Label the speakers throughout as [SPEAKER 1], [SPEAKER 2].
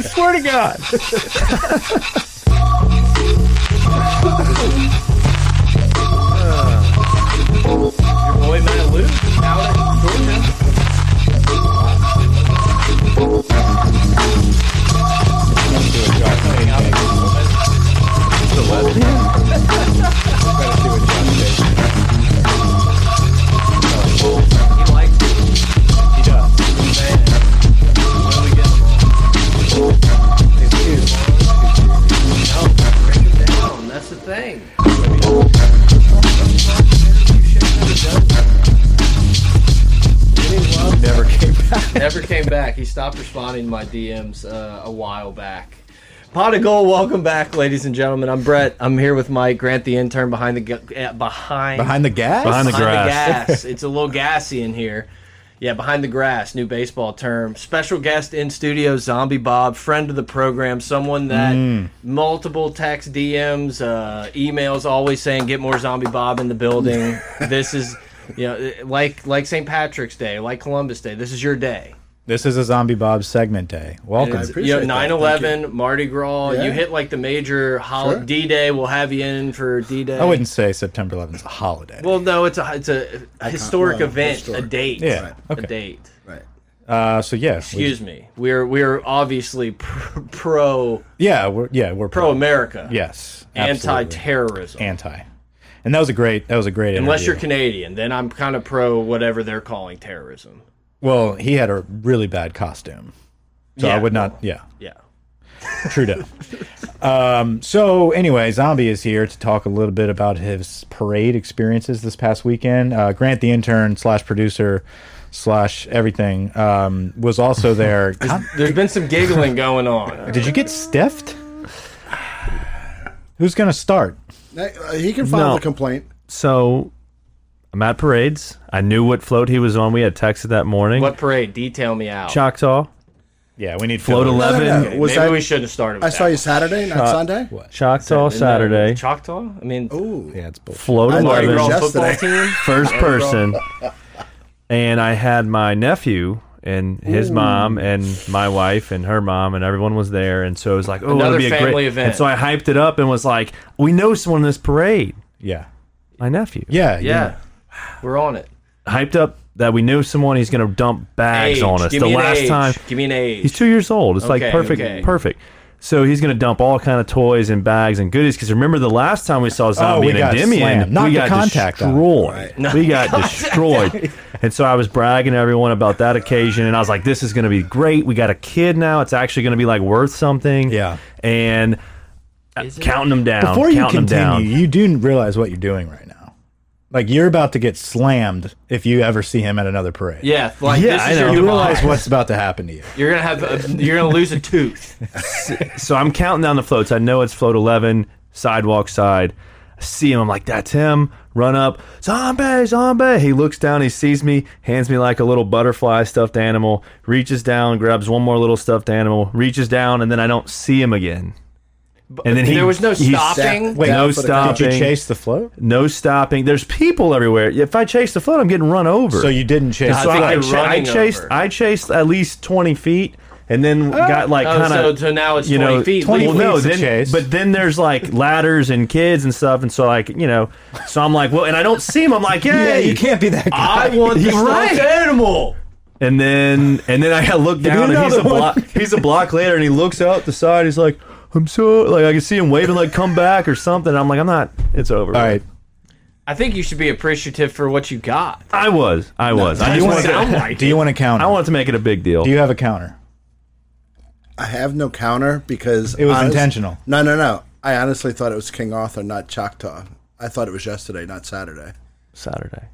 [SPEAKER 1] swear to God.
[SPEAKER 2] Your boy Matt Luke out at Georgia. He likes it. He does. Man. Where we get him on? No, break it down. That's the thing. Jimmy Love
[SPEAKER 1] Never came back.
[SPEAKER 2] Never came back. He stopped responding to my DMs uh, a while back. Pot of Gold, welcome back, ladies and gentlemen. I'm Brett. I'm here with Mike Grant, the intern behind the gu- eh, behind
[SPEAKER 3] Behind the gas?
[SPEAKER 4] Behind the
[SPEAKER 2] behind
[SPEAKER 4] grass.
[SPEAKER 2] the gas. it's a little gassy in here. Yeah, behind the grass, new baseball term. Special guest in studio, Zombie Bob, friend of the program, someone that
[SPEAKER 4] Mm.
[SPEAKER 2] multiple text DMs, uh, emails, always saying, "Get more Zombie Bob in the building." this is, you know, like like St. Patrick's Day, like Columbus Day. This is your day.
[SPEAKER 3] This is a Zombie Bob segment day. Welcome.
[SPEAKER 2] It's,
[SPEAKER 4] appreciate
[SPEAKER 2] you know,
[SPEAKER 4] that. Thank
[SPEAKER 2] 9-11, Mardi Gras.
[SPEAKER 4] Yeah.
[SPEAKER 2] You hit like the major holiday.
[SPEAKER 4] Sure.
[SPEAKER 2] D Day. We'll have you in for D Day.
[SPEAKER 3] I wouldn't say September 11th is a holiday.
[SPEAKER 2] Well, no, it's a it's a historic
[SPEAKER 4] well,
[SPEAKER 2] event, a
[SPEAKER 4] historic.
[SPEAKER 2] date.
[SPEAKER 3] Yeah,
[SPEAKER 2] Right.
[SPEAKER 3] okay.
[SPEAKER 2] A date.
[SPEAKER 4] Right.
[SPEAKER 3] uh, so yeah, we-
[SPEAKER 2] Excuse me. We're we're obviously pr- pro
[SPEAKER 3] yeah, we're yeah we're
[SPEAKER 2] pro America.
[SPEAKER 3] Yes,
[SPEAKER 2] Anti
[SPEAKER 3] absolutely.
[SPEAKER 2] terrorism.
[SPEAKER 3] anti, and that was a great that was a great.
[SPEAKER 2] Unless
[SPEAKER 3] interview.
[SPEAKER 2] you're Canadian, then I'm kind of pro whatever they're calling terrorism.
[SPEAKER 3] well, he had a really bad costume, so I
[SPEAKER 2] Yeah.
[SPEAKER 3] would not. Yeah,
[SPEAKER 2] Yeah.
[SPEAKER 3] Trudeau. um, so anyway, Zombie is here to talk a little bit about his parade experiences this past weekend. Uh, Grant, the intern slash producer slash everything, um, was also there. God,
[SPEAKER 2] There's been some giggling going on.
[SPEAKER 3] did you get stiffed? Who's gonna start?
[SPEAKER 4] Now, uh, he can file
[SPEAKER 5] No.
[SPEAKER 4] a complaint.
[SPEAKER 5] So I'm at parades. I knew what float he was on. We had texted that morning.
[SPEAKER 2] What parade? Detail me out.
[SPEAKER 5] Choctaw,
[SPEAKER 3] Yeah, we need
[SPEAKER 5] float
[SPEAKER 3] fillers.
[SPEAKER 4] No, no,
[SPEAKER 5] 11,
[SPEAKER 4] no. Was
[SPEAKER 2] Maybe
[SPEAKER 4] that-
[SPEAKER 2] we shouldn't have started.
[SPEAKER 4] I
[SPEAKER 2] with
[SPEAKER 4] saw
[SPEAKER 2] that
[SPEAKER 4] you Saturday, not Sunday.
[SPEAKER 5] Choctaw
[SPEAKER 2] one.
[SPEAKER 5] Saturday,
[SPEAKER 2] Choctaw. I mean,
[SPEAKER 4] Ooh.
[SPEAKER 3] Yeah, it's bullshit.
[SPEAKER 5] float
[SPEAKER 4] I
[SPEAKER 2] Mardi
[SPEAKER 4] thought it was
[SPEAKER 2] Gras
[SPEAKER 5] 11,
[SPEAKER 4] just-
[SPEAKER 2] football
[SPEAKER 4] yesterday.
[SPEAKER 2] team.
[SPEAKER 5] first person. and I had my nephew and his mom and my wife and her mom and everyone was there. And so it was like, oh,
[SPEAKER 2] Another
[SPEAKER 5] it'll be a
[SPEAKER 2] family
[SPEAKER 5] great
[SPEAKER 2] event.
[SPEAKER 5] And so I hyped it up and was like, we know someone in this parade.
[SPEAKER 3] Yeah.
[SPEAKER 5] My nephew.
[SPEAKER 3] Yeah,
[SPEAKER 2] Yeah. We're on it.
[SPEAKER 5] Hyped up that we knew someone. He's going to dump bags
[SPEAKER 2] Age.
[SPEAKER 5] on us.
[SPEAKER 2] Give
[SPEAKER 5] the
[SPEAKER 2] me an
[SPEAKER 5] last
[SPEAKER 2] age.
[SPEAKER 5] time.
[SPEAKER 2] Give me an age.
[SPEAKER 5] He's two years old. It's
[SPEAKER 2] Okay,
[SPEAKER 5] like perfect,
[SPEAKER 2] okay.
[SPEAKER 5] perfect. So he's going to dump all kind of toys and bags and goodies. Because remember the last time we saw Zombie
[SPEAKER 3] Oh, we
[SPEAKER 5] and
[SPEAKER 3] got
[SPEAKER 5] Endymion,
[SPEAKER 3] slammed. Knocked
[SPEAKER 5] we
[SPEAKER 3] the
[SPEAKER 5] got
[SPEAKER 3] contact out.
[SPEAKER 5] destroyed.
[SPEAKER 4] Right.
[SPEAKER 5] We got destroyed. And so I was bragging to everyone about that occasion, and I was like, "This is going to be great. We got a kid now. It's actually going to be like worth something."
[SPEAKER 3] Yeah.
[SPEAKER 5] And uh, counting them down.
[SPEAKER 3] Before you
[SPEAKER 5] counting them down.
[SPEAKER 3] continue, you do realize what you're doing right now. Like you're about to get slammed if you ever see him at another parade.
[SPEAKER 2] Yeah, like
[SPEAKER 5] Yeah,
[SPEAKER 2] this
[SPEAKER 5] I
[SPEAKER 2] is
[SPEAKER 5] know.
[SPEAKER 2] your
[SPEAKER 3] You realize
[SPEAKER 2] demise.
[SPEAKER 3] what's about to happen to you.
[SPEAKER 2] You're gonna have a, you're gonna lose a tooth.
[SPEAKER 5] So I'm counting down the floats. I know it's float 11, sidewalk side. I see him. I'm like, that's him. Run up. Zombie, zombie. He looks down. He sees me, hands me like a little butterfly stuffed animal, reaches down, grabs one more little stuffed animal, reaches down, and then I don't see him again. And then he,
[SPEAKER 2] there was no
[SPEAKER 5] he's-
[SPEAKER 2] stopping.
[SPEAKER 3] Wait,
[SPEAKER 4] Down
[SPEAKER 5] no
[SPEAKER 4] for the count.
[SPEAKER 3] Did you
[SPEAKER 5] stopping.
[SPEAKER 3] chase the float?
[SPEAKER 5] No stopping. There's people everywhere. If I chase the float, I'm getting run over.
[SPEAKER 3] So you didn't chase.
[SPEAKER 5] And
[SPEAKER 3] the
[SPEAKER 5] so
[SPEAKER 2] I
[SPEAKER 5] I,
[SPEAKER 2] think
[SPEAKER 5] I,
[SPEAKER 2] they're
[SPEAKER 5] cha- I
[SPEAKER 2] running
[SPEAKER 5] chased.
[SPEAKER 2] over.
[SPEAKER 5] I chased at least twenty feet, and then got like
[SPEAKER 2] Oh,
[SPEAKER 5] kind of.
[SPEAKER 2] so- so now it's
[SPEAKER 5] you
[SPEAKER 2] 20
[SPEAKER 5] know,
[SPEAKER 2] feet.
[SPEAKER 3] 20
[SPEAKER 5] well, no,
[SPEAKER 3] feet's a
[SPEAKER 5] then,
[SPEAKER 3] chase.
[SPEAKER 5] But then there's like ladders and kids and stuff, and so like you know, so I'm like, well, and I don't see him. I'm like,
[SPEAKER 3] yeah,
[SPEAKER 5] yay,
[SPEAKER 3] you can't be that guy.
[SPEAKER 2] I want the
[SPEAKER 5] You're right.
[SPEAKER 2] stuffed animal.
[SPEAKER 5] And then and then I look down, and he's
[SPEAKER 3] another
[SPEAKER 5] a
[SPEAKER 3] one.
[SPEAKER 5] block. He's a block later, and he looks out the side. He's like, I'm so like I can see him waving like come back or something. I'm like, I'm not. It's over.
[SPEAKER 3] All right.
[SPEAKER 2] I think you should be appreciative for what you got.
[SPEAKER 5] I was. I was. I
[SPEAKER 3] Do you
[SPEAKER 5] just
[SPEAKER 3] want
[SPEAKER 5] wanted.
[SPEAKER 2] sound
[SPEAKER 5] To,
[SPEAKER 2] like
[SPEAKER 3] Do you want to counter?
[SPEAKER 5] I wanted to make it a big deal.
[SPEAKER 3] Do you have a counter?
[SPEAKER 4] I have no counter because
[SPEAKER 3] It was intentional.
[SPEAKER 4] No, no, no. I honestly thought it was King Arthur, not Choctaw. I thought it was yesterday, not Saturday.
[SPEAKER 5] Saturday.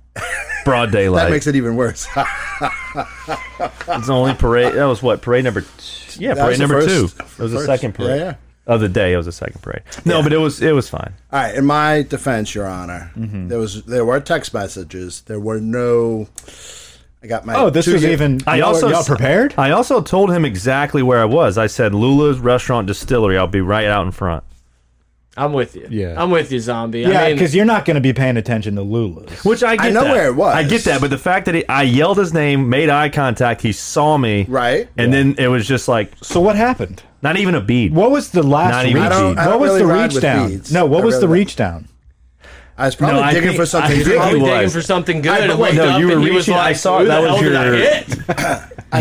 [SPEAKER 5] Broad
[SPEAKER 4] That
[SPEAKER 5] daylight.
[SPEAKER 4] makes it even worse.
[SPEAKER 5] It's the only parade. That was what parade number. Two. Yeah,
[SPEAKER 4] That
[SPEAKER 5] parade
[SPEAKER 4] was the
[SPEAKER 5] number
[SPEAKER 4] first- the
[SPEAKER 5] two. It was the
[SPEAKER 4] first.
[SPEAKER 5] second parade
[SPEAKER 4] Yeah, yeah.
[SPEAKER 5] of the day. It was the second parade. No, but it was it was fine.
[SPEAKER 4] All right, in my defense, Your Honor,
[SPEAKER 3] Mm-hmm.
[SPEAKER 4] there was there were text messages. There were no. I got my.
[SPEAKER 3] Oh, this
[SPEAKER 4] two
[SPEAKER 3] was
[SPEAKER 4] year-
[SPEAKER 3] even.
[SPEAKER 5] I
[SPEAKER 3] y'all,
[SPEAKER 5] also
[SPEAKER 3] y'all prepared.
[SPEAKER 5] I also told him exactly where I was. I said Lula's Restaurant Distillery. I'll be right out in front.
[SPEAKER 2] I'm with you.
[SPEAKER 3] Yeah.
[SPEAKER 2] I'm with you, zombie. I
[SPEAKER 3] Yeah,
[SPEAKER 2] mean,
[SPEAKER 3] because you're not going to be paying attention to Lula's.
[SPEAKER 5] Which I get.
[SPEAKER 4] know
[SPEAKER 5] that.
[SPEAKER 4] where it was.
[SPEAKER 5] I get that, but the fact that he, I yelled his name, made eye contact, he saw me,
[SPEAKER 4] Right.
[SPEAKER 5] and then it was just like
[SPEAKER 3] So what happened?
[SPEAKER 5] not even a bead.
[SPEAKER 3] What was the
[SPEAKER 5] Not
[SPEAKER 3] last reach?
[SPEAKER 5] even- I
[SPEAKER 4] don't- I
[SPEAKER 3] What
[SPEAKER 4] don't
[SPEAKER 3] was
[SPEAKER 4] really
[SPEAKER 3] the
[SPEAKER 4] ride
[SPEAKER 3] reach
[SPEAKER 4] with
[SPEAKER 3] down?
[SPEAKER 4] beads.
[SPEAKER 3] No, what
[SPEAKER 4] I
[SPEAKER 3] was the
[SPEAKER 4] really
[SPEAKER 3] reach down?
[SPEAKER 4] I was probably
[SPEAKER 5] No, I
[SPEAKER 4] digging
[SPEAKER 5] think-
[SPEAKER 4] for something.
[SPEAKER 5] I
[SPEAKER 4] good.
[SPEAKER 5] think
[SPEAKER 2] probably
[SPEAKER 5] he
[SPEAKER 2] digging
[SPEAKER 5] was.
[SPEAKER 2] for something good.
[SPEAKER 4] I-
[SPEAKER 2] and
[SPEAKER 4] but
[SPEAKER 2] waked
[SPEAKER 5] no,
[SPEAKER 2] up
[SPEAKER 5] you were
[SPEAKER 2] and he was
[SPEAKER 5] reaching.
[SPEAKER 2] Like,
[SPEAKER 5] I saw
[SPEAKER 2] "Who
[SPEAKER 5] it. That
[SPEAKER 2] the
[SPEAKER 5] was
[SPEAKER 2] hell did I
[SPEAKER 5] your-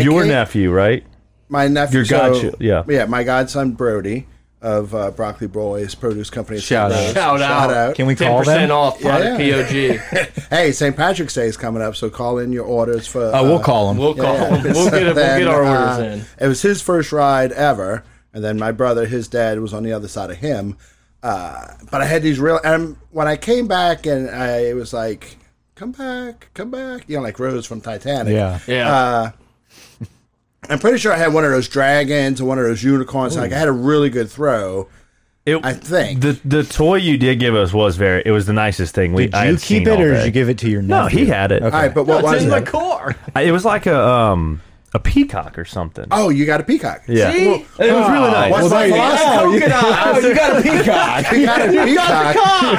[SPEAKER 2] hit?"
[SPEAKER 5] Your
[SPEAKER 4] can't-
[SPEAKER 5] nephew, right?
[SPEAKER 4] my nephew.
[SPEAKER 5] Your
[SPEAKER 4] so-
[SPEAKER 5] godchild, yeah.
[SPEAKER 4] yeah, my godson Brody of uh, Broccoli Broly's Produce Company. in
[SPEAKER 3] Shout
[SPEAKER 4] St.
[SPEAKER 3] out.
[SPEAKER 4] Louis.
[SPEAKER 2] Shout out.
[SPEAKER 3] Can we
[SPEAKER 2] Ten
[SPEAKER 3] call them?
[SPEAKER 2] percent off
[SPEAKER 4] Yeah,
[SPEAKER 2] product
[SPEAKER 4] yeah.
[SPEAKER 2] POG.
[SPEAKER 4] Hey, St. Patrick's Day is coming up, so call in your orders for. uh,
[SPEAKER 3] Oh, we'll call him.
[SPEAKER 2] Uh, We'll call. them. We'll get. it- We'll get our orders in.
[SPEAKER 4] It was his first ride ever, and then my brother, his dad, was on the other side of him. Uh, but I had these real, and when I came back, and I it was like, "Come back, come back," you know, like Rose from Titanic.
[SPEAKER 3] yeah.
[SPEAKER 2] Yeah.
[SPEAKER 4] I'm pretty sure I had one of those dragons or one of those unicorns. Like I had a really good throw.
[SPEAKER 5] It,
[SPEAKER 4] I think.
[SPEAKER 5] the the toy you did give us was very. It was the nicest thing we.
[SPEAKER 3] Did
[SPEAKER 5] I
[SPEAKER 3] you
[SPEAKER 5] had
[SPEAKER 3] keep
[SPEAKER 5] seen
[SPEAKER 3] it
[SPEAKER 5] all
[SPEAKER 3] or
[SPEAKER 5] day.
[SPEAKER 3] did you give it to your nephew?
[SPEAKER 5] No, he had it.
[SPEAKER 4] All right, but
[SPEAKER 2] No,
[SPEAKER 4] what was
[SPEAKER 2] it's in
[SPEAKER 4] it?
[SPEAKER 2] my car.
[SPEAKER 5] I- It was like a um a peacock or something.
[SPEAKER 4] oh, you got a peacock.
[SPEAKER 5] yeah,
[SPEAKER 2] See?
[SPEAKER 5] Well, it was really nice.
[SPEAKER 4] What's
[SPEAKER 3] Well,
[SPEAKER 4] my
[SPEAKER 3] there you go.
[SPEAKER 4] philosophy?
[SPEAKER 2] Oh, good eye.
[SPEAKER 3] you got a peacock.
[SPEAKER 4] You got a peacock.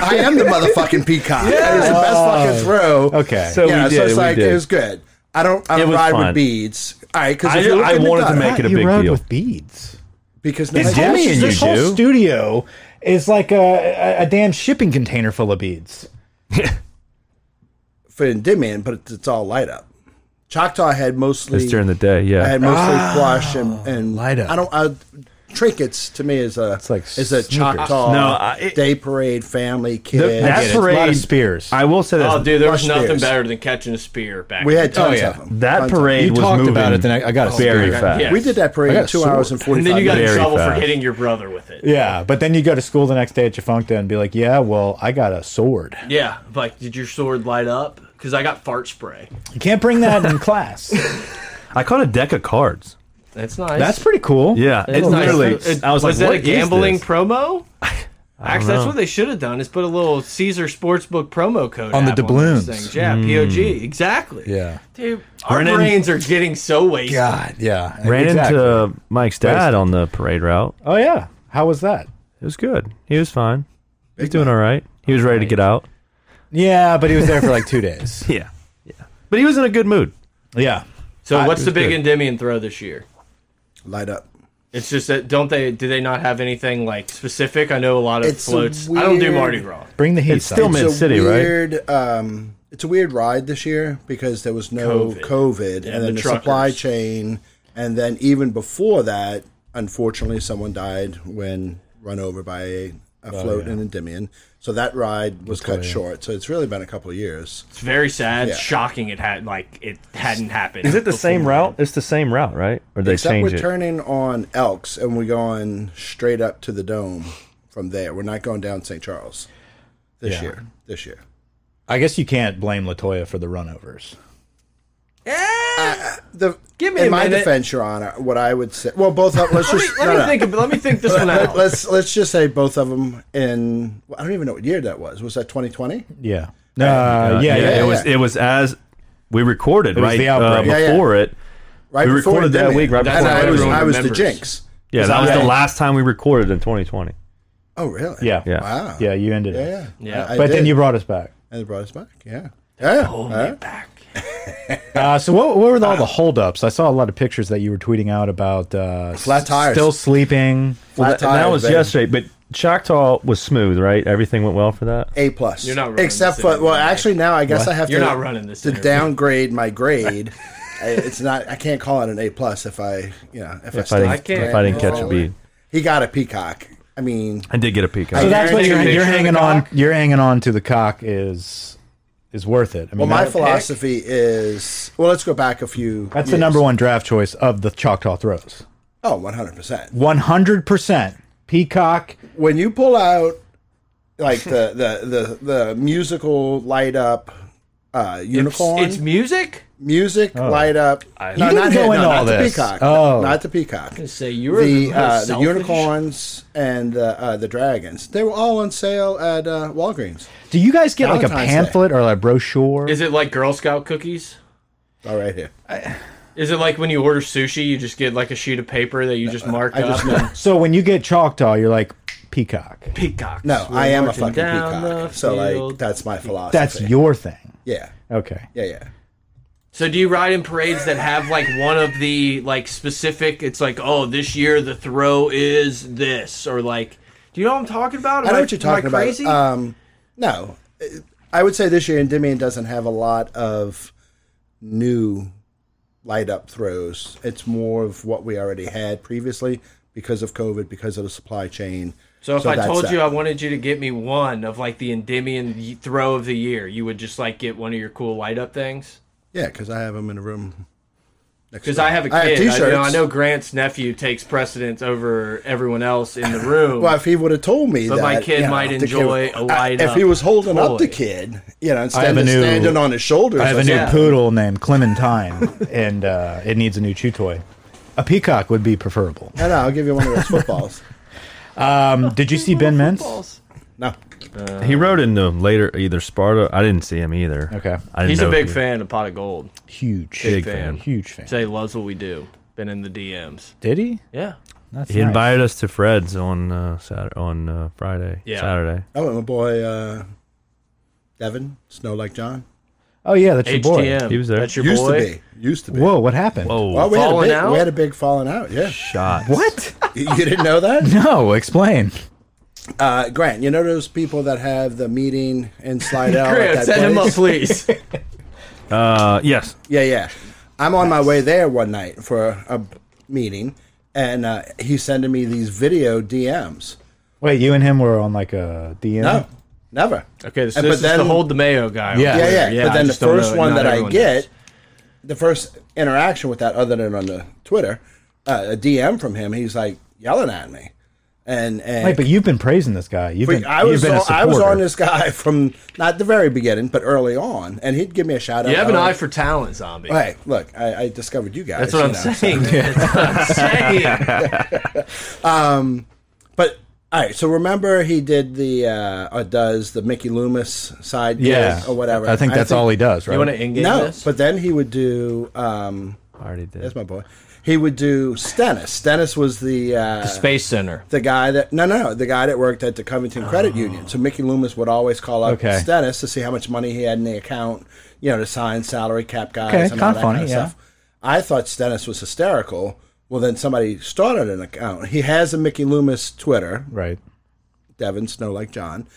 [SPEAKER 4] I am the motherfucking peacock. That is the best fucking throw.
[SPEAKER 3] Okay.
[SPEAKER 5] So
[SPEAKER 4] yeah,
[SPEAKER 5] we did.
[SPEAKER 4] so it's
[SPEAKER 5] we
[SPEAKER 4] like
[SPEAKER 5] did.
[SPEAKER 4] it was good. I don't. I
[SPEAKER 5] It
[SPEAKER 4] don't
[SPEAKER 5] was
[SPEAKER 4] ride
[SPEAKER 5] fun.
[SPEAKER 4] with beads. All right, because
[SPEAKER 5] I- I wanted to make- it a
[SPEAKER 3] you
[SPEAKER 5] big
[SPEAKER 3] rode
[SPEAKER 5] deal.
[SPEAKER 3] with beads.
[SPEAKER 4] because
[SPEAKER 5] It's
[SPEAKER 4] nobody-
[SPEAKER 5] Jimmy and you
[SPEAKER 3] this whole
[SPEAKER 5] do.
[SPEAKER 3] studio is like a, a, a damn shipping container full of beads.
[SPEAKER 4] for Endymion, but it's, it's all light up. Choctaw had mostly.
[SPEAKER 5] It's during the day. Yeah, Ah,
[SPEAKER 4] I had mostly plush and, and
[SPEAKER 3] light up.
[SPEAKER 4] I don't. I, trinkets to me is a
[SPEAKER 3] like
[SPEAKER 4] is a
[SPEAKER 3] sneakers.
[SPEAKER 4] Choctaw
[SPEAKER 5] No, I- it-
[SPEAKER 4] day parade family kid.
[SPEAKER 5] that
[SPEAKER 3] That's a
[SPEAKER 5] parade.
[SPEAKER 3] lot of spears.
[SPEAKER 5] I will say this.
[SPEAKER 2] Oh, dude, there was
[SPEAKER 4] Rush
[SPEAKER 2] nothing
[SPEAKER 4] spears.
[SPEAKER 2] better than catching a spear back.
[SPEAKER 4] we
[SPEAKER 2] in
[SPEAKER 4] had
[SPEAKER 2] the day.
[SPEAKER 4] tons
[SPEAKER 3] yeah.
[SPEAKER 4] of them.
[SPEAKER 5] that
[SPEAKER 4] Tons of
[SPEAKER 5] parade
[SPEAKER 3] you
[SPEAKER 5] was
[SPEAKER 3] talked
[SPEAKER 5] moving
[SPEAKER 3] about it, then I, I got a
[SPEAKER 5] very
[SPEAKER 3] spear.
[SPEAKER 5] fast.
[SPEAKER 2] Yeah.
[SPEAKER 4] them. We did that
[SPEAKER 3] I
[SPEAKER 4] parade
[SPEAKER 3] got
[SPEAKER 4] in
[SPEAKER 3] a
[SPEAKER 4] two
[SPEAKER 3] sword.
[SPEAKER 4] hours and forty
[SPEAKER 2] Oh, And
[SPEAKER 4] five.
[SPEAKER 2] then you got in
[SPEAKER 5] Very
[SPEAKER 2] trouble for
[SPEAKER 5] fast.
[SPEAKER 2] hitting your brother with it.
[SPEAKER 3] Yeah, but then you go to school the next day at Jafuncta and be like, "Yeah, well, I got a sword.
[SPEAKER 2] Yeah, like, did your sword light up? Because I got fart spray.
[SPEAKER 3] You can't bring that in class.
[SPEAKER 5] I caught a deck of cards.
[SPEAKER 2] That's nice.
[SPEAKER 3] That's pretty cool.
[SPEAKER 5] Yeah,
[SPEAKER 2] That's
[SPEAKER 5] it
[SPEAKER 2] nice.
[SPEAKER 5] literally.
[SPEAKER 2] It-
[SPEAKER 5] I was, like,
[SPEAKER 2] that
[SPEAKER 5] what
[SPEAKER 2] a
[SPEAKER 5] is
[SPEAKER 2] gambling
[SPEAKER 5] this?
[SPEAKER 2] promo? Actually, that's
[SPEAKER 5] know.
[SPEAKER 2] what they should have done is put a little Caesar Sportsbook promo code
[SPEAKER 3] On the
[SPEAKER 2] app these
[SPEAKER 3] doubloons.
[SPEAKER 2] things. Yeah, POG. Exactly.
[SPEAKER 3] Yeah.
[SPEAKER 2] Dude, our
[SPEAKER 5] Mm. Brennan-
[SPEAKER 2] brains are getting so wasted.
[SPEAKER 3] God, yeah.
[SPEAKER 5] Ran
[SPEAKER 3] Exactly.
[SPEAKER 5] into Mike's dad on the parade route.
[SPEAKER 3] Oh yeah. How was that?
[SPEAKER 5] It was good. He was fine. He's doing all right. He was ready to get out.
[SPEAKER 3] Yeah, but he was there for like two days.
[SPEAKER 5] Yeah, yeah. But he was in a good mood.
[SPEAKER 3] Yeah.
[SPEAKER 2] So, what's
[SPEAKER 5] it
[SPEAKER 2] the
[SPEAKER 5] was
[SPEAKER 2] big
[SPEAKER 5] good.
[SPEAKER 2] Endymion throw this year?
[SPEAKER 4] light up.
[SPEAKER 2] It's just that don't they do they not have anything like specific? I know a lot of
[SPEAKER 4] It's a
[SPEAKER 2] floats. I don't do
[SPEAKER 4] weird-
[SPEAKER 2] Mardi Gras.
[SPEAKER 3] Bring the heat.
[SPEAKER 5] It's still
[SPEAKER 3] son.
[SPEAKER 5] mid city, right?
[SPEAKER 4] weird, Um, it's a weird ride this year because there was no
[SPEAKER 2] COVID.
[SPEAKER 4] COVID,
[SPEAKER 2] Yeah,
[SPEAKER 4] and
[SPEAKER 2] the
[SPEAKER 4] then the, supply
[SPEAKER 2] truckers.
[SPEAKER 4] chain, and then even before that, unfortunately, someone died when run over by a, a float in Endymion. So that ride was cut short. So it's really been a couple of years.
[SPEAKER 2] It's very sad,
[SPEAKER 4] Yeah.
[SPEAKER 2] shocking. It had like it hadn't happened.
[SPEAKER 5] Is it the
[SPEAKER 2] before.
[SPEAKER 5] same route? It's the same route, right? Or they
[SPEAKER 4] Except
[SPEAKER 5] change
[SPEAKER 4] we're
[SPEAKER 5] it?
[SPEAKER 4] turning on Elks and we're going straight up to the dome from there. We're not going down St. Charles this
[SPEAKER 3] Yeah.
[SPEAKER 4] year. This year.
[SPEAKER 3] I guess you can't blame Latoya for the runovers.
[SPEAKER 4] The,
[SPEAKER 2] Give me
[SPEAKER 4] in
[SPEAKER 2] a
[SPEAKER 4] my
[SPEAKER 2] minute.
[SPEAKER 4] defense, Your Honor, what I would say. Well, both of let's
[SPEAKER 2] Let me,
[SPEAKER 4] just
[SPEAKER 2] let
[SPEAKER 4] no,
[SPEAKER 2] me
[SPEAKER 4] no.
[SPEAKER 2] think. Of, let me think this one
[SPEAKER 4] Let,
[SPEAKER 2] out.
[SPEAKER 4] us let's just say both of them in. well, I don't even know what year that was. Was that 2020?
[SPEAKER 3] Yeah. No. Uh, yeah, yeah.
[SPEAKER 5] yeah,
[SPEAKER 3] yeah.
[SPEAKER 5] it was. It was as we recorded
[SPEAKER 3] was
[SPEAKER 5] right
[SPEAKER 3] the
[SPEAKER 5] uh,
[SPEAKER 3] outbreak.
[SPEAKER 4] Yeah, yeah.
[SPEAKER 5] before it.
[SPEAKER 4] Right.
[SPEAKER 5] We
[SPEAKER 4] before
[SPEAKER 5] recorded that
[SPEAKER 4] Endymion.
[SPEAKER 5] week, right
[SPEAKER 4] And
[SPEAKER 5] before
[SPEAKER 4] I was,
[SPEAKER 2] everyone
[SPEAKER 4] I was the
[SPEAKER 2] remembers.
[SPEAKER 4] jinx.
[SPEAKER 5] Yeah, that was
[SPEAKER 4] Yeah.
[SPEAKER 5] the last time we recorded in 2020.
[SPEAKER 4] Oh, really?
[SPEAKER 3] Yeah.
[SPEAKER 5] Yeah.
[SPEAKER 4] Wow.
[SPEAKER 3] Yeah, you ended
[SPEAKER 4] Yeah.
[SPEAKER 3] it.
[SPEAKER 4] Yeah.
[SPEAKER 2] Yeah. Oh,
[SPEAKER 3] But then you brought us back.
[SPEAKER 4] and they brought us back. Yeah. Yeah. Huh?
[SPEAKER 2] back.
[SPEAKER 3] Uh, so what, what were all the holdups? I saw a lot of pictures that you were tweeting out about uh,
[SPEAKER 4] Flat tires.
[SPEAKER 3] still sleeping.
[SPEAKER 5] Well,
[SPEAKER 4] Flat
[SPEAKER 5] that, that
[SPEAKER 4] tires,
[SPEAKER 5] was
[SPEAKER 4] baby.
[SPEAKER 5] yesterday, but Choctaw was smooth, right? Everything went well for that.
[SPEAKER 4] A plus. You're
[SPEAKER 2] not running
[SPEAKER 4] Except
[SPEAKER 2] this
[SPEAKER 4] for
[SPEAKER 2] interview,
[SPEAKER 4] well,
[SPEAKER 2] Mike.
[SPEAKER 4] actually now I guess I have
[SPEAKER 2] You're
[SPEAKER 4] to
[SPEAKER 2] not running this
[SPEAKER 4] to
[SPEAKER 2] interview.
[SPEAKER 4] downgrade my grade. I- it's not. I can't call it an A plus if I you know if, I,
[SPEAKER 5] If I,
[SPEAKER 4] stay
[SPEAKER 5] didn't,
[SPEAKER 2] can't-
[SPEAKER 5] if I didn't catch a
[SPEAKER 4] Oh.
[SPEAKER 5] beat,
[SPEAKER 4] He got a peacock. I mean,
[SPEAKER 5] I did get a peek.
[SPEAKER 3] So
[SPEAKER 5] out.
[SPEAKER 3] that's what you're,
[SPEAKER 2] Guaranteed picture
[SPEAKER 3] you're
[SPEAKER 2] of the
[SPEAKER 3] hanging on.
[SPEAKER 2] cock?
[SPEAKER 3] You're hanging on to the cock is is worth it. I mean,
[SPEAKER 4] well, my
[SPEAKER 3] that-
[SPEAKER 4] philosophy is well. Let's go back a few.
[SPEAKER 3] that's the number one draft choice of the Choctaw throws.
[SPEAKER 4] Oh, 100 percent.
[SPEAKER 3] One hundred percent peacock.
[SPEAKER 4] when you pull out like the the the, the musical light up uh unicorn
[SPEAKER 2] It's Oh. music.
[SPEAKER 4] music light up no,
[SPEAKER 3] You didn't go into all
[SPEAKER 4] not the
[SPEAKER 3] this.
[SPEAKER 4] peacock
[SPEAKER 3] Oh.
[SPEAKER 4] not the peacock
[SPEAKER 2] Say you're
[SPEAKER 4] the uh, the
[SPEAKER 2] selfish-
[SPEAKER 4] unicorns and uh, uh, the dragons they were all on sale at uh, Walgreens
[SPEAKER 3] Do you guys get like a
[SPEAKER 4] Valentine's Day.
[SPEAKER 3] pamphlet or like a brochure?
[SPEAKER 2] Is it like Girl Scout cookies?
[SPEAKER 4] all right here
[SPEAKER 2] Is it like when you order sushi, you just get like a sheet of paper that you just mark
[SPEAKER 4] Uh, I
[SPEAKER 2] up?
[SPEAKER 4] just know
[SPEAKER 3] so when you get Choctaw, you're like peacock.
[SPEAKER 2] Peacocks.
[SPEAKER 4] No,
[SPEAKER 2] were
[SPEAKER 4] I am a
[SPEAKER 2] marching
[SPEAKER 4] fucking
[SPEAKER 2] down
[SPEAKER 4] peacock.
[SPEAKER 2] the
[SPEAKER 4] So like
[SPEAKER 2] field.
[SPEAKER 4] that's my philosophy.
[SPEAKER 3] That's your thing.
[SPEAKER 4] yeah,
[SPEAKER 3] Okay.
[SPEAKER 4] yeah, yeah.
[SPEAKER 2] So do you ride in parades that have like one of the like specific? It's like, oh, this year the throw is this, or like, do you know what I'm talking about?
[SPEAKER 4] I
[SPEAKER 2] Am
[SPEAKER 4] know what you're
[SPEAKER 2] am
[SPEAKER 4] talking
[SPEAKER 2] I
[SPEAKER 4] about.
[SPEAKER 2] crazy?
[SPEAKER 4] Um, no, I would say this year Endymion doesn't have a lot of new light up throws. It's more of what we already had previously because of COVID, because of the supply chain.
[SPEAKER 2] so if I
[SPEAKER 4] that's
[SPEAKER 2] told
[SPEAKER 4] that.
[SPEAKER 2] you I wanted you to get me one of like the Endymion y- throw of the year, you would just like get one of your cool light up things.
[SPEAKER 4] yeah, because I have them in a room.
[SPEAKER 2] Because I have a kid,
[SPEAKER 4] I have
[SPEAKER 2] I, know,
[SPEAKER 4] t-shirts.
[SPEAKER 2] I know Grant's nephew takes precedence over everyone else in the room.
[SPEAKER 4] Well, if he would have told me
[SPEAKER 2] But
[SPEAKER 4] that,
[SPEAKER 2] my kid
[SPEAKER 4] you know,
[SPEAKER 2] might
[SPEAKER 4] the
[SPEAKER 2] enjoy
[SPEAKER 4] kid-
[SPEAKER 2] a light
[SPEAKER 4] I- if he
[SPEAKER 2] up
[SPEAKER 4] was holding up the
[SPEAKER 2] toy.
[SPEAKER 4] kid, you know,
[SPEAKER 3] have
[SPEAKER 4] instead
[SPEAKER 3] a
[SPEAKER 4] of
[SPEAKER 3] new-
[SPEAKER 4] standing on his shoulders,
[SPEAKER 3] I have a new
[SPEAKER 2] Yeah.
[SPEAKER 3] poodle named Clementine, and uh, it needs a new chew toy. A peacock would be preferable.
[SPEAKER 4] No, no, I'll give you one of those footballs.
[SPEAKER 3] Um, did you see Ben Mintz?
[SPEAKER 4] no,
[SPEAKER 5] he rode in um, later either Sparta. I didn't see him either.
[SPEAKER 3] Okay.
[SPEAKER 5] I didn't
[SPEAKER 2] He's a
[SPEAKER 5] know
[SPEAKER 2] big
[SPEAKER 5] if he-
[SPEAKER 2] fan of Pot of Gold.
[SPEAKER 3] Huge,
[SPEAKER 5] Big fan.
[SPEAKER 3] huge fan.
[SPEAKER 2] Say loves what we do. Been in the DMs.
[SPEAKER 3] Did he?
[SPEAKER 2] Yeah.
[SPEAKER 3] That's
[SPEAKER 5] He
[SPEAKER 3] nice.
[SPEAKER 5] invited us to Fred's on uh, Saturday, on uh, Friday,
[SPEAKER 2] Yeah.
[SPEAKER 5] Saturday.
[SPEAKER 4] oh, and my boy uh, Devin Snow like John
[SPEAKER 3] Oh yeah, that's your boy.
[SPEAKER 2] HTM.
[SPEAKER 5] He was there.
[SPEAKER 2] That's your
[SPEAKER 4] used
[SPEAKER 2] boy.
[SPEAKER 4] to be, used to be.
[SPEAKER 3] Whoa, what happened?
[SPEAKER 5] Oh,
[SPEAKER 4] Well, we had, a
[SPEAKER 2] Falling
[SPEAKER 4] big,
[SPEAKER 2] out?
[SPEAKER 4] we had a big falling out. Yeah,
[SPEAKER 5] shot!
[SPEAKER 3] What?
[SPEAKER 4] you you didn't know that,
[SPEAKER 3] No, explain.
[SPEAKER 4] uh, Grant. You know those people that have the meeting in Slidell
[SPEAKER 2] Grant,
[SPEAKER 4] at that
[SPEAKER 2] set him up,
[SPEAKER 4] place?
[SPEAKER 2] please.
[SPEAKER 5] Uh, yes.
[SPEAKER 4] Yeah, yeah. I'm on my way there one night for a meeting, and uh, he's sending me these video DMs.
[SPEAKER 3] Wait, you and him were on like a DM.
[SPEAKER 4] No, never.
[SPEAKER 2] Mm-hmm. okay, so
[SPEAKER 4] And-
[SPEAKER 2] this is the hold the mayo guy.
[SPEAKER 3] Yeah.
[SPEAKER 4] yeah, yeah. but
[SPEAKER 2] I
[SPEAKER 4] then the
[SPEAKER 2] just don't
[SPEAKER 4] first
[SPEAKER 2] know-
[SPEAKER 4] one
[SPEAKER 2] not
[SPEAKER 4] that I
[SPEAKER 2] everyone
[SPEAKER 4] get,
[SPEAKER 2] does.
[SPEAKER 4] the first interaction with that, other than on the Twitter, uh, a DM from him, he's like yelling at me, and and
[SPEAKER 3] Wait, but you've been praising this guy. You've been.
[SPEAKER 4] I was
[SPEAKER 3] you've been
[SPEAKER 4] on,
[SPEAKER 3] a
[SPEAKER 4] I was
[SPEAKER 3] supporter.
[SPEAKER 4] on this guy from not the very beginning, but early on, and he'd give me a shout out.
[SPEAKER 2] You have an
[SPEAKER 4] I
[SPEAKER 2] eye
[SPEAKER 4] was-
[SPEAKER 2] for talent, zombie.
[SPEAKER 4] Hey, look, I, I discovered you guys.
[SPEAKER 2] That's what
[SPEAKER 4] you
[SPEAKER 2] I'm
[SPEAKER 4] know, so-
[SPEAKER 2] saying. That's what I'm saying.
[SPEAKER 4] But all right, so remember he did the uh, or does the Mickey Loomis side
[SPEAKER 3] Yeah,
[SPEAKER 4] gig or whatever.
[SPEAKER 3] I think that's all he does, right?
[SPEAKER 2] You want to in game
[SPEAKER 4] No,
[SPEAKER 2] this?
[SPEAKER 4] but then he would do. Um,
[SPEAKER 5] I already did.
[SPEAKER 4] that's my boy. He would do Stennis. Stennis was the uh,
[SPEAKER 2] Space Center.
[SPEAKER 4] the guy that no no no the guy that worked at the Covington Credit Union. So Mickey Loomis would always call up
[SPEAKER 3] Oh. Okay.
[SPEAKER 4] Stennis to see how much money he had in the account, you know, to sign salary cap guys
[SPEAKER 3] Okay,
[SPEAKER 4] and all
[SPEAKER 3] kinda
[SPEAKER 4] that
[SPEAKER 3] funny,
[SPEAKER 4] kind of stuff. I thought Stennis was hysterical. Well, then somebody started an account. He has a Mickey Loomis Twitter,
[SPEAKER 3] right.
[SPEAKER 4] Devin Snow like John,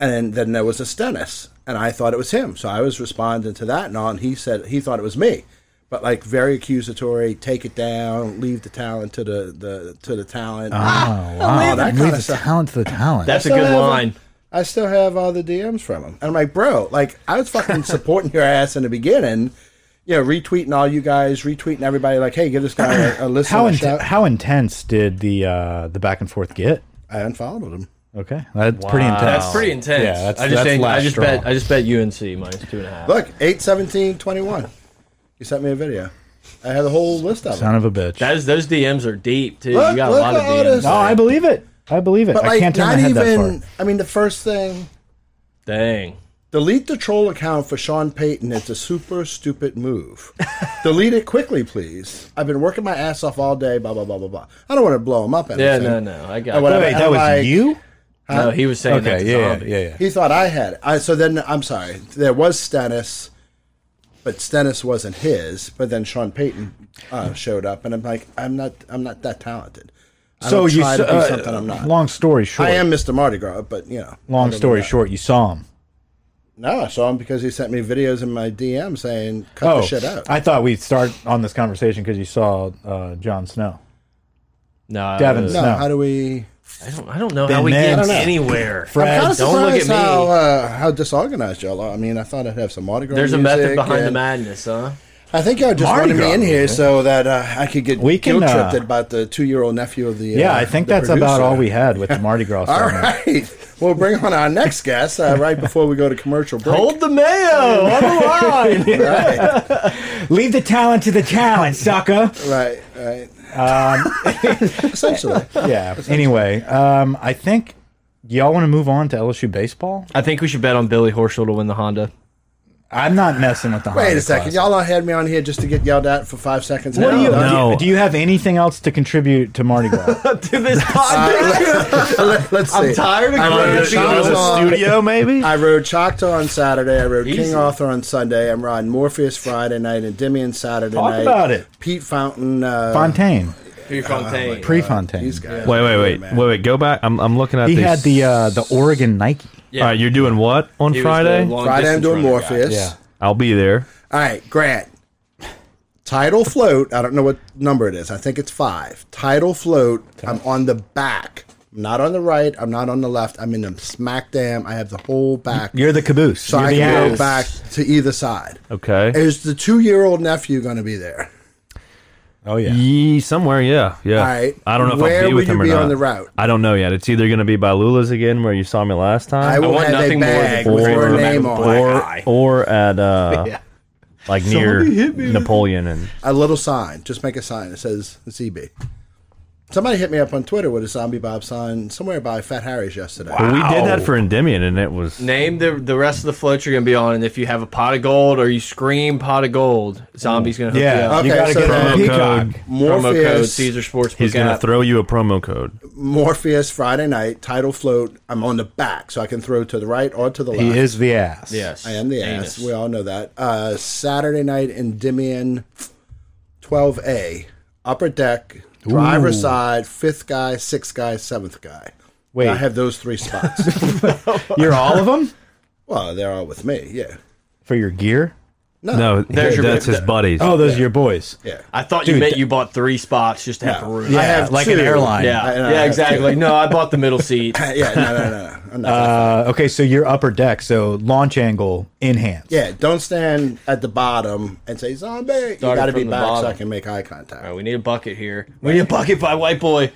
[SPEAKER 4] and then there was a Stennis, and I thought it was him. So I was responding to that, and on he said he thought it was me, but like very accusatory, take it down, leave the talent to the, the to the talent.
[SPEAKER 3] Oh wow,
[SPEAKER 4] leave that
[SPEAKER 3] that
[SPEAKER 4] kinda
[SPEAKER 3] leaves the
[SPEAKER 4] stuff.
[SPEAKER 3] talent to the talent.
[SPEAKER 2] That's a
[SPEAKER 4] still
[SPEAKER 2] good
[SPEAKER 4] have a-
[SPEAKER 2] line.
[SPEAKER 4] I still have all the DMs from him. And I'm like, bro, like I was fucking supporting your ass in the beginning, you know, retweeting all you guys, retweeting everybody, like, hey, give this guy a, a listen.
[SPEAKER 3] how
[SPEAKER 4] a
[SPEAKER 3] in-
[SPEAKER 4] shout.
[SPEAKER 3] how intense did the uh, the back and forth get?
[SPEAKER 4] I unfollowed him.
[SPEAKER 3] Okay, that's pretty intense.
[SPEAKER 2] Oh. That's pretty intense.
[SPEAKER 3] Yeah, that's,
[SPEAKER 2] I just,
[SPEAKER 3] that's
[SPEAKER 2] ain't- I
[SPEAKER 3] last
[SPEAKER 2] just
[SPEAKER 3] straw.
[SPEAKER 2] bet. I just bet UNC minus two and a half.
[SPEAKER 4] Look, eight seventeen twenty one. You sent me a video. I had a whole list of them.
[SPEAKER 3] Son of a bitch.
[SPEAKER 2] That is, those DMs are deep too.
[SPEAKER 4] Look-
[SPEAKER 2] you got a
[SPEAKER 4] look
[SPEAKER 2] lot of
[SPEAKER 4] at all
[SPEAKER 2] DMs.
[SPEAKER 4] this-
[SPEAKER 3] no, Oh, I believe it. I believe it.
[SPEAKER 4] But
[SPEAKER 3] I
[SPEAKER 4] like,
[SPEAKER 3] can't turn my
[SPEAKER 4] not
[SPEAKER 3] head that far.
[SPEAKER 4] even. I mean, the first thing,
[SPEAKER 2] Dang.
[SPEAKER 4] delete the troll account for Sean Payton. It's a super stupid move. delete it quickly, please. I've been working my ass off all day. Blah blah blah blah blah. I don't want to blow him up. Anything.
[SPEAKER 2] Yeah, no, no, I got.
[SPEAKER 4] And
[SPEAKER 2] it.
[SPEAKER 4] whatever.
[SPEAKER 3] Wait, that was
[SPEAKER 4] Like-
[SPEAKER 3] you?
[SPEAKER 2] No, he was saying that.
[SPEAKER 3] Okay,
[SPEAKER 2] to
[SPEAKER 3] yeah,
[SPEAKER 2] Zombie.
[SPEAKER 3] yeah, yeah, yeah.
[SPEAKER 4] He thought I had it. I, so then, I'm sorry. There was Stennis, but Stennis wasn't his. But then Sean Payton uh, showed up, and I'm like, I'm not, I'm not that talented. I
[SPEAKER 3] So
[SPEAKER 4] don't
[SPEAKER 3] you
[SPEAKER 4] try to
[SPEAKER 3] s-
[SPEAKER 4] be
[SPEAKER 3] uh,
[SPEAKER 4] something I'm not.
[SPEAKER 3] Long story short.
[SPEAKER 4] I am Mr. Mardi Gras, but you know.
[SPEAKER 3] Long story short, you saw him.
[SPEAKER 4] No, I saw him because he sent me videos in my DM saying, "Cut
[SPEAKER 3] Oh,
[SPEAKER 4] the shit out."
[SPEAKER 3] I thought we'd start on this conversation because you saw uh, Jon Snow.
[SPEAKER 2] No,
[SPEAKER 3] Devin.
[SPEAKER 4] no,
[SPEAKER 3] No.
[SPEAKER 4] how do we?
[SPEAKER 2] I don't. I don't know
[SPEAKER 3] Ben
[SPEAKER 2] how we
[SPEAKER 3] Mintz. I
[SPEAKER 2] get
[SPEAKER 3] don't know.
[SPEAKER 2] anywhere.
[SPEAKER 3] Fred,
[SPEAKER 4] I'm kind of
[SPEAKER 2] don't look
[SPEAKER 4] surprised
[SPEAKER 2] at me.
[SPEAKER 4] how uh, how disorganized y'all are. I mean, I thought I'd have some Mardi Gras.
[SPEAKER 2] There's a
[SPEAKER 4] music
[SPEAKER 2] method behind the
[SPEAKER 4] and-
[SPEAKER 2] madness, huh?
[SPEAKER 4] I think y'all just
[SPEAKER 3] Mardi
[SPEAKER 4] wanted me
[SPEAKER 3] Gras
[SPEAKER 4] in
[SPEAKER 2] eh?
[SPEAKER 4] here
[SPEAKER 3] music.
[SPEAKER 4] so that uh, I could get
[SPEAKER 3] We can,
[SPEAKER 4] guilt
[SPEAKER 3] uh,
[SPEAKER 4] tripped about the two year old nephew of the.
[SPEAKER 3] yeah,
[SPEAKER 4] uh,
[SPEAKER 3] I think
[SPEAKER 4] the
[SPEAKER 3] that's about all
[SPEAKER 4] producer.
[SPEAKER 3] we had with the Mardi Gras.
[SPEAKER 4] All
[SPEAKER 3] ceremony.
[SPEAKER 4] right. We'll bring on our next guest uh, right before we go to commercial break.
[SPEAKER 2] Hold the mayo on the line.
[SPEAKER 4] Right,
[SPEAKER 3] Leave the talent to the talent, sucker.
[SPEAKER 4] right, right. Um, Essentially.
[SPEAKER 3] yeah. Anyway, um, I think y'all want to move on to LSU baseball.
[SPEAKER 2] I think we should bet on Billy Horschel to win the Honda.
[SPEAKER 3] I'm not messing with the
[SPEAKER 4] Wait
[SPEAKER 3] Hanukkah
[SPEAKER 4] a second,
[SPEAKER 3] classic.
[SPEAKER 4] y'all all had me on here just to get yelled at for five seconds.
[SPEAKER 3] What do you,
[SPEAKER 5] No.
[SPEAKER 3] do you do? You have anything else to contribute to Mardi Gras?
[SPEAKER 2] to this podcast.
[SPEAKER 4] Let's see.
[SPEAKER 2] I'm tired of
[SPEAKER 4] I wanna
[SPEAKER 2] Grand
[SPEAKER 4] do-
[SPEAKER 2] Chino.
[SPEAKER 4] I wanna-
[SPEAKER 5] studio, maybe.
[SPEAKER 4] I rode Choctaw on Saturday. I rode
[SPEAKER 2] Easy.
[SPEAKER 4] King Arthur on Sunday. I'm riding Morpheus Friday night, Endymion Saturday
[SPEAKER 3] Talk
[SPEAKER 4] night.
[SPEAKER 3] about it.
[SPEAKER 4] Pete Fountain. Uh,
[SPEAKER 3] Fontaine,
[SPEAKER 2] Prefontaine.
[SPEAKER 3] Prefontaine.
[SPEAKER 4] These guys.
[SPEAKER 5] wait, wait, wait,
[SPEAKER 4] man.
[SPEAKER 5] wait, wait. Go back. I'm, I'm looking at.
[SPEAKER 3] He
[SPEAKER 5] these.
[SPEAKER 3] had the uh, the Oregon Nike.
[SPEAKER 5] All right, you're doing what on
[SPEAKER 2] He was the
[SPEAKER 5] Friday?
[SPEAKER 2] long
[SPEAKER 4] Friday I'm
[SPEAKER 2] distance
[SPEAKER 4] doing
[SPEAKER 2] runner guy.
[SPEAKER 4] Morpheus.
[SPEAKER 3] Yeah.
[SPEAKER 5] I'll be there.
[SPEAKER 4] All right, Grant. Title float. I don't know what number it is. I think it's five. Title float. I'm on the back. I'm not on the right. I'm not on the left. I'm in the smack dam. I have the whole back.
[SPEAKER 3] You're the caboose.
[SPEAKER 4] so
[SPEAKER 3] You're
[SPEAKER 4] I
[SPEAKER 3] the
[SPEAKER 4] can go
[SPEAKER 3] ass.
[SPEAKER 4] back to either side.
[SPEAKER 5] Okay.
[SPEAKER 4] Is the two year old nephew going to be there?
[SPEAKER 3] Oh yeah.
[SPEAKER 5] Ye, somewhere, yeah, yeah.
[SPEAKER 4] All right.
[SPEAKER 5] I don't know if
[SPEAKER 4] Where
[SPEAKER 5] I'll be
[SPEAKER 4] will
[SPEAKER 5] with him
[SPEAKER 4] you
[SPEAKER 5] or
[SPEAKER 4] be
[SPEAKER 5] not.
[SPEAKER 4] on the route?
[SPEAKER 5] I don't know yet. It's either going to be by Lula's again, where you saw me last
[SPEAKER 4] I
[SPEAKER 5] time,
[SPEAKER 4] will
[SPEAKER 2] want
[SPEAKER 4] have a
[SPEAKER 2] nothing more than
[SPEAKER 4] bag
[SPEAKER 2] four
[SPEAKER 4] with
[SPEAKER 2] or-
[SPEAKER 4] your name
[SPEAKER 2] or-
[SPEAKER 4] on it.
[SPEAKER 5] or
[SPEAKER 2] Eye.
[SPEAKER 5] or at uh,
[SPEAKER 3] Yeah.
[SPEAKER 5] like near Napoleon and
[SPEAKER 4] a little sign. Just make a sign that says ZB. Somebody hit me up on Twitter with a zombie Bob sign somewhere by Fat Harry's yesterday.
[SPEAKER 5] But we did that for Endymion, and it was
[SPEAKER 2] Name the the rest of the floats you're gonna be on, and if you have a pot of gold or you scream pot of gold, zombie's gonna hook you
[SPEAKER 3] Yeah.
[SPEAKER 2] up.
[SPEAKER 4] Okay,
[SPEAKER 3] you gotta
[SPEAKER 4] so
[SPEAKER 3] get on
[SPEAKER 4] promo
[SPEAKER 3] Peacock.
[SPEAKER 5] code.
[SPEAKER 2] Promo code
[SPEAKER 4] Morpheus,
[SPEAKER 2] Caesar Sportsbook
[SPEAKER 5] he's going to
[SPEAKER 2] app.
[SPEAKER 5] throw you a promo code.
[SPEAKER 4] Morpheus Friday night title float. I'm on the back, so I can throw to the right or to the left.
[SPEAKER 3] He is the ass.
[SPEAKER 2] yes,
[SPEAKER 4] I am the
[SPEAKER 2] anus.
[SPEAKER 4] ass. We all know that. Uh, Saturday night Endymion 12A, upper deck, driver side, fifth guy, sixth guy, seventh guy.
[SPEAKER 3] Wait.
[SPEAKER 4] I have those three spots.
[SPEAKER 3] You're all of them
[SPEAKER 4] well, they're all with me. Yeah,
[SPEAKER 3] for your gear. Uh,
[SPEAKER 5] No,
[SPEAKER 2] There's
[SPEAKER 5] he-
[SPEAKER 2] your-
[SPEAKER 5] that's his buddies.
[SPEAKER 3] Oh, those are your boys.
[SPEAKER 4] yeah.
[SPEAKER 2] I thought you
[SPEAKER 3] Dude,
[SPEAKER 2] meant
[SPEAKER 3] th-
[SPEAKER 2] you bought three spots just to have a room.
[SPEAKER 4] I
[SPEAKER 2] Yeah,
[SPEAKER 4] have
[SPEAKER 3] like an
[SPEAKER 4] two.
[SPEAKER 3] airline.
[SPEAKER 2] yeah,
[SPEAKER 4] I- I
[SPEAKER 2] yeah
[SPEAKER 4] have
[SPEAKER 2] exactly. no, I bought the middle seat.
[SPEAKER 4] yeah, no, no, no, no. I'm not.
[SPEAKER 3] Uh, okay, so your upper deck, so launch angle enhanced.
[SPEAKER 4] yeah, don't stand at the bottom and say zombie. You
[SPEAKER 2] Started
[SPEAKER 4] got to
[SPEAKER 2] from
[SPEAKER 4] be
[SPEAKER 2] the
[SPEAKER 4] back so I
[SPEAKER 2] bottom.
[SPEAKER 4] can make eye contact.
[SPEAKER 2] All right, we need a bucket here. We need a bucket by white boy.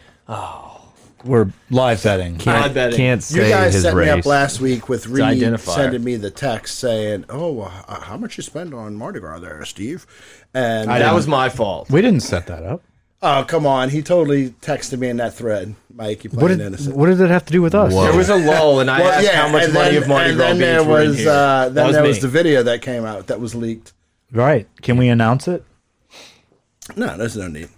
[SPEAKER 3] We're live betting.
[SPEAKER 2] I bet it.
[SPEAKER 5] can't
[SPEAKER 4] You
[SPEAKER 5] say
[SPEAKER 4] guys
[SPEAKER 5] his
[SPEAKER 4] set
[SPEAKER 5] race.
[SPEAKER 4] me up last week with Reed
[SPEAKER 2] identifier.
[SPEAKER 4] sending me the text saying, "Oh, well, h- how much you spend on Mardi Gras there, Steve?" And
[SPEAKER 2] That was my fault.
[SPEAKER 3] We didn't set that up.
[SPEAKER 4] oh, come on, he totally texted me in that thread, Mike. You playing
[SPEAKER 3] What did,
[SPEAKER 4] innocent?
[SPEAKER 3] what did it have to do with us?
[SPEAKER 5] Whoa.
[SPEAKER 2] There was a lull, and I
[SPEAKER 4] Well,
[SPEAKER 2] asked
[SPEAKER 4] yeah,
[SPEAKER 2] how much
[SPEAKER 4] and
[SPEAKER 2] money
[SPEAKER 4] then,
[SPEAKER 2] of Mardi
[SPEAKER 4] and
[SPEAKER 2] Gras
[SPEAKER 4] then
[SPEAKER 2] beach
[SPEAKER 4] there
[SPEAKER 2] were in
[SPEAKER 4] was
[SPEAKER 2] here.
[SPEAKER 4] uh, then
[SPEAKER 2] That was
[SPEAKER 4] there
[SPEAKER 2] me.
[SPEAKER 4] was the video that came out that was leaked.
[SPEAKER 3] Right. Can we announce it?
[SPEAKER 4] No, there's no need.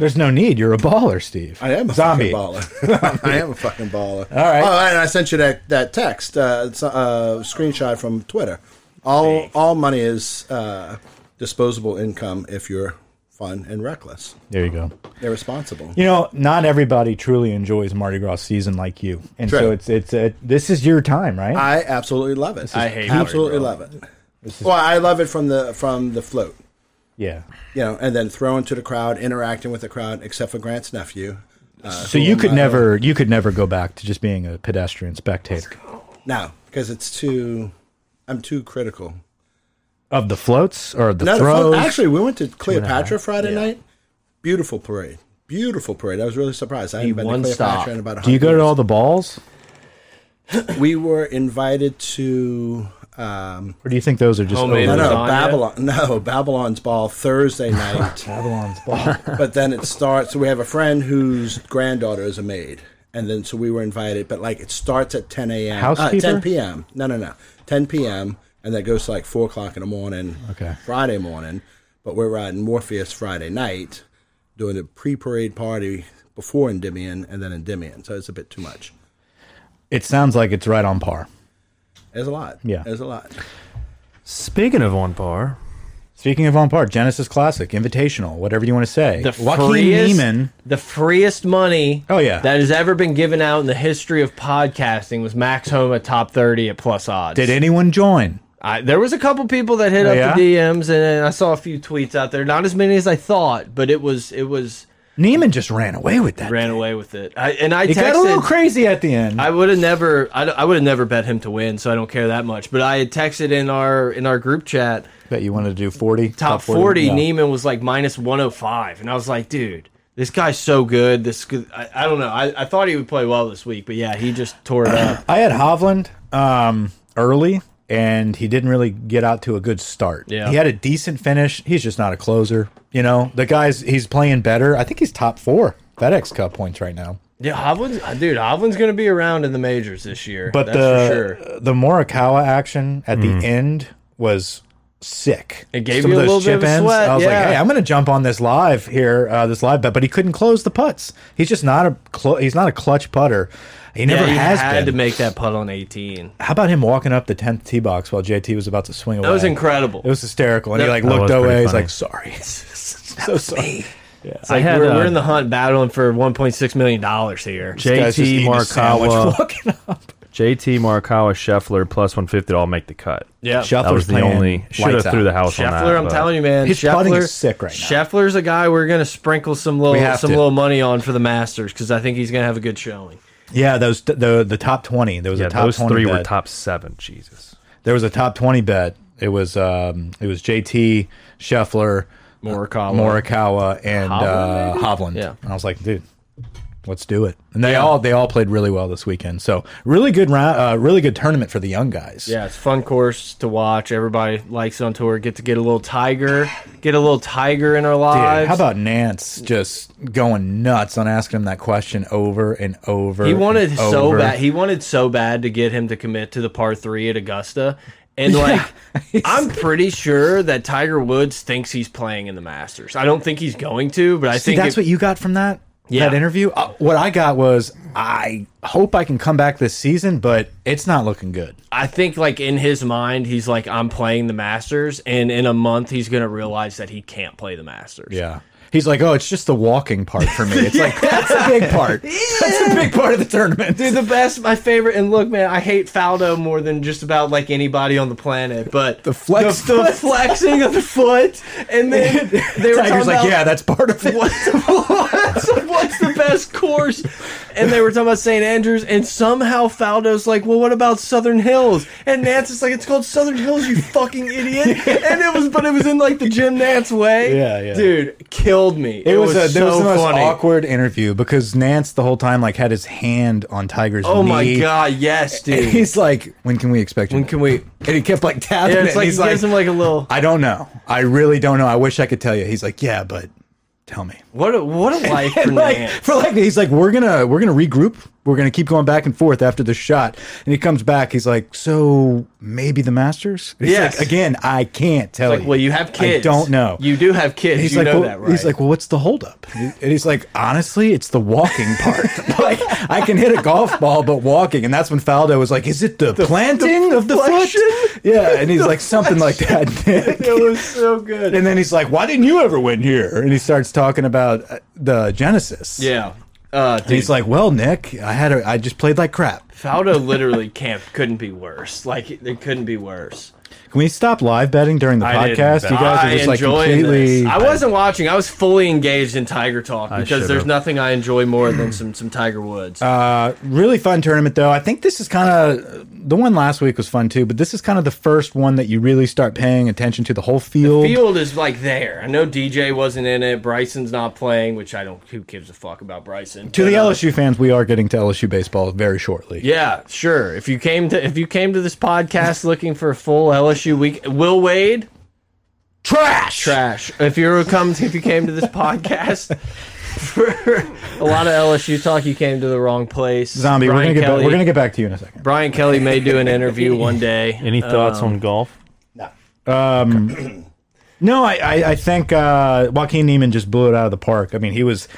[SPEAKER 3] There's no need. You're a baller, Steve.
[SPEAKER 4] I am a
[SPEAKER 3] zombie.
[SPEAKER 4] fucking baller. I am a fucking baller.
[SPEAKER 3] All right.
[SPEAKER 4] Oh, and I sent you that that text, uh, it's a uh, screenshot from Twitter. All all money is uh, disposable income if you're fun and reckless,
[SPEAKER 3] There you go.
[SPEAKER 4] irresponsible.
[SPEAKER 3] You know, not everybody truly enjoys Mardi Gras season like you, and
[SPEAKER 4] True.
[SPEAKER 3] so it's it's uh, this is your time, right?
[SPEAKER 4] I absolutely love it.
[SPEAKER 2] I hate
[SPEAKER 4] absolutely
[SPEAKER 2] Mardi
[SPEAKER 4] love it. Well, I love it from the from the float,
[SPEAKER 3] yeah.
[SPEAKER 4] you know, and then thrown to the crowd, interacting with the crowd, except for Grant's nephew. uh,
[SPEAKER 3] So you could never you could never go back to just being a pedestrian spectator
[SPEAKER 4] Now, because it's too, I'm too critical.
[SPEAKER 3] of the floats or the
[SPEAKER 4] No, the
[SPEAKER 3] throws.
[SPEAKER 4] float- actually, we went to Cleopatra Friday night. Beautiful parade. Beautiful parade. I was really surprised. I hadn't been to
[SPEAKER 2] one
[SPEAKER 4] Cleopatra
[SPEAKER 2] stop.
[SPEAKER 4] in about a
[SPEAKER 3] do you go to all the balls,
[SPEAKER 4] We were invited to um,
[SPEAKER 3] or do you think those are just
[SPEAKER 2] Homemade
[SPEAKER 4] no,
[SPEAKER 3] over-
[SPEAKER 4] no,
[SPEAKER 2] Lasagna?
[SPEAKER 4] Babylon. No, Babylon's Ball Thursday night.
[SPEAKER 3] Babylon's ball?
[SPEAKER 4] but then it starts. So we have a friend whose granddaughter is a maid, and then so we were invited. But like it starts at ten a.m. Uh,
[SPEAKER 3] Housekeeper?
[SPEAKER 4] ten p.m. No, no, no. Ten p.m. and that goes to like four o'clock in the morning.
[SPEAKER 3] Okay.
[SPEAKER 4] Friday morning, but we're riding Morpheus Friday night, doing the pre-parade party before Endymion and then Endymion. So it's a bit too much.
[SPEAKER 3] it sounds like it's right on par.
[SPEAKER 4] There's a lot.
[SPEAKER 3] Yeah.
[SPEAKER 4] There's a lot.
[SPEAKER 5] Speaking of on par,
[SPEAKER 3] Speaking of on par, Genesis Classic, Invitational, whatever you want to say.
[SPEAKER 2] the
[SPEAKER 3] Joaquin
[SPEAKER 2] freest,
[SPEAKER 3] Neiman.
[SPEAKER 2] the freest money.
[SPEAKER 3] Oh, yeah.
[SPEAKER 2] that has ever been given out in the history of podcasting was Max Homa top thirty at plus odds.
[SPEAKER 3] Did anyone join?
[SPEAKER 2] I, there was a couple people that hit up
[SPEAKER 3] yeah?
[SPEAKER 2] the DMs, and, and I saw a few tweets out there. Not as many as I thought, but it was it was
[SPEAKER 3] Neiman just ran away with that.
[SPEAKER 2] ran away with it. I, and I
[SPEAKER 3] it
[SPEAKER 2] texted.
[SPEAKER 3] got a little crazy at the end.
[SPEAKER 2] I would have never, I, would have never bet him to win, so I don't care that much. But I had texted in our in our group chat
[SPEAKER 3] bet you wanted to do 40.
[SPEAKER 2] top, 40,
[SPEAKER 3] yeah.
[SPEAKER 2] Neiman was like minus 105. And I was like, dude, this guy's so good. This could- I, I don't know. I, I thought he would play well this week, but yeah, he just tore it up.
[SPEAKER 3] I had Hovland um, early, and he didn't really get out to a good start.
[SPEAKER 2] Yeah.
[SPEAKER 3] He had a decent finish. He's just not a closer. You know, the guy's, he's playing better. I think he's top four FedEx Cup points right now.
[SPEAKER 2] Yeah, Hovland's, uh, dude, Hovland's going to be around in the majors this year.
[SPEAKER 3] But
[SPEAKER 2] that's
[SPEAKER 3] the
[SPEAKER 2] for sure.
[SPEAKER 5] Mm.
[SPEAKER 3] the Morikawa action at the end was sick.
[SPEAKER 2] It gave you a little bit of a sweat,
[SPEAKER 3] I was
[SPEAKER 2] yeah.
[SPEAKER 3] like, hey, I'm going to jump on this live here, uh, this live bet, but he couldn't close the putts. He's just not a cl he's not a clutch putter. He never
[SPEAKER 2] yeah, he
[SPEAKER 3] has
[SPEAKER 2] had
[SPEAKER 3] been.
[SPEAKER 2] to make that putt on 18.
[SPEAKER 3] How about him walking up the tenth tee box while JT was about to swing away?
[SPEAKER 2] That was incredible.
[SPEAKER 3] It was hysterical, and he
[SPEAKER 2] That-
[SPEAKER 3] like
[SPEAKER 5] That
[SPEAKER 3] looked
[SPEAKER 5] was pretty
[SPEAKER 3] away. He's
[SPEAKER 5] funny.
[SPEAKER 3] like, "Sorry, so sorry."
[SPEAKER 2] It's like
[SPEAKER 5] I had,
[SPEAKER 2] we're,
[SPEAKER 5] uh,
[SPEAKER 2] we're in the hunt battling for 1.6 million dollars here.
[SPEAKER 3] Guy's just
[SPEAKER 5] JT
[SPEAKER 3] eating a sandwich
[SPEAKER 5] Markawa,
[SPEAKER 3] walking up.
[SPEAKER 5] JT Markawa, Scheffler plus 150 all make the cut.
[SPEAKER 2] Yeah.
[SPEAKER 5] That was the
[SPEAKER 3] playing
[SPEAKER 5] only should have
[SPEAKER 3] lights
[SPEAKER 5] threw
[SPEAKER 3] out.
[SPEAKER 5] the house on that.
[SPEAKER 2] Scheffler, I'm
[SPEAKER 5] but-
[SPEAKER 2] telling you, man.
[SPEAKER 3] His
[SPEAKER 2] Scheffler,
[SPEAKER 3] putting is sick right now.
[SPEAKER 2] Scheffler's a guy we're going to sprinkle some
[SPEAKER 3] We
[SPEAKER 2] little
[SPEAKER 3] have
[SPEAKER 2] some
[SPEAKER 3] to.
[SPEAKER 2] little money on for the Masters because I think he's going to have a good showing.
[SPEAKER 3] Yeah, those the the top twenty. There was
[SPEAKER 5] yeah,
[SPEAKER 3] a top
[SPEAKER 5] those
[SPEAKER 3] twenty.
[SPEAKER 5] three were
[SPEAKER 3] bet.
[SPEAKER 5] top seven. Jesus,
[SPEAKER 3] There was a top twenty bet. It was um it was JT Scheffler,
[SPEAKER 2] Morikawa.
[SPEAKER 3] Morikawa, and
[SPEAKER 2] Hovland,
[SPEAKER 3] uh, Hovland.
[SPEAKER 2] Yeah.
[SPEAKER 3] and I was like, dude, let's do it. And they all they all played really well this weekend. So really good round, uh, really good tournament for the young guys.
[SPEAKER 2] Yeah, it's a fun course to watch. Everybody likes it on tour. Get to get a little tiger, get a little tiger in our
[SPEAKER 3] Dude,
[SPEAKER 2] lives.
[SPEAKER 3] how about Nance just going nuts on asking him that question over and over?
[SPEAKER 2] he wanted
[SPEAKER 3] and
[SPEAKER 2] so
[SPEAKER 3] over.
[SPEAKER 2] bad. He wanted so bad to get him to commit to the par three at Augusta. And like, I'm pretty sure that Tiger Woods thinks he's playing in the Masters. I don't think he's going to, but I
[SPEAKER 3] See,
[SPEAKER 2] think
[SPEAKER 3] that's
[SPEAKER 2] it-
[SPEAKER 3] what you got from that
[SPEAKER 2] Yeah.
[SPEAKER 3] that interview. Uh, what I got was, I hope I can come back this season, but it's not looking good.
[SPEAKER 2] I think like in his mind, he's like, I'm playing the Masters, and in a month he's gonna realize that he can't play the Masters.
[SPEAKER 3] Yeah. He's like, oh, it's just the walking part for me. It's like that's a big part. That's a big part of the tournament.
[SPEAKER 2] Dude, the best, my favorite, and look, man, I hate Faldo more than just about like anybody on the planet. But the
[SPEAKER 3] flex
[SPEAKER 2] the, flexing of the foot, and then they were
[SPEAKER 3] Tiger's
[SPEAKER 2] talking
[SPEAKER 3] like,
[SPEAKER 2] about,
[SPEAKER 3] yeah, that's part of it.
[SPEAKER 2] what's, what's the best course? And they were talking about St. Andrews, and somehow Faldo's like, well, what about Southern Hills? And Nance is like, it's called Southern Hills, you fucking idiot. And it was, but it was in like the Jim Nance way.
[SPEAKER 3] Yeah, yeah.
[SPEAKER 2] Dude, killed me. It,
[SPEAKER 3] It was,
[SPEAKER 2] was,
[SPEAKER 3] a,
[SPEAKER 2] so
[SPEAKER 3] that was the most
[SPEAKER 2] funny.
[SPEAKER 3] awkward interview because Nance the whole time like had his hand on Tiger's
[SPEAKER 2] Oh
[SPEAKER 3] knee.
[SPEAKER 2] my god, yes,
[SPEAKER 3] And
[SPEAKER 2] dude.
[SPEAKER 3] he's like, when can we expect you?
[SPEAKER 2] When can we?
[SPEAKER 3] And he kept like tapping
[SPEAKER 2] Yeah,
[SPEAKER 3] it.
[SPEAKER 2] it's like
[SPEAKER 3] and he's
[SPEAKER 2] he gives him like a little.
[SPEAKER 3] I don't know. I really don't know. I wish I could tell you. He's like, yeah, but tell me.
[SPEAKER 2] What a what a life for
[SPEAKER 3] And like
[SPEAKER 2] Nance.
[SPEAKER 3] for like he's like we're gonna we're gonna regroup we're gonna keep going back and forth after the shot and he comes back he's like so maybe the masters And he's
[SPEAKER 2] Yes.
[SPEAKER 3] like again i can't tell
[SPEAKER 2] Like,
[SPEAKER 3] you
[SPEAKER 2] well, you have kids.
[SPEAKER 3] i don't know
[SPEAKER 2] You do have kids.
[SPEAKER 3] he's
[SPEAKER 2] you
[SPEAKER 3] like
[SPEAKER 2] know
[SPEAKER 3] well,
[SPEAKER 2] that, right?
[SPEAKER 3] he's like well what's the holdup and he's like honestly it's the walking part like i can hit a golf ball but walking and that's when faldo was like is it the, planting of the
[SPEAKER 2] flexion?
[SPEAKER 3] foot yeah and he's like something like that Nick.
[SPEAKER 2] it was so good.
[SPEAKER 3] and then he's like why didn't you ever win here and he starts talking about uh, the genesis
[SPEAKER 2] yeah. Uh, dude,
[SPEAKER 3] and he's like, "Well, Nick, I had a, I just played like crap.
[SPEAKER 2] Faldo literally can't couldn't be worse. Like it, it couldn't be worse.
[SPEAKER 3] Can we stop live betting during the
[SPEAKER 5] I didn't
[SPEAKER 3] podcast?
[SPEAKER 5] bet.
[SPEAKER 3] You guys are
[SPEAKER 2] I
[SPEAKER 3] just like
[SPEAKER 2] enjoyed
[SPEAKER 3] completely.
[SPEAKER 2] this. I wasn't watching. I was fully engaged in Tiger Talk because
[SPEAKER 5] should've.
[SPEAKER 2] there's nothing I enjoy more than some some Tiger Woods.
[SPEAKER 3] Uh, really fun tournament though. I think this is kind of the one last week was fun too, but this is kind of the first one that you really start paying attention to the whole field.
[SPEAKER 2] Field is like there. I know DJ wasn't in it. Bryson's not playing, which I don't. Who gives a fuck about Bryson?
[SPEAKER 3] to
[SPEAKER 2] But,
[SPEAKER 3] the
[SPEAKER 2] uh,
[SPEAKER 3] LSU fans, we are getting to LSU baseball very shortly.
[SPEAKER 2] Yeah, sure. If you came to if you came to this podcast looking for a full LSU week, Will Wade
[SPEAKER 3] Trash.
[SPEAKER 2] trash. If you come if you came to this podcast for a lot of LSU talk, you came to the wrong place.
[SPEAKER 3] Zombie. we're
[SPEAKER 2] Brian
[SPEAKER 3] gonna get
[SPEAKER 2] Kelly,
[SPEAKER 3] back, we're gonna get back to you in a second.
[SPEAKER 2] Brian Kelly may do an interview one day.
[SPEAKER 5] any
[SPEAKER 2] Um,
[SPEAKER 5] thoughts on golf?
[SPEAKER 3] No, I, I, I think uh, Joaquin Neiman just blew it out of the park. I mean, he was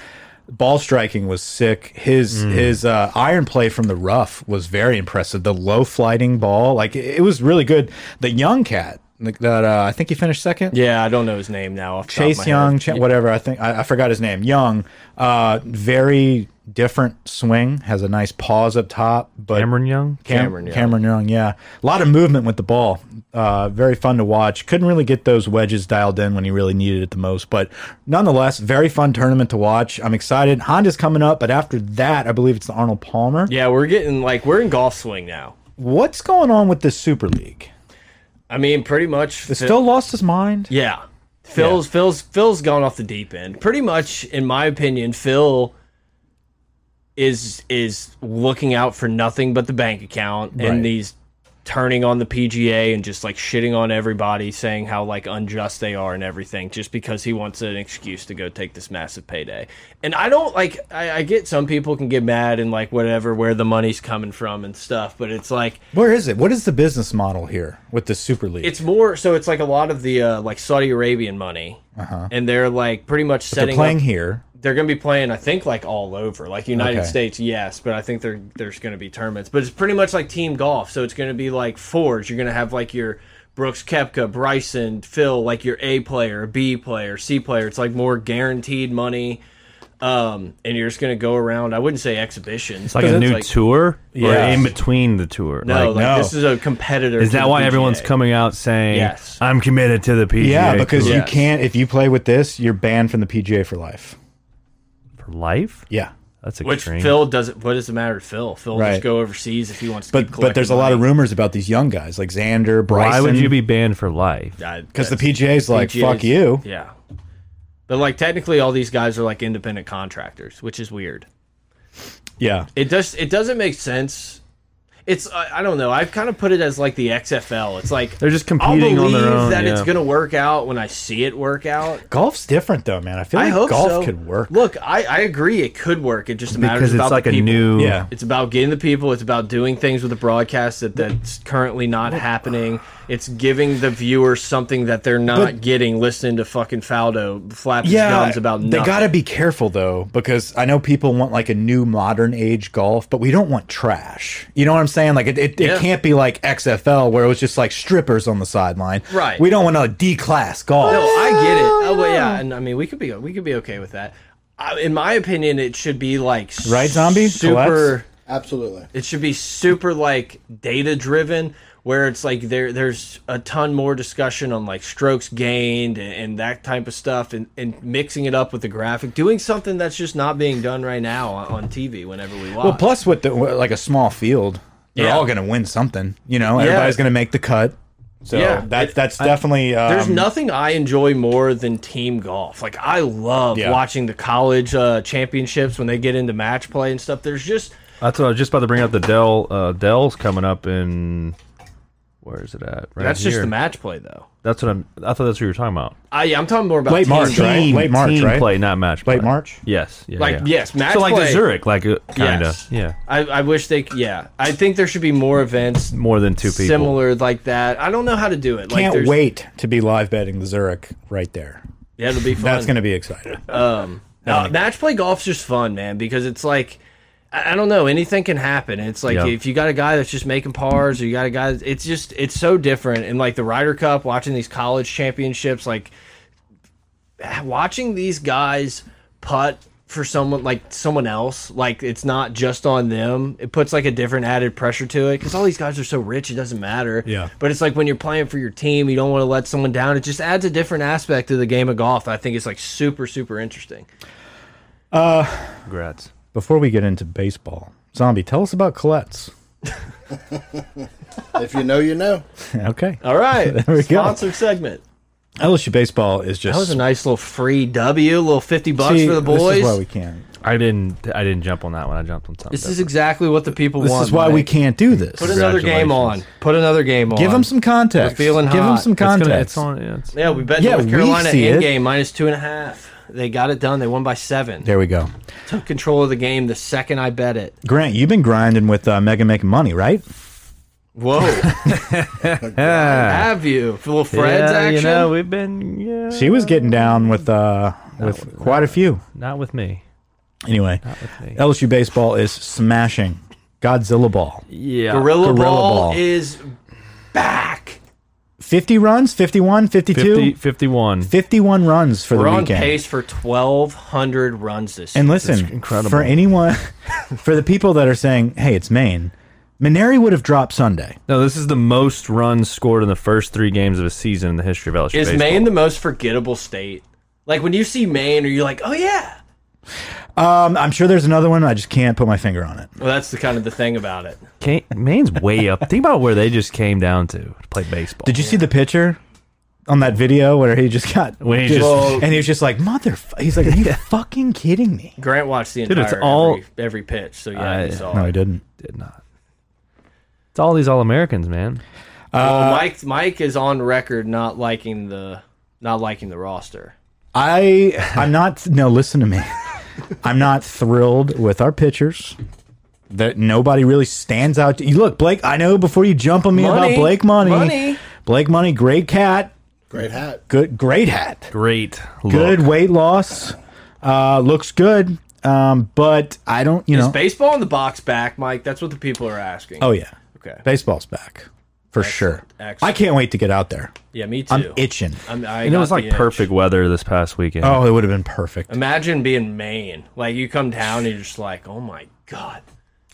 [SPEAKER 3] ball striking was sick. His
[SPEAKER 2] Mm.
[SPEAKER 3] his uh, iron play from the rough was very impressive. The low flighting ball, like it, it was really good. The young cat like that uh, I think he finished second.
[SPEAKER 2] Yeah, I don't know his name now. Off the top of my
[SPEAKER 3] Chase
[SPEAKER 2] head.
[SPEAKER 3] Young, Ch whatever I think I, I forgot his name. Young, uh, very different swing, has a nice pause up top, but
[SPEAKER 5] Cameron Young.
[SPEAKER 3] Cam-
[SPEAKER 2] Cameron Young.
[SPEAKER 3] Cameron Young, yeah. A lot of movement with the ball. Uh, very fun to watch. Couldn't really get those wedges dialed in when he really needed it the most. But nonetheless, very fun tournament to watch. I'm excited. Honda's coming up, but after that, I believe it's the Arnold Palmer.
[SPEAKER 2] Yeah, we're getting like we're in golf swing now.
[SPEAKER 3] What's going on with this Super League?
[SPEAKER 2] I mean, pretty much
[SPEAKER 3] It still lost his mind?
[SPEAKER 2] Yeah. Phil's Phil's Phil's gone off the deep end. Pretty much in my opinion, Phil is is looking out for nothing but the bank account
[SPEAKER 3] Right.
[SPEAKER 2] and these turning on the PGA and just like shitting on everybody, saying how like unjust they are and everything, just because he wants an excuse to go take this massive payday. And I don't like, I, I get some people can get mad and like whatever, where the money's coming from and stuff, but it's like,
[SPEAKER 3] Where is it? What is the business model here with the Super League?
[SPEAKER 2] it's more so it's like a lot of the uh, like Saudi Arabian money,
[SPEAKER 5] Uh-huh.
[SPEAKER 2] and they're like pretty much
[SPEAKER 3] They're
[SPEAKER 2] setting
[SPEAKER 3] playing
[SPEAKER 2] up-
[SPEAKER 3] here.
[SPEAKER 2] they're going to be playing, I think, like all over, like United
[SPEAKER 3] Okay.
[SPEAKER 2] States, yes, but I think there there's going to be tournaments, but it's pretty much like team golf, so it's going to be like fours. You're going to have like your Brooks Kepka, Bryson, Phil, like your A player, B player, C player. It's like more guaranteed money. Um, and you're just gonna go around. I wouldn't say exhibitions.
[SPEAKER 5] It's like a new tour or
[SPEAKER 2] Yes.
[SPEAKER 5] in between the tour.
[SPEAKER 2] No,
[SPEAKER 5] Like,
[SPEAKER 2] like,
[SPEAKER 3] no.
[SPEAKER 2] this is a competitor.
[SPEAKER 5] is
[SPEAKER 2] to
[SPEAKER 5] that
[SPEAKER 2] the
[SPEAKER 5] why
[SPEAKER 2] PGA.
[SPEAKER 5] everyone's coming out saying,
[SPEAKER 2] Yes.
[SPEAKER 5] I'm committed to the PGA?
[SPEAKER 3] Yeah, because
[SPEAKER 5] Tour
[SPEAKER 3] you
[SPEAKER 2] Yes.
[SPEAKER 3] can't. If you play with this, you're banned from the PGA for life.
[SPEAKER 5] for life?
[SPEAKER 3] Yeah,
[SPEAKER 5] That's
[SPEAKER 2] Which
[SPEAKER 5] extreme.
[SPEAKER 2] Phil doesn't. What does it matter to Phil? Phil
[SPEAKER 3] Right.
[SPEAKER 2] just go overseas if he wants to.
[SPEAKER 3] but
[SPEAKER 2] keep
[SPEAKER 3] but there's a lot of
[SPEAKER 2] collecting
[SPEAKER 3] rumors about these young guys like Xander, Bryson.
[SPEAKER 5] Why would you be banned for life?
[SPEAKER 2] money. I-
[SPEAKER 3] Because the
[SPEAKER 2] that's-
[SPEAKER 3] PGA's like
[SPEAKER 2] PGA 's
[SPEAKER 3] fuck you.
[SPEAKER 2] Yeah, but like technically, all these guys are like independent contractors, which is weird.
[SPEAKER 3] Yeah,
[SPEAKER 2] It does. It doesn't make sense. It's I, I don't know. I've kind of put it as like the XFL. It's like
[SPEAKER 5] They're just
[SPEAKER 2] I'll
[SPEAKER 5] competing on their
[SPEAKER 2] believe
[SPEAKER 5] own,
[SPEAKER 2] that it's
[SPEAKER 5] yeah.
[SPEAKER 2] gonna work out when I see it work out.
[SPEAKER 3] golf's different though, man. I feel like
[SPEAKER 2] I hope
[SPEAKER 3] golf
[SPEAKER 2] so.
[SPEAKER 3] could work.
[SPEAKER 2] Look, I, I agree. It could work. It just matters
[SPEAKER 5] Because
[SPEAKER 2] about
[SPEAKER 5] it's like
[SPEAKER 2] the
[SPEAKER 5] a
[SPEAKER 2] people.
[SPEAKER 5] new.
[SPEAKER 3] Yeah.
[SPEAKER 2] It's about getting the people. It's about doing things with the broadcast that, that's currently not happening. It's giving the viewer something that they're not
[SPEAKER 3] But-
[SPEAKER 2] getting listening to fucking Faldo flap his
[SPEAKER 3] yeah,
[SPEAKER 2] gums about nothing.
[SPEAKER 3] they got to be careful though, because I know people want like a new modern age golf, but we don't want trash. You know what I'm saying? Like it, it,
[SPEAKER 2] Yeah.
[SPEAKER 3] it can't be like XFL where it was just like strippers on the sideline.
[SPEAKER 2] Right.
[SPEAKER 3] We don't want a D class golf.
[SPEAKER 2] No, I get it. Oh, well, yeah, and I mean, we could be we could be okay with that. I, in my opinion, it should be like
[SPEAKER 3] Right, zombie?
[SPEAKER 2] super.
[SPEAKER 3] Collapse?
[SPEAKER 4] Absolutely.
[SPEAKER 2] It should be super like data driven, where it's like there there's a ton more discussion on like strokes gained and, and that type of stuff, and, and mixing it up with the graphic, doing something that's just not being done right now on, on TV whenever we watch.
[SPEAKER 3] Well, plus with the with, like a small field, they're
[SPEAKER 2] Yeah.
[SPEAKER 3] all going to win something. You know, everybody's going to make the cut. So
[SPEAKER 2] Yeah.
[SPEAKER 3] that
[SPEAKER 2] It-
[SPEAKER 3] that's definitely um,
[SPEAKER 2] There's nothing I enjoy more than team golf. Like I love
[SPEAKER 3] Yeah.
[SPEAKER 2] watching the college uh, championships when they get into match play and stuff. There's just
[SPEAKER 5] That's what I was just about to bring up. The Dell uh, Dell's coming up in where is it at? Right
[SPEAKER 2] that's just
[SPEAKER 5] here.
[SPEAKER 2] the match play though.
[SPEAKER 5] That's what I'm. I thought that's what you were talking about.
[SPEAKER 2] I, yeah, I'm talking more about
[SPEAKER 3] Late
[SPEAKER 2] team
[SPEAKER 3] March,
[SPEAKER 2] golf.
[SPEAKER 3] right?
[SPEAKER 5] Team-
[SPEAKER 3] Late March,
[SPEAKER 5] team
[SPEAKER 3] right?
[SPEAKER 5] Play, not match.
[SPEAKER 3] late
[SPEAKER 5] play.
[SPEAKER 3] March.
[SPEAKER 5] Yes. Yeah,
[SPEAKER 2] Like,
[SPEAKER 5] yeah.
[SPEAKER 2] yes, match
[SPEAKER 5] So like
[SPEAKER 2] play.
[SPEAKER 5] the Zurich, like uh, kind of.
[SPEAKER 2] Yes.
[SPEAKER 5] Yeah.
[SPEAKER 2] I, I wish they. c- Yeah, I think there should be more events
[SPEAKER 5] More than two people.
[SPEAKER 2] similar like that. I don't know how to do it. like,
[SPEAKER 3] Can't
[SPEAKER 2] there's-
[SPEAKER 3] wait to be live betting the Zurich right there.
[SPEAKER 2] Yeah, it'll be fun.
[SPEAKER 3] That's going to be exciting.
[SPEAKER 2] No, match play golf's just fun, man, because it's like I I don't know, anything can happen. It's like
[SPEAKER 5] Yeah.
[SPEAKER 2] if you got a guy that's just making pars, or you got a guy, that's, it's just it's so different. And like the Ryder Cup, watching these college championships, like watching these guys putt for someone like someone else, like it's not just on them. It puts like a different added pressure to it because all these guys are so rich, it doesn't matter.
[SPEAKER 3] Yeah.
[SPEAKER 2] But it's like when you're playing for your team, you don't want to let someone down. It just adds a different aspect to the game of golf. that I think it's like super super interesting.
[SPEAKER 5] Congrats.
[SPEAKER 3] Before we get into baseball, Zombie, tell us about Colette's.
[SPEAKER 4] If you know, you know.
[SPEAKER 3] okay.
[SPEAKER 2] All right.
[SPEAKER 3] There we go.
[SPEAKER 2] Sponsored segment.
[SPEAKER 3] LSU baseball is just.
[SPEAKER 2] That was a nice little free W, a little 50 bucks
[SPEAKER 3] See,
[SPEAKER 2] for the boys.
[SPEAKER 3] This is why we can't.
[SPEAKER 5] I didn't. I didn't jump on that one. I jumped on something.
[SPEAKER 2] This is exactly what the people
[SPEAKER 3] This
[SPEAKER 2] want.
[SPEAKER 3] is why we
[SPEAKER 2] Mike.
[SPEAKER 3] can't do this.
[SPEAKER 2] Put another game on.
[SPEAKER 5] Congratulations.
[SPEAKER 2] Put another game on.
[SPEAKER 3] Give them some context.
[SPEAKER 2] We're feeling
[SPEAKER 3] Give them
[SPEAKER 2] hot.
[SPEAKER 3] some
[SPEAKER 2] It's
[SPEAKER 5] It's,
[SPEAKER 3] context.
[SPEAKER 5] gonna, it's on. Yeah, it's,
[SPEAKER 2] Yeah, we bet
[SPEAKER 3] Yeah,
[SPEAKER 2] North
[SPEAKER 3] we
[SPEAKER 2] Carolina
[SPEAKER 3] see
[SPEAKER 2] in
[SPEAKER 3] it.
[SPEAKER 2] game minus two and a half. They got it done. They won by seven.
[SPEAKER 3] There we go.
[SPEAKER 2] Took control of the game the second I bet it.
[SPEAKER 3] Grant, you've been grinding with uh, Mega Making Money, right?
[SPEAKER 2] Whoa. Have you? For little Fred's
[SPEAKER 5] yeah,
[SPEAKER 2] action?
[SPEAKER 5] You know, we've been. Yeah.
[SPEAKER 3] She was getting down with uh, with quite a few.
[SPEAKER 5] not with me.
[SPEAKER 3] Anyway,
[SPEAKER 5] me.
[SPEAKER 3] LSU baseball is smashing Godzilla ball.
[SPEAKER 5] Yeah.
[SPEAKER 2] Gorilla,
[SPEAKER 3] Gorilla
[SPEAKER 2] ball,
[SPEAKER 3] Ball.
[SPEAKER 2] is back.
[SPEAKER 3] 50 runs, 51, 52,
[SPEAKER 5] 50, 51.
[SPEAKER 3] 51 runs for
[SPEAKER 2] We're
[SPEAKER 3] the
[SPEAKER 2] on
[SPEAKER 3] weekend.
[SPEAKER 2] pace for 1,200 runs this
[SPEAKER 3] And
[SPEAKER 2] year.
[SPEAKER 3] listen,
[SPEAKER 5] incredible.
[SPEAKER 3] for anyone, for the people that are saying, "Hey, it's Maine," Maneri would have dropped Sunday.
[SPEAKER 5] No, this is the most runs scored in the first three games of a season in the history of LSU
[SPEAKER 2] Is
[SPEAKER 5] baseball.
[SPEAKER 2] Maine the most forgettable state? Like when you see Maine, are you like, oh yeah?
[SPEAKER 3] Um, I'm sure there's another one. I just can't put my finger on it.
[SPEAKER 2] Well, that's the kind of the thing about it.
[SPEAKER 5] Can't, Maine's way up. Think about where they just came down to to play baseball.
[SPEAKER 3] Did you see the picture on that video where he just got
[SPEAKER 5] When he
[SPEAKER 3] just-
[SPEAKER 5] just-
[SPEAKER 3] and he was just like, "Mother," he's like, "Are you fucking kidding me?"
[SPEAKER 2] Grant watched the entire
[SPEAKER 5] Dude, it's all-
[SPEAKER 2] every, every pitch, so yeah,
[SPEAKER 5] I-
[SPEAKER 2] he saw.
[SPEAKER 3] No, he
[SPEAKER 2] it.
[SPEAKER 3] didn't.
[SPEAKER 5] did not. It's all these All Americans, man.
[SPEAKER 2] well, Mike Mike is on record not liking the not liking the roster.
[SPEAKER 3] I I'm not no listen to me. I'm not thrilled with our pitchers. That nobody really stands out. To, you look, Blake. I know before you jump on me
[SPEAKER 2] Money.
[SPEAKER 3] about Blake Money.
[SPEAKER 2] Money.
[SPEAKER 3] Blake Money, great cat,
[SPEAKER 4] Great hat.
[SPEAKER 3] good, great hat,
[SPEAKER 5] Great.
[SPEAKER 3] good
[SPEAKER 5] look.
[SPEAKER 3] weight loss, uh, looks good. Um, but I don't, you
[SPEAKER 2] Is
[SPEAKER 3] know.
[SPEAKER 2] baseball in the box back, Mike? That's what the people are asking.
[SPEAKER 3] Oh yeah,
[SPEAKER 2] okay.
[SPEAKER 3] baseball's back for sure.
[SPEAKER 2] excellent.
[SPEAKER 3] I can't wait to get out there.
[SPEAKER 2] Yeah, me too.
[SPEAKER 3] I'm itching.
[SPEAKER 2] I'm, I
[SPEAKER 5] And it
[SPEAKER 2] got
[SPEAKER 5] was like
[SPEAKER 2] the itch.
[SPEAKER 5] perfect weather this past weekend.
[SPEAKER 3] Oh, it would have been perfect.
[SPEAKER 2] Imagine being Maine. Like you come down and you're just like, oh my god,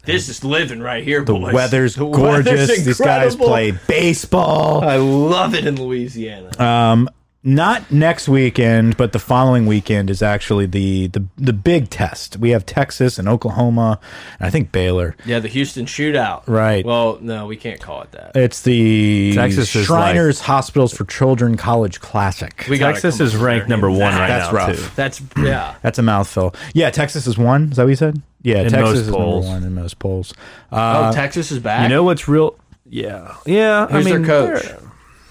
[SPEAKER 2] this is living right here.
[SPEAKER 3] The
[SPEAKER 2] boys.
[SPEAKER 3] weather's
[SPEAKER 2] The
[SPEAKER 3] gorgeous.
[SPEAKER 2] weather's
[SPEAKER 3] These guys
[SPEAKER 2] incredible.
[SPEAKER 3] played baseball.
[SPEAKER 2] I love it in Louisiana.
[SPEAKER 5] Uh,
[SPEAKER 3] not next weekend, but the following weekend is actually the the, the big test. We have Texas and Oklahoma, and I think Baylor.
[SPEAKER 2] yeah, the Houston shootout.
[SPEAKER 3] Right.
[SPEAKER 2] Well, no, we can't call it that.
[SPEAKER 3] It's the
[SPEAKER 5] Texas is
[SPEAKER 3] Shriners Hospitals for Children College Classic.
[SPEAKER 2] We gotta
[SPEAKER 5] Texas
[SPEAKER 2] come
[SPEAKER 5] is
[SPEAKER 2] up
[SPEAKER 5] ranked
[SPEAKER 2] there.
[SPEAKER 5] number one right
[SPEAKER 3] That's
[SPEAKER 5] now,
[SPEAKER 3] rough.
[SPEAKER 5] too.
[SPEAKER 2] That's yeah.
[SPEAKER 3] That's a mouthful. Yeah, Texas is one. Is that what you said? Yeah,
[SPEAKER 5] In
[SPEAKER 3] Texas
[SPEAKER 5] most
[SPEAKER 3] is
[SPEAKER 5] polls.
[SPEAKER 3] number one in most polls.
[SPEAKER 2] oh, Texas is back.
[SPEAKER 5] Uh, You know what's real? Yeah. Yeah.
[SPEAKER 2] who's
[SPEAKER 5] I mean,
[SPEAKER 2] their coach?
[SPEAKER 5] they're-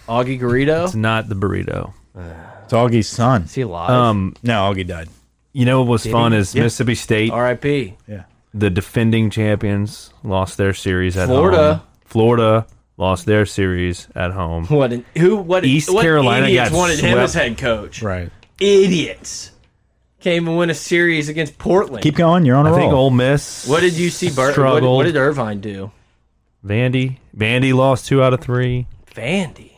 [SPEAKER 2] Augie Garrido.
[SPEAKER 5] It's not the burrito.
[SPEAKER 3] It's Augie's son.
[SPEAKER 2] Is he alive?
[SPEAKER 5] Um,
[SPEAKER 3] No, Augie died.
[SPEAKER 5] you know what was fun
[SPEAKER 2] he?
[SPEAKER 5] is
[SPEAKER 2] Yeah.
[SPEAKER 5] Mississippi State,
[SPEAKER 2] R.I.P.
[SPEAKER 3] Yeah.
[SPEAKER 5] the defending champions, lost their series at
[SPEAKER 2] Florida.
[SPEAKER 5] home. Florida lost their series at home.
[SPEAKER 2] What? An, who? What?
[SPEAKER 5] East
[SPEAKER 2] what
[SPEAKER 5] Carolina
[SPEAKER 2] idiots
[SPEAKER 5] got
[SPEAKER 2] wanted him
[SPEAKER 5] swept.
[SPEAKER 2] as head coach.
[SPEAKER 3] Right.
[SPEAKER 2] Idiots came and win a series against Portland.
[SPEAKER 3] Keep going. You're on a
[SPEAKER 5] I
[SPEAKER 3] roll.
[SPEAKER 5] think Ole Miss.
[SPEAKER 2] what did you see? Bur- what,
[SPEAKER 5] Struggled.
[SPEAKER 2] what did Irvine do?
[SPEAKER 5] Vandy. Vandy lost two out of three.
[SPEAKER 2] Vandy.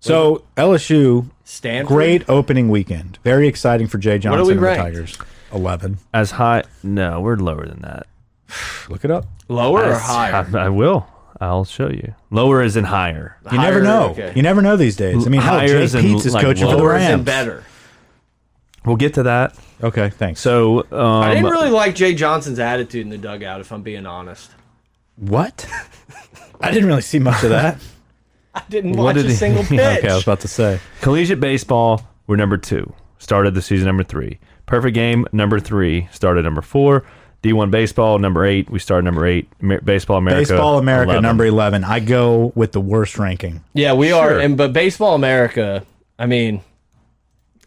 [SPEAKER 3] so LSU,
[SPEAKER 2] Stanford.
[SPEAKER 3] great opening weekend. Very exciting for Jay
[SPEAKER 2] are
[SPEAKER 3] Johnson
[SPEAKER 2] we
[SPEAKER 3] and the
[SPEAKER 2] ranked?
[SPEAKER 3] Tigers. Eleven.
[SPEAKER 5] As high? No, we're lower than that.
[SPEAKER 3] Look it up.
[SPEAKER 2] Lower or
[SPEAKER 5] As-
[SPEAKER 2] higher?
[SPEAKER 5] I, I will. I'll show you. Lower is in higher.
[SPEAKER 3] You
[SPEAKER 2] Higher,
[SPEAKER 3] never know.
[SPEAKER 2] okay.
[SPEAKER 3] You never know these days. I mean, how
[SPEAKER 5] Higher
[SPEAKER 3] Jay
[SPEAKER 5] as in,
[SPEAKER 3] Pete's is
[SPEAKER 5] like,
[SPEAKER 3] coaching for the
[SPEAKER 2] Lower
[SPEAKER 3] Rams.
[SPEAKER 2] and better.
[SPEAKER 5] We'll get to that.
[SPEAKER 3] Okay, thanks.
[SPEAKER 5] So um,
[SPEAKER 2] I didn't really like Jay Johnson's attitude in the dugout, if I'm being honest.
[SPEAKER 3] what? I didn't really see much of that.
[SPEAKER 2] I didn't watch
[SPEAKER 5] What did
[SPEAKER 2] a
[SPEAKER 5] he-
[SPEAKER 2] single pitch.
[SPEAKER 3] Okay, I was about to say.
[SPEAKER 5] collegiate baseball, we're number two. Started the season number three. Perfect game number three. Started number four. D1 baseball number eight. We started number eight. Amer- baseball America.
[SPEAKER 3] Baseball America
[SPEAKER 5] 11.
[SPEAKER 3] number eleven. I go with the worst ranking.
[SPEAKER 2] Yeah, we
[SPEAKER 5] Sure.
[SPEAKER 2] are. And but baseball America, I mean,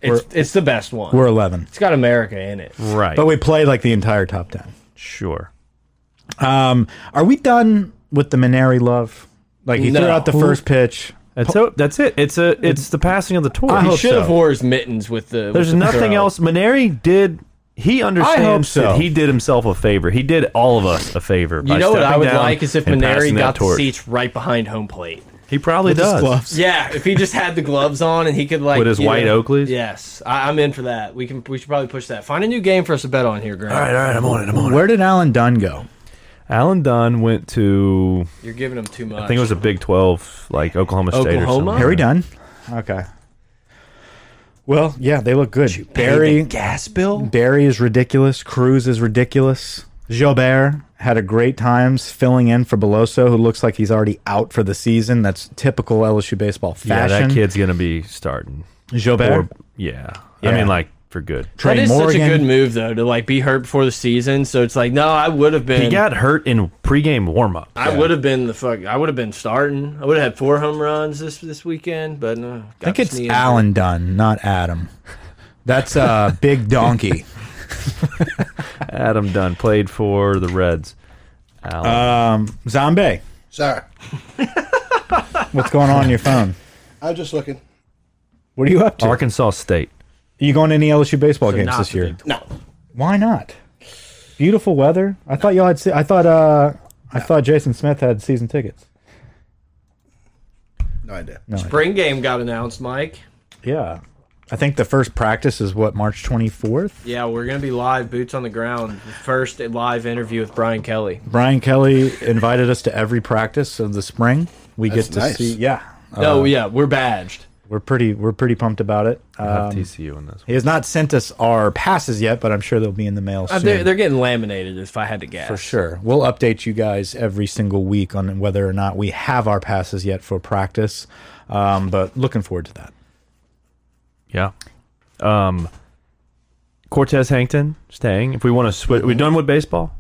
[SPEAKER 2] it's it's the best one.
[SPEAKER 3] We're eleven,
[SPEAKER 2] it's got America in it.
[SPEAKER 5] Right.
[SPEAKER 3] but we played like the entire top ten.
[SPEAKER 5] sure.
[SPEAKER 3] Um, are we done with the Maneri love? Like he threw
[SPEAKER 2] No.
[SPEAKER 3] out the first pitch.
[SPEAKER 5] That's so. That's it. It's a. It's the passing of the torch.
[SPEAKER 2] He
[SPEAKER 3] hope
[SPEAKER 2] should have
[SPEAKER 3] so.
[SPEAKER 2] wore his mittens with the.
[SPEAKER 5] There's
[SPEAKER 2] with the
[SPEAKER 5] nothing
[SPEAKER 2] throw.
[SPEAKER 5] else. Maneri did. He understands
[SPEAKER 3] so.
[SPEAKER 5] that he did himself a favor. He did all of us a favor.
[SPEAKER 2] You
[SPEAKER 5] by
[SPEAKER 2] know what I
[SPEAKER 5] stepping
[SPEAKER 2] would
[SPEAKER 5] down
[SPEAKER 2] like is if
[SPEAKER 5] and
[SPEAKER 2] Maneri
[SPEAKER 5] passing that
[SPEAKER 2] got the
[SPEAKER 5] torch.
[SPEAKER 2] seats right behind home plate.
[SPEAKER 5] He probably
[SPEAKER 3] His
[SPEAKER 5] does.
[SPEAKER 3] gloves.
[SPEAKER 2] Yeah, if he just had the gloves on and he could like
[SPEAKER 5] With his
[SPEAKER 2] you
[SPEAKER 5] white
[SPEAKER 2] know-
[SPEAKER 5] Oakleys?
[SPEAKER 2] Yes, I, I'm in for that. We can. We should probably push that. Find a new game for us to bet on here, Grant.
[SPEAKER 5] All right, all right. I'm on it. I'm on it.
[SPEAKER 3] Where did Alan Dunn go?
[SPEAKER 5] Alan Dunn went to.
[SPEAKER 2] You're giving him too much.
[SPEAKER 5] I think it was a Big Twelve, like Oklahoma State or
[SPEAKER 2] Oklahoma?
[SPEAKER 5] something.
[SPEAKER 3] Harry Dunn. Okay. Well, yeah, they look good. Barry,
[SPEAKER 2] gas bill.
[SPEAKER 3] Barry is ridiculous. Cruz is ridiculous. Gilbert had a great times filling in for Beloso, who looks like he's already out for the season. That's typical LSU baseball
[SPEAKER 5] Yeah,
[SPEAKER 3] fashion.
[SPEAKER 5] that kid's gonna be starting.
[SPEAKER 3] Gilbert,
[SPEAKER 5] Or, yeah.
[SPEAKER 3] Yeah.
[SPEAKER 5] I mean, like for good.
[SPEAKER 3] Trey
[SPEAKER 2] that is
[SPEAKER 3] Morgan.
[SPEAKER 2] such a good move though to like be hurt before the season. So it's like, no, I would have been.
[SPEAKER 5] He got hurt in pregame warm-up.
[SPEAKER 2] I would have been the fuck. I would have been starting. I would have had four home runs this this weekend, but no.
[SPEAKER 3] I think it's Alan Dunn, not Adam. That's uh, Big Donkey.
[SPEAKER 5] Adam Dunn played for the Reds. Alan.
[SPEAKER 3] Um, Zombie,
[SPEAKER 4] Sorry.
[SPEAKER 3] what's going on on your phone?
[SPEAKER 4] I was just looking.
[SPEAKER 3] What are you
[SPEAKER 2] Uh,
[SPEAKER 3] up to? Are
[SPEAKER 5] Arkansas State.
[SPEAKER 3] you going to any LSU baseball games
[SPEAKER 2] not
[SPEAKER 3] this
[SPEAKER 2] the
[SPEAKER 3] year?
[SPEAKER 2] Big
[SPEAKER 4] No.
[SPEAKER 3] Why not? Beautiful weather. I thought y'all had. Se- I thought. Uh, I thought Jason Smith had season tickets.
[SPEAKER 4] No idea.
[SPEAKER 2] Spring game got announced, Mike.
[SPEAKER 3] Yeah. I think the first practice is what March 24th.
[SPEAKER 2] Yeah, we're gonna be live, boots on the ground. The first live interview with Brian Kelly.
[SPEAKER 3] Brian Kelly invited us to every practice of the spring. We
[SPEAKER 4] That's
[SPEAKER 3] get to
[SPEAKER 4] nice.
[SPEAKER 3] see. Yeah. Uh,
[SPEAKER 2] No, yeah, we're badged.
[SPEAKER 3] we're pretty. We're pretty pumped about it. Um,
[SPEAKER 5] Have TCU in this.
[SPEAKER 3] he has not sent us our passes yet, but I'm sure they'll be in the mail soon.
[SPEAKER 2] Uh, they're, they're getting laminated. If I had to guess,
[SPEAKER 3] for sure. We'll update you guys every single week on whether or not we have our passes yet for practice. Um, but looking forward to that.
[SPEAKER 5] Yeah. Um, Cortez Hankton staying. If we want to switch, we done with baseball.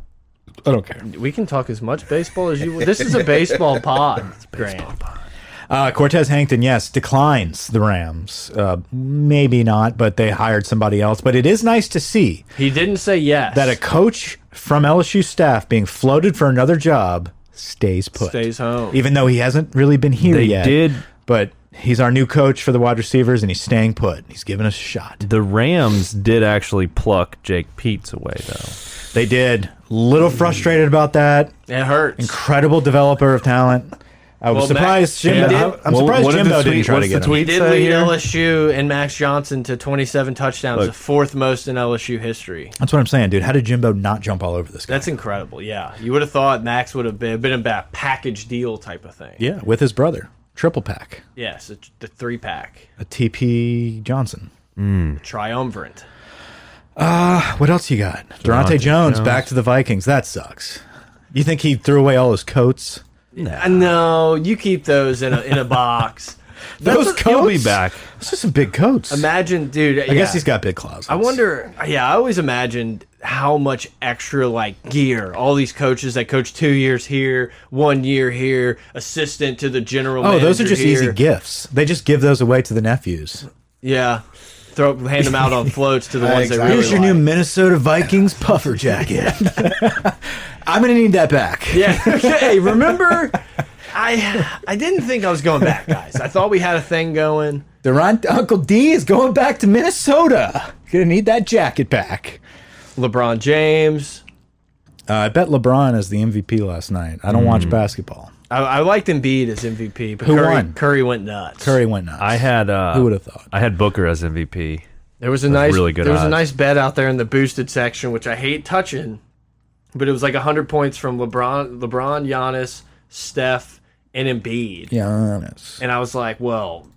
[SPEAKER 3] I don't care.
[SPEAKER 2] We can talk as much baseball as you want. This is a baseball pod, Grant.
[SPEAKER 3] Uh, Cortez Hankton, yes, declines the Rams. Uh, maybe not, but they hired somebody else. But it is nice to see
[SPEAKER 2] He didn't say yes.
[SPEAKER 3] that a coach from LSU staff being floated for another job stays put.
[SPEAKER 2] stays home.
[SPEAKER 3] Even though he hasn't really been here
[SPEAKER 5] They
[SPEAKER 3] yet.
[SPEAKER 5] did-
[SPEAKER 3] But he's our new coach for the wide receivers, and he's staying put. He's giving us a shot.
[SPEAKER 5] The Rams did actually pluck Jake Pete's away though.
[SPEAKER 3] They did. Little frustrated about that.
[SPEAKER 2] It hurts.
[SPEAKER 3] Incredible developer of talent. I was
[SPEAKER 2] Well, Matt-
[SPEAKER 3] surprised Jim.
[SPEAKER 2] Yeah.
[SPEAKER 3] I'm- I'm
[SPEAKER 5] Well,
[SPEAKER 3] surprised
[SPEAKER 5] what did the
[SPEAKER 3] Jimbo
[SPEAKER 5] tweet-
[SPEAKER 3] didn't try to
[SPEAKER 5] what's the
[SPEAKER 3] get him.
[SPEAKER 5] tweet?
[SPEAKER 2] He did
[SPEAKER 5] say
[SPEAKER 2] lead
[SPEAKER 5] here?
[SPEAKER 2] LSU and Max Johnson to 27 touchdowns, the fourth most in LSU history.
[SPEAKER 3] That's what I'm saying, dude. How did Jimbo not jump all over this guy?
[SPEAKER 2] That's incredible. Yeah, you would have thought Max would have been, been about a package deal type of thing.
[SPEAKER 3] Yeah, with his brother. Triple pack.
[SPEAKER 2] Yes, it's the three pack
[SPEAKER 3] A TP Johnson.
[SPEAKER 2] triumvirate.
[SPEAKER 3] What else you got? Durante Jones, back to the Vikings. That sucks. You think he threw away all his coats?
[SPEAKER 2] I know you keep those in a in a box.
[SPEAKER 3] Those
[SPEAKER 5] a- he'll be back.
[SPEAKER 3] Those are some big coats.
[SPEAKER 2] Imagine, dude.
[SPEAKER 3] I guess he's got big closets.
[SPEAKER 2] I wonder. Yeah, I always imagined how much extra like gear all these coaches that coach two years here, one year here, assistant to the general.
[SPEAKER 3] Oh, those are
[SPEAKER 2] manager
[SPEAKER 3] just
[SPEAKER 2] here.
[SPEAKER 3] easy gifts. They just give those away to the nephews.
[SPEAKER 2] Yeah, throw hand them out on floats to the
[SPEAKER 4] Yeah,
[SPEAKER 2] ones that
[SPEAKER 4] exactly.
[SPEAKER 2] really
[SPEAKER 3] Here's your
[SPEAKER 2] like.
[SPEAKER 3] new Minnesota Vikings puffer jacket. I'm gonna need that back.
[SPEAKER 2] Yeah. hey, remember? I I didn't think I was going back, guys. I thought we had a thing going.
[SPEAKER 3] Durant, Uncle D is going back to Minnesota. Gonna need that jacket back.
[SPEAKER 2] LeBron James.
[SPEAKER 3] Uh, I bet LeBron is the MVP last night. I don't watch basketball.
[SPEAKER 2] I, I liked Embiid as MVP, but
[SPEAKER 3] Who
[SPEAKER 2] Curry,
[SPEAKER 3] won?
[SPEAKER 2] Curry went nuts.
[SPEAKER 3] Curry went nuts.
[SPEAKER 5] I had uh,
[SPEAKER 3] Who would've thought?
[SPEAKER 5] I had Booker as MVP.
[SPEAKER 2] There was a nice,
[SPEAKER 5] really good
[SPEAKER 2] there was a
[SPEAKER 5] odds.
[SPEAKER 2] nice bet out there in the boosted section, which I hate touching, but it was like hundred points from LeBron, LeBron, Giannis, Steph, and Embiid.
[SPEAKER 3] Giannis.
[SPEAKER 2] And I was like, well,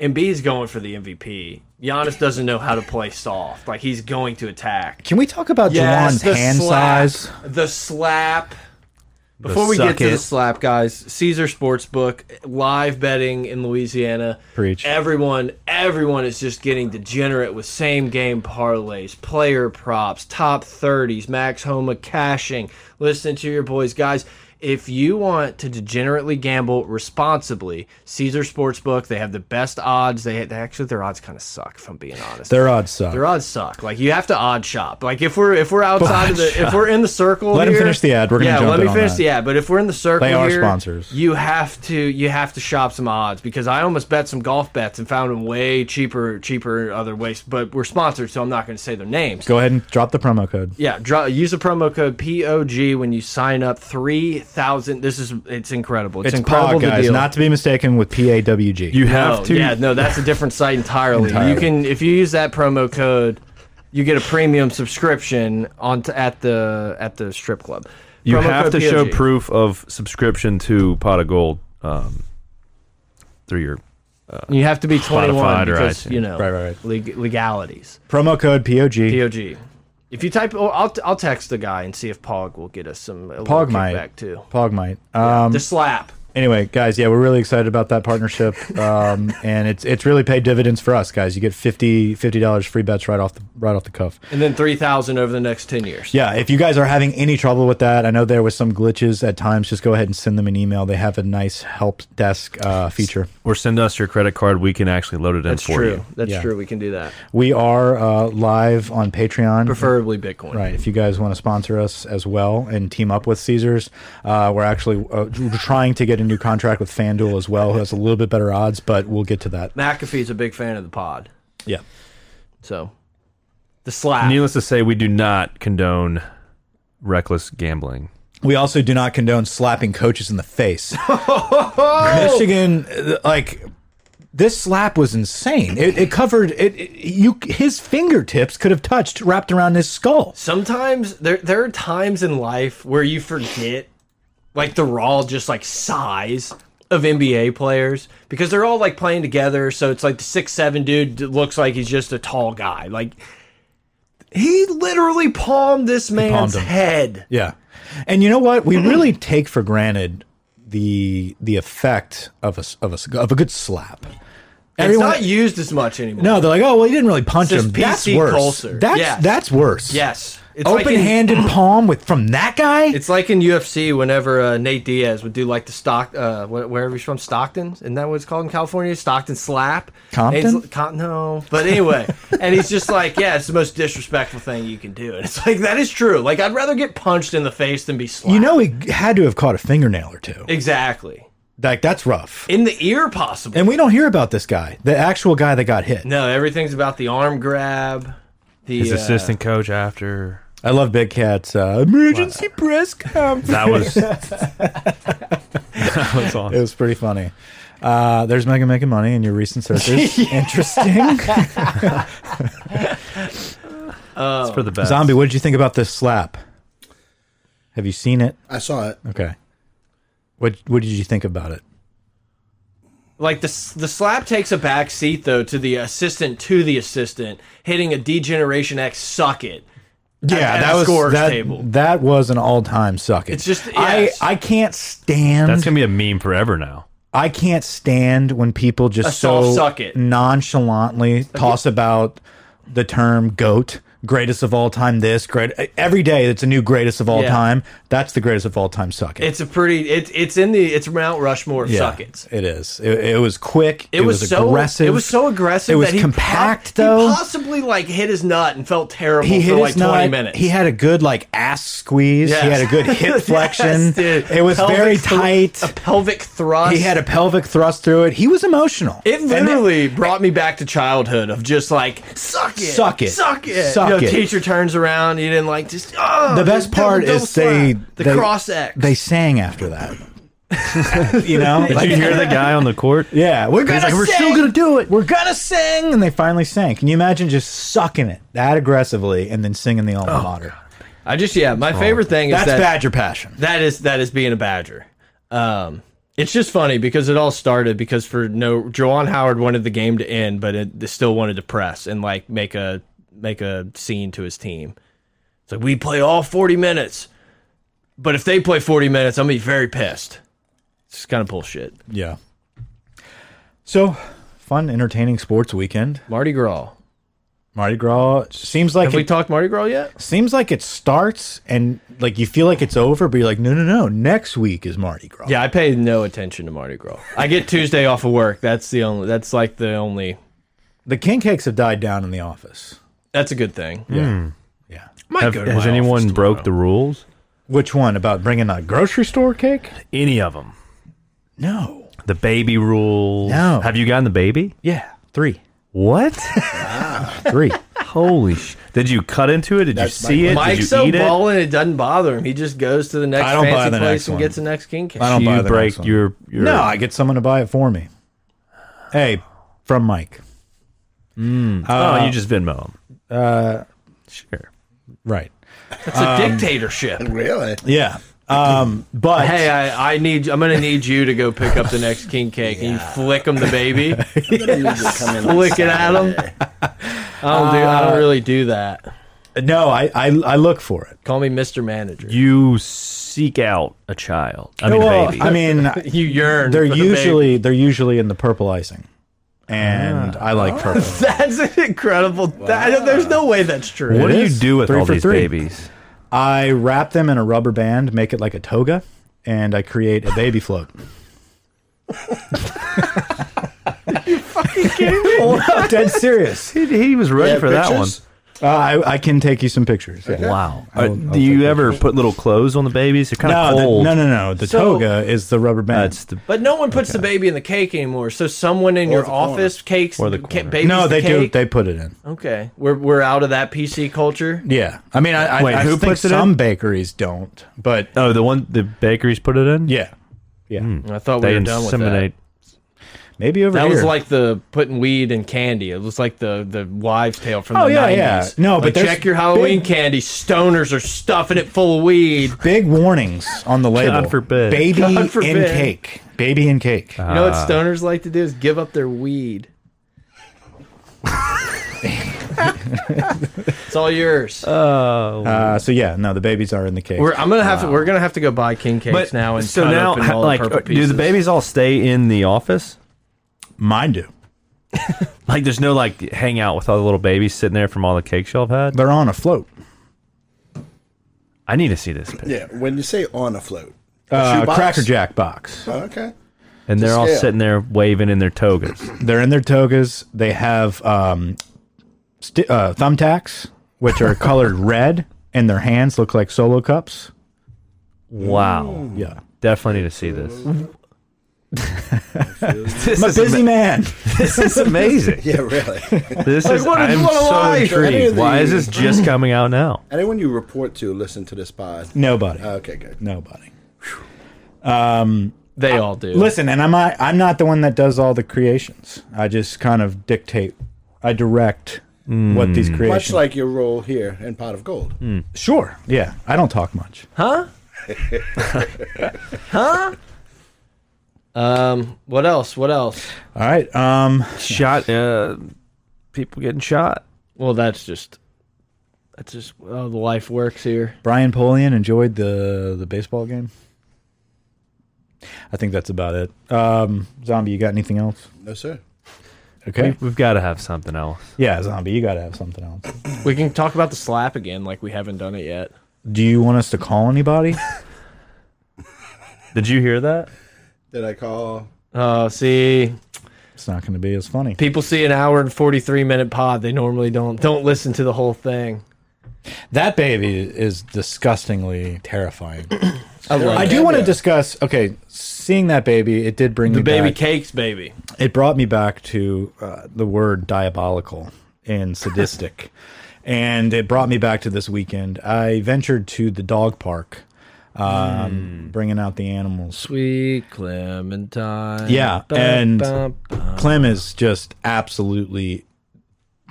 [SPEAKER 2] Embiid's going for the MVP. Giannis doesn't know how to play soft. Like he's going to attack.
[SPEAKER 3] Can we talk about Jawan's
[SPEAKER 2] the
[SPEAKER 3] hand
[SPEAKER 2] slap,
[SPEAKER 3] size?
[SPEAKER 2] The slap. Before we get
[SPEAKER 5] suck
[SPEAKER 2] to the
[SPEAKER 5] it.
[SPEAKER 2] slap, guys, Caesar Sportsbook live betting in Louisiana.
[SPEAKER 3] Preach.
[SPEAKER 2] Everyone, everyone is just getting degenerate with same game parlays, player props, top thirties, max homa cashing. Listen to your boys, guys. If you want to degenerately gamble responsibly, Caesar Sportsbook, they have the best odds. They, they actually their odds kind of suck, if I'm being honest.
[SPEAKER 3] Their odds suck.
[SPEAKER 2] Their odds suck. Like you have to odd shop. Like if we're if we're outside of the if we're in the circle,
[SPEAKER 3] Let him
[SPEAKER 2] here-
[SPEAKER 3] finish the ad. We're gonna
[SPEAKER 2] yeah.
[SPEAKER 3] jump
[SPEAKER 2] let
[SPEAKER 3] in
[SPEAKER 2] me
[SPEAKER 3] on
[SPEAKER 2] finish
[SPEAKER 3] that.
[SPEAKER 2] the ad. But if we're in the circle,
[SPEAKER 3] They are
[SPEAKER 2] here,
[SPEAKER 3] sponsors.
[SPEAKER 2] You have to you have to shop some odds because I almost bet some golf bets and found them way cheaper cheaper other ways. But we're sponsored, so I'm not going to say their names.
[SPEAKER 3] Go ahead and drop the promo code.
[SPEAKER 2] Yeah, draw, use the promo code POG when you sign up. Three thousand. This is it's incredible. It's,
[SPEAKER 3] It's
[SPEAKER 2] incredible
[SPEAKER 3] POG,
[SPEAKER 2] the
[SPEAKER 3] guys,
[SPEAKER 2] deal.
[SPEAKER 3] not to be mistaken with PAWG.
[SPEAKER 5] You
[SPEAKER 2] No,
[SPEAKER 5] have to.
[SPEAKER 2] Yeah, no, that's a different site entirely. You
[SPEAKER 3] Entirely.
[SPEAKER 2] can if you use that promo code, you get a premium subscription on t at the at the strip club.
[SPEAKER 5] You
[SPEAKER 2] Promo
[SPEAKER 5] have
[SPEAKER 2] code
[SPEAKER 5] to show
[SPEAKER 2] POG.
[SPEAKER 5] proof of subscription to Pot of Gold um, through your.
[SPEAKER 2] You have to be 21
[SPEAKER 5] Spotify or
[SPEAKER 2] because
[SPEAKER 5] iTunes.
[SPEAKER 2] you know
[SPEAKER 3] Right, right, right.
[SPEAKER 2] leg legalities.
[SPEAKER 3] promo code POG.
[SPEAKER 2] POG. If you type, oh, I'll I'll text the guy and see if Pog will get us some a little
[SPEAKER 3] Pog might.
[SPEAKER 2] kickback too.
[SPEAKER 3] Pog might. Um,
[SPEAKER 2] the slap.
[SPEAKER 3] anyway, guys, yeah, we're really excited about that partnership, um, and it's it's really paid dividends for us, guys. You get 50 dollars free bets right off the right off the cuff.
[SPEAKER 2] And then 3,000 over the next 10 years.
[SPEAKER 3] Yeah, if you guys are having any trouble with that, I know there was some glitches at times. Just go ahead and send them an email. They have a nice help desk uh, feature.
[SPEAKER 5] Or send us your credit card. We can actually load it in
[SPEAKER 2] That's
[SPEAKER 5] for
[SPEAKER 2] true.
[SPEAKER 5] you.
[SPEAKER 2] That's
[SPEAKER 3] Yeah.
[SPEAKER 2] true. We can do that.
[SPEAKER 3] We are uh, live on Patreon.
[SPEAKER 2] Preferably Bitcoin.
[SPEAKER 3] Right. If you guys want to sponsor us as well and team up with Caesars, uh, we're actually uh, trying to get a new contract with FanDuel as well, who has a little bit better odds, but we'll get to that.
[SPEAKER 2] McAfee's a big fan of the pod.
[SPEAKER 3] Yeah.
[SPEAKER 2] So the slap.
[SPEAKER 5] Needless to say, we do not condone reckless gambling.
[SPEAKER 3] We also do not condone slapping coaches in the face. Michigan, uh, like this slap was insane. It, it covered it, it. You, his fingertips could have touched, wrapped around his skull.
[SPEAKER 2] Sometimes there there are times in life where you forget like the raw just like size of NBA players because they're all like playing together, so it's like the six seven dude that looks like he's just a tall guy. Like he literally palmed this man's
[SPEAKER 3] palmed him.
[SPEAKER 2] head.
[SPEAKER 3] Yeah. And you know what? We really take for granted the the effect of a s- of a s- of a good slap. Everyone-
[SPEAKER 2] it's not used as much anymore.
[SPEAKER 3] no, they're like, oh well, he didn't really punch
[SPEAKER 2] It's
[SPEAKER 3] him. That's
[SPEAKER 2] just PC
[SPEAKER 3] worse.
[SPEAKER 2] Colser.
[SPEAKER 3] That's
[SPEAKER 2] Yes.
[SPEAKER 3] that's worse.
[SPEAKER 2] Yes. It's like in-
[SPEAKER 3] Open-handed palm with from that guy.
[SPEAKER 2] It's like in UFC whenever uh, Nate Diaz would do like the stock, uh, wh- wherever he's from, Stockton, isn't that what it's called in California? Stockton slap.
[SPEAKER 3] Compton?
[SPEAKER 2] And it's- Con- no, but anyway, and he's just like, yeah, it's the most disrespectful thing you can do, and it's like that is true. Like I'd rather get punched in the face than be slapped.
[SPEAKER 3] you know, he had to have caught a fingernail or two.
[SPEAKER 2] exactly
[SPEAKER 3] Like that's rough.
[SPEAKER 2] in the ear, possible.
[SPEAKER 3] And we don't hear about this guy, the actual guy that got hit.
[SPEAKER 2] no, everything's about the arm grab. The
[SPEAKER 5] His
[SPEAKER 2] uh,
[SPEAKER 5] assistant coach after
[SPEAKER 3] I love Big Cat's uh, emergency press conference.
[SPEAKER 5] that was that was awesome.
[SPEAKER 3] It was pretty funny. Uh, there's Megan making money in your recent searches. Interesting.
[SPEAKER 5] It's for
[SPEAKER 2] Uh,
[SPEAKER 5] the best.
[SPEAKER 3] Zombie, what did you think about this slap? Have you seen it?
[SPEAKER 4] I saw it.
[SPEAKER 3] Okay. What What did you think about it?
[SPEAKER 2] Like the s- the slap takes a back seat though to the assistant to the assistant hitting a Degeneration X suck it. at a scorer's
[SPEAKER 3] that,
[SPEAKER 2] table.
[SPEAKER 3] that was an all time suck. It's
[SPEAKER 2] just-
[SPEAKER 3] I
[SPEAKER 2] yes.
[SPEAKER 3] I can't stand
[SPEAKER 5] That's gonna be a meme forever now.
[SPEAKER 3] I can't stand when people just
[SPEAKER 2] A soft
[SPEAKER 3] so
[SPEAKER 2] suck it.
[SPEAKER 3] nonchalantly toss about the term goat, greatest of all time. This great every day. It's a new greatest of all
[SPEAKER 2] Yeah.
[SPEAKER 3] time. That's the greatest of all time. Suck it.
[SPEAKER 2] It's a pretty. It's it's in the it's Mount Rushmore of
[SPEAKER 3] Yeah,
[SPEAKER 2] suckets.
[SPEAKER 3] It is. It, it was quick. It,
[SPEAKER 2] It, was, so
[SPEAKER 3] aggressive.
[SPEAKER 2] It was so aggressive.
[SPEAKER 3] It was
[SPEAKER 2] that he
[SPEAKER 3] compact
[SPEAKER 2] po-
[SPEAKER 3] though.
[SPEAKER 2] He possibly like hit his nut and felt terrible
[SPEAKER 3] he
[SPEAKER 2] for
[SPEAKER 3] hit
[SPEAKER 2] like
[SPEAKER 3] his
[SPEAKER 2] twenty
[SPEAKER 3] nut.
[SPEAKER 2] minutes.
[SPEAKER 3] He had a good like ass squeeze. He
[SPEAKER 2] Yes.
[SPEAKER 3] had a good hip
[SPEAKER 2] Yes,
[SPEAKER 3] flexion.
[SPEAKER 2] dude.
[SPEAKER 3] it was
[SPEAKER 2] Pelvic
[SPEAKER 3] very
[SPEAKER 2] thr-
[SPEAKER 3] tight.
[SPEAKER 2] A pelvic thrust.
[SPEAKER 3] He had a pelvic thrust through it. He was emotional.
[SPEAKER 2] It
[SPEAKER 3] And then-
[SPEAKER 2] literally brought me back to childhood of just like suck it,
[SPEAKER 3] Suck it.
[SPEAKER 2] suck it.
[SPEAKER 3] Suck
[SPEAKER 2] you know,
[SPEAKER 3] it.
[SPEAKER 2] Teacher turns around, you didn't like just. Oh,
[SPEAKER 3] the best
[SPEAKER 2] double-
[SPEAKER 3] part
[SPEAKER 2] double
[SPEAKER 3] is they
[SPEAKER 2] slap. the
[SPEAKER 3] they-
[SPEAKER 2] cross X.
[SPEAKER 3] They sang after that. you know,
[SPEAKER 5] Did you hear the guy on the court?
[SPEAKER 3] yeah, we're gonna
[SPEAKER 5] like, "We're still
[SPEAKER 3] sing!
[SPEAKER 5] gonna do it."
[SPEAKER 3] We're gonna sing, and they finally sang. Can you imagine just sucking it that aggressively and then singing the alma mater?
[SPEAKER 2] I just yeah. My favorite thing is
[SPEAKER 3] Oh, That's
[SPEAKER 2] Oh, that
[SPEAKER 3] badger passion.
[SPEAKER 2] That is that is being a Badger. Um, it's just funny because it all started because for no Jawan Howard wanted the game to end, but it they still wanted to press and like make a make a scene to his team. It's like we play all forty minutes, but if they play forty minutes, I'm gonna be very pissed. It's kind of bullshit.
[SPEAKER 3] Yeah. So, fun, entertaining sports weekend.
[SPEAKER 2] Mardi Gras.
[SPEAKER 3] Mardi Gras seems like
[SPEAKER 2] Have
[SPEAKER 3] it,
[SPEAKER 2] we talked Mardi Gras yet?
[SPEAKER 3] seems like it starts and like you feel like it's over, but you're like, no, no, no. Next week is Mardi Gras.
[SPEAKER 2] Yeah, I pay no attention to Mardi Gras. I get Tuesday off of work. That's the only. That's like the only.
[SPEAKER 3] The king cakes have died down in the office.
[SPEAKER 2] That's a good thing.
[SPEAKER 3] Yeah.
[SPEAKER 5] Have, has anyone broke the rules?
[SPEAKER 3] Which one about bringing a grocery store cake?
[SPEAKER 5] Any of them?
[SPEAKER 3] No.
[SPEAKER 5] The baby rule.
[SPEAKER 3] No.
[SPEAKER 5] Have you gotten the baby?
[SPEAKER 3] Yeah. Three.
[SPEAKER 5] What?
[SPEAKER 3] Three.
[SPEAKER 5] Holy sh! Did you cut into it? Did
[SPEAKER 4] That's
[SPEAKER 5] you see
[SPEAKER 4] my-
[SPEAKER 5] it? Did you
[SPEAKER 2] Mike's so
[SPEAKER 5] eat it?
[SPEAKER 2] balling it doesn't bother him. He just goes to the next
[SPEAKER 3] I don't buy
[SPEAKER 2] fancy
[SPEAKER 3] the
[SPEAKER 2] place
[SPEAKER 3] next
[SPEAKER 2] and
[SPEAKER 3] one.
[SPEAKER 2] gets the next king cake.
[SPEAKER 3] I don't buy the
[SPEAKER 5] You
[SPEAKER 3] next
[SPEAKER 5] break
[SPEAKER 3] one.
[SPEAKER 5] your your.
[SPEAKER 3] No, I get someone to buy it for me. Hey, from Mike.
[SPEAKER 5] Oh, you just Venmo him. Uh, sure.
[SPEAKER 3] Right.
[SPEAKER 2] It's a
[SPEAKER 3] Um,
[SPEAKER 2] dictatorship.
[SPEAKER 4] Really?
[SPEAKER 3] Yeah. Um, but
[SPEAKER 2] Hey, I, I need I'm gonna need you to go pick up the next king cake and you flick him the baby,
[SPEAKER 4] I'm gonna need to come in on
[SPEAKER 2] flick it at him.
[SPEAKER 4] Saturday.
[SPEAKER 2] I don't do I
[SPEAKER 3] Uh,
[SPEAKER 2] don't really do that.
[SPEAKER 3] no, I, I I look for it.
[SPEAKER 2] Call me Mr. Manager. You,
[SPEAKER 5] You seek out a child. I mean,
[SPEAKER 3] Well,
[SPEAKER 5] a baby.
[SPEAKER 3] I mean,
[SPEAKER 2] yearn.
[SPEAKER 3] they're
[SPEAKER 2] for the
[SPEAKER 3] usually they're usually in the purple icing, and I like purple.
[SPEAKER 2] baby. that's an incredible. that- there's no way that's true.
[SPEAKER 5] what
[SPEAKER 3] It
[SPEAKER 5] do you
[SPEAKER 3] is.
[SPEAKER 5] do with
[SPEAKER 3] Three
[SPEAKER 5] all
[SPEAKER 3] for
[SPEAKER 5] these
[SPEAKER 3] three.
[SPEAKER 5] babies?
[SPEAKER 3] I wrap them in a rubber band, make it like a toga, and I create a baby float. you fucking kidding me? I'm dead serious.
[SPEAKER 5] He, he was ready
[SPEAKER 4] Yeah,
[SPEAKER 5] for that one.
[SPEAKER 4] pictures?
[SPEAKER 3] Uh, I, I can take you some pictures. yeah.
[SPEAKER 5] Wow. Are- do you ever put little clothes on the babies? They're kind
[SPEAKER 3] No,
[SPEAKER 5] of
[SPEAKER 3] the-
[SPEAKER 5] cold.
[SPEAKER 3] no, no, no. The
[SPEAKER 2] So-
[SPEAKER 3] toga is the rubber band.
[SPEAKER 5] That's the
[SPEAKER 2] But no one puts the baby in the cake anymore. So someone in your
[SPEAKER 4] the corner.
[SPEAKER 2] office cakes
[SPEAKER 5] Or the
[SPEAKER 2] ca-
[SPEAKER 5] corner.
[SPEAKER 2] babies
[SPEAKER 3] no,
[SPEAKER 2] the
[SPEAKER 3] they do.
[SPEAKER 2] cake?
[SPEAKER 3] They put it in.
[SPEAKER 2] Okay, we're we're out of that PC culture.
[SPEAKER 3] Yeah. I mean, I, I,
[SPEAKER 5] Wait,
[SPEAKER 3] I
[SPEAKER 5] who
[SPEAKER 3] think
[SPEAKER 5] puts it in?
[SPEAKER 3] some bakeries don't, but
[SPEAKER 5] oh the one the bakeries put it in.
[SPEAKER 3] yeah, yeah.
[SPEAKER 2] I thought we
[SPEAKER 5] they
[SPEAKER 2] were done with that.
[SPEAKER 5] inseminate.
[SPEAKER 3] Maybe over
[SPEAKER 2] That
[SPEAKER 3] here.
[SPEAKER 2] was like the putting weed in candy. It was like the the wives' tale from
[SPEAKER 3] Oh,
[SPEAKER 2] the
[SPEAKER 3] yeah,
[SPEAKER 2] 90s.
[SPEAKER 3] yeah. No, but
[SPEAKER 2] Like,
[SPEAKER 3] there's
[SPEAKER 2] check your Halloween
[SPEAKER 3] big-
[SPEAKER 2] candy. Stoners are stuffing it full of weed.
[SPEAKER 3] big warnings on the label.
[SPEAKER 5] forbid.
[SPEAKER 3] Baby
[SPEAKER 2] God Uh-huh.
[SPEAKER 3] in
[SPEAKER 2] forbid.
[SPEAKER 3] cake. Baby in cake.
[SPEAKER 2] You know what stoners like to do is give up their weed. it's all yours.
[SPEAKER 3] Uh, so yeah, no, the babies are in the cake.
[SPEAKER 2] we're I'm gonna have to. We're gonna have to go buy king cakes now. And
[SPEAKER 5] so
[SPEAKER 2] cut
[SPEAKER 5] now,
[SPEAKER 2] open all the
[SPEAKER 5] like,
[SPEAKER 2] purple
[SPEAKER 5] do the
[SPEAKER 2] pieces.
[SPEAKER 5] babies all stay in the office?
[SPEAKER 3] Mine do.
[SPEAKER 5] Like, there's no like hang out with all the little babies sitting there from all the cake shelf had.
[SPEAKER 3] They're on a float.
[SPEAKER 5] I need to see this. Picture.
[SPEAKER 4] Yeah, when you say on a float, a
[SPEAKER 3] Uh,
[SPEAKER 4] shoebox?
[SPEAKER 3] Cracker Jack box.
[SPEAKER 4] Oh, okay.
[SPEAKER 5] And they're all
[SPEAKER 4] scale.
[SPEAKER 5] sitting there waving in their togas.
[SPEAKER 3] They're in their togas. They have um, sti uh, thumbtacks, which are colored red, and their hands look like solo cups.
[SPEAKER 5] Wow.
[SPEAKER 3] Yeah.
[SPEAKER 5] Definitely need to see this. this,
[SPEAKER 3] I'm a
[SPEAKER 5] is
[SPEAKER 3] busy
[SPEAKER 5] ama-
[SPEAKER 3] man.
[SPEAKER 5] this is amazing.
[SPEAKER 4] Yeah, really.
[SPEAKER 5] This is,
[SPEAKER 2] what a-
[SPEAKER 5] I'm
[SPEAKER 2] what a
[SPEAKER 5] so
[SPEAKER 2] life.
[SPEAKER 4] Any of
[SPEAKER 5] intrigued. Why is this just coming out now?
[SPEAKER 4] Anyone you report to listen to this pod.
[SPEAKER 2] Mm.
[SPEAKER 3] Nobody.
[SPEAKER 4] Okay, good.
[SPEAKER 3] Nobody.
[SPEAKER 2] They all do.
[SPEAKER 3] Listen, and I'm not, I'm not the one that does all the creations. I just kind of dictate. I direct what these
[SPEAKER 2] Hmm.
[SPEAKER 4] Much
[SPEAKER 3] creations.
[SPEAKER 4] like your role here in Pot of Gold.
[SPEAKER 2] Mm.
[SPEAKER 3] sure. Yeah. I don't talk much.
[SPEAKER 2] Huh? huh? Um, what else? What else?
[SPEAKER 3] All right. Um.
[SPEAKER 5] Shot, uh, people getting shot.
[SPEAKER 2] Well, that's just that's just how the life works here.
[SPEAKER 3] Brian Polian enjoyed the the baseball game. I think that's about it. Um, zombie, you got anything else?
[SPEAKER 4] No, sir.
[SPEAKER 3] Okay.
[SPEAKER 5] We've got to have something else.
[SPEAKER 3] Yeah, zombie, you got to have something else.
[SPEAKER 2] We can talk about the slap again, like we haven't done it yet.
[SPEAKER 3] Do you want us to call anybody?
[SPEAKER 5] Did you hear that?
[SPEAKER 4] Did I call?
[SPEAKER 2] Oh, see,
[SPEAKER 3] It's not going to be as funny.
[SPEAKER 2] people see an hour and forty three minute pod. They normally don't don't listen to the whole thing.
[SPEAKER 3] That baby is disgustingly terrifying.
[SPEAKER 2] I love
[SPEAKER 3] I
[SPEAKER 2] it.
[SPEAKER 3] do want to
[SPEAKER 4] Yeah.
[SPEAKER 3] discuss. Okay, seeing that baby, it did bring
[SPEAKER 2] the
[SPEAKER 3] me
[SPEAKER 2] baby
[SPEAKER 3] back-
[SPEAKER 2] cakes, baby.
[SPEAKER 3] it brought me back to uh, the word diabolical and sadistic. and it brought me back to this weekend. I ventured to the dog park,
[SPEAKER 5] Hmm.
[SPEAKER 3] um, bringing out the animals.
[SPEAKER 2] Sweet Clementine.
[SPEAKER 3] Yeah,
[SPEAKER 2] Bum,
[SPEAKER 3] and-
[SPEAKER 2] bum,
[SPEAKER 5] Oh.
[SPEAKER 2] bum.
[SPEAKER 3] Clem is just absolutely,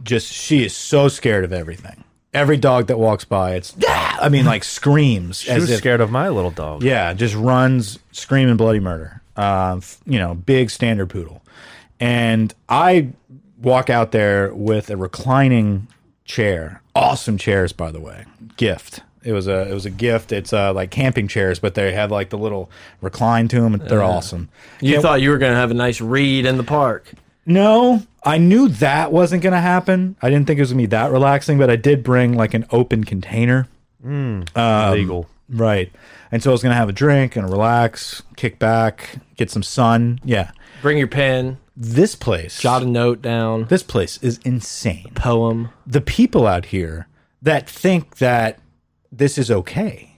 [SPEAKER 3] just, she is so scared of everything. Every dog that walks by, it's, "Ah!" I mean, like screams.
[SPEAKER 5] She was scared of my little dog.
[SPEAKER 3] Yeah, just runs screaming bloody murder. Um, f- you know, big standard poodle. And I walk out there with a reclining chair. Awesome chairs, by the way. Gift. It was a it was a gift. It's uh, like camping chairs, but they have like the little recline to them. They're awesome.
[SPEAKER 2] you thought you were gonna have a nice read in the park.
[SPEAKER 3] No, I knew that wasn't going to happen. I didn't think it was going to be that relaxing, but I did bring like an open container.
[SPEAKER 2] um,
[SPEAKER 5] Legal.
[SPEAKER 3] Right. And so I was going to have a drink and relax, kick back, get some sun. Yeah.
[SPEAKER 2] Bring your pen.
[SPEAKER 3] This place,
[SPEAKER 2] Jot a note down.
[SPEAKER 3] this place is insane.
[SPEAKER 2] Poem.
[SPEAKER 3] The people out here that think that this is okay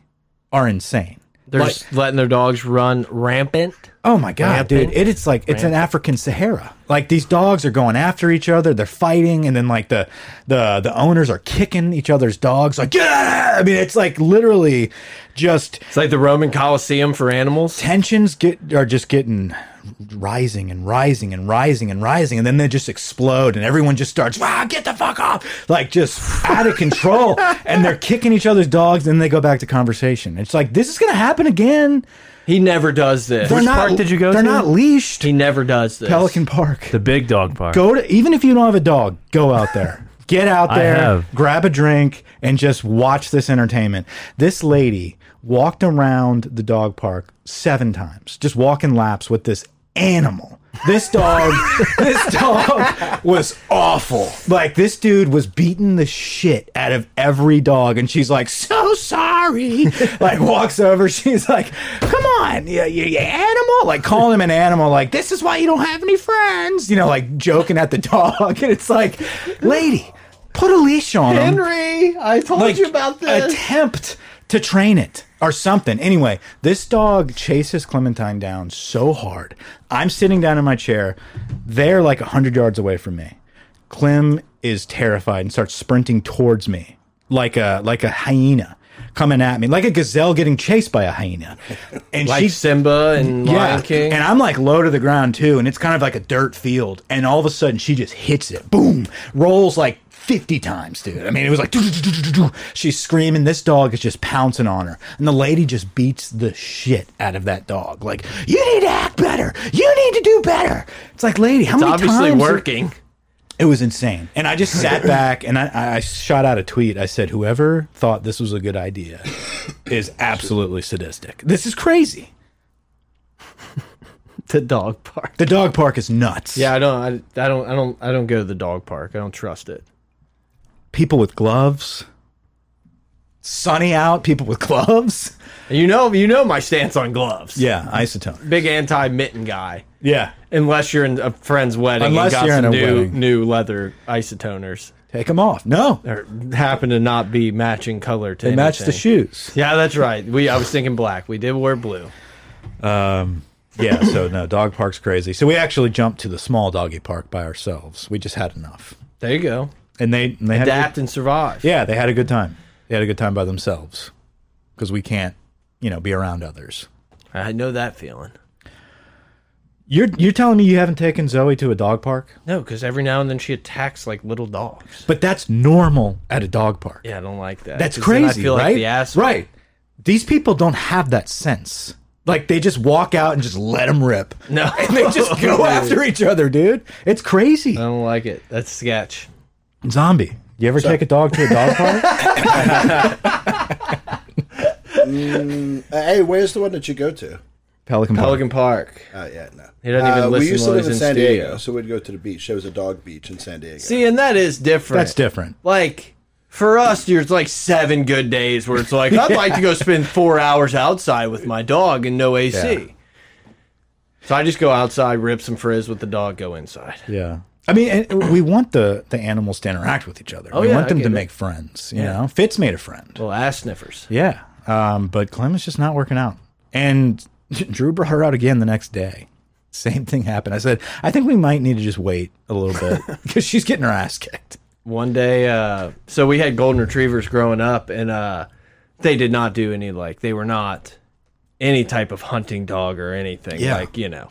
[SPEAKER 3] are insane.
[SPEAKER 2] They're
[SPEAKER 3] Like-
[SPEAKER 2] just letting their dogs run rampant.
[SPEAKER 3] Oh my god,
[SPEAKER 2] Rampant.
[SPEAKER 3] dude! It is like it's an African Sahara. Like these dogs are going after each other. They're fighting, and then like the the the owners are kicking each other's dogs. Like yeah, I mean it's like literally just
[SPEAKER 2] It's like the Roman Colosseum for animals.
[SPEAKER 3] tensions get are just getting rising and rising and rising and rising and then they just explode and everyone just starts ah, get the fuck off like just out of control and they're kicking each other's dogs and they go back to conversation it's like this is gonna happen again
[SPEAKER 2] He never does this.
[SPEAKER 3] they're not
[SPEAKER 5] park did you go
[SPEAKER 3] they're
[SPEAKER 5] to?
[SPEAKER 3] not leashed
[SPEAKER 2] He never does this.
[SPEAKER 3] pelican park
[SPEAKER 5] The big dog park.
[SPEAKER 3] go to even if you don't have a dog go out there get out
[SPEAKER 5] I
[SPEAKER 3] there
[SPEAKER 5] have.
[SPEAKER 3] grab a drink and just watch this entertainment this lady walked around the dog park seven times just walking laps with this animal this dog this dog was awful like this dude was beating the shit out of every dog and she's like so sorry like walks over she's like come on you, you, you animal like calling him an animal like this is why you don't have any friends you know like joking at the dog and it's like lady put a leash on him
[SPEAKER 2] Henry, I told
[SPEAKER 3] like, Attempt to train it or something. Anyway, this dog chases Clementine down so hard. I'm sitting down in my chair. They're like 100 yards away from me. Clem is terrified and starts sprinting towards me like a like a hyena coming at me, like a gazelle getting chased by a hyena. And
[SPEAKER 2] like
[SPEAKER 3] she
[SPEAKER 2] Simba and Lion King.
[SPEAKER 3] and I'm like low to the ground too, and it's kind of like a dirt field. And all of a sudden, she just hits it. Boom! Rolls like 50 times, dude. I mean, it was like, "Doo-doo-doo-doo-doo-doo." she's screaming. This dog is just pouncing on her. And the lady just beats the shit out of that dog. Like, you need to act better. You need to do better. It's like, lady, how
[SPEAKER 2] it's
[SPEAKER 3] many
[SPEAKER 2] obviously
[SPEAKER 3] times?
[SPEAKER 2] working.
[SPEAKER 3] It was insane. And I just sat back and I, I shot out a tweet. I said, whoever thought this was a good idea is absolutely sadistic. This is crazy.
[SPEAKER 2] The dog park.
[SPEAKER 3] The dog park is nuts.
[SPEAKER 2] Yeah, I don't. I, I don't. I don't. I don't go to the dog park. I don't trust it.
[SPEAKER 3] people with gloves. sunny out, people with gloves.
[SPEAKER 2] You know, you know my stance on gloves.
[SPEAKER 3] Yeah, isotone.
[SPEAKER 2] Big anti mitten guy.
[SPEAKER 3] Yeah,
[SPEAKER 2] Unless you're in a friend's wedding
[SPEAKER 3] Unless
[SPEAKER 2] and got
[SPEAKER 3] you're
[SPEAKER 2] some
[SPEAKER 3] in a
[SPEAKER 2] new
[SPEAKER 3] wedding.
[SPEAKER 2] new leather isotoners
[SPEAKER 3] take them off. No, they
[SPEAKER 2] or happen to not be matching color to anything.
[SPEAKER 3] match the shoes.
[SPEAKER 2] Yeah, that's right. We I was thinking black. We did wear blue.
[SPEAKER 3] Yeah, so no, dog park's crazy. So we actually jumped to the small doggy park by ourselves. We just had enough,
[SPEAKER 2] There you go.
[SPEAKER 3] and they and they had a good-
[SPEAKER 2] Adapt and survive.
[SPEAKER 3] yeah, they had a good time. They had a good time by themselves because we can't, you know, be around others.
[SPEAKER 2] I know that feeling.
[SPEAKER 3] You're you're telling me you haven't taken Zoe to a dog park?
[SPEAKER 2] No, because every now and then she attacks like little dogs.
[SPEAKER 3] But that's normal at a dog park.
[SPEAKER 2] Yeah, I don't like that.
[SPEAKER 3] That's
[SPEAKER 2] 'Cause then
[SPEAKER 3] crazy,
[SPEAKER 2] I feel
[SPEAKER 3] right?
[SPEAKER 2] like the asshole.
[SPEAKER 3] Right. These people don't have that sense. Like they just walk out and just let them rip.
[SPEAKER 2] No. Um,
[SPEAKER 3] and they just go after each other, dude. It's crazy.
[SPEAKER 2] I don't like it. That's sketch.
[SPEAKER 3] Zombie. You ever take a dog to a dog park?
[SPEAKER 4] Uh, hey, where's the one that you go to?
[SPEAKER 3] Pelican Park.
[SPEAKER 2] Pelican Park.
[SPEAKER 4] Oh yeah, no.
[SPEAKER 2] He doesn't even
[SPEAKER 4] Uh,
[SPEAKER 2] listen
[SPEAKER 4] we used
[SPEAKER 2] while
[SPEAKER 4] to live
[SPEAKER 2] he's
[SPEAKER 4] in
[SPEAKER 2] in
[SPEAKER 4] San
[SPEAKER 2] studio.
[SPEAKER 4] Diego, so we'd go to the beach. There was a dog beach in San Diego.
[SPEAKER 2] See, and that is different.
[SPEAKER 3] That's different.
[SPEAKER 2] Like for us, there's like seven good days where it's like I'd like to go spend four hours outside with my dog and no AC.
[SPEAKER 3] Yeah.
[SPEAKER 2] So I just go outside, rip some frizz with the dog, go inside.
[SPEAKER 3] Yeah. I mean, and we want the, the animals to interact with each other. we
[SPEAKER 2] Oh, yeah,
[SPEAKER 3] want
[SPEAKER 2] I
[SPEAKER 3] them to
[SPEAKER 2] get it.
[SPEAKER 3] make friends. You know, Fitz made a friend.
[SPEAKER 2] Little ass sniffers.
[SPEAKER 3] Yeah. Um, but Clem is just not working out. And Drew brought her out again the next day. Same thing happened. I said, I think we might need to just wait a little bit because she's getting her ass kicked.
[SPEAKER 2] One day, uh, so we had golden retrievers growing up, and uh, they did not do any like they were not any type of hunting dog or anything.
[SPEAKER 3] Yeah.
[SPEAKER 2] Like you know,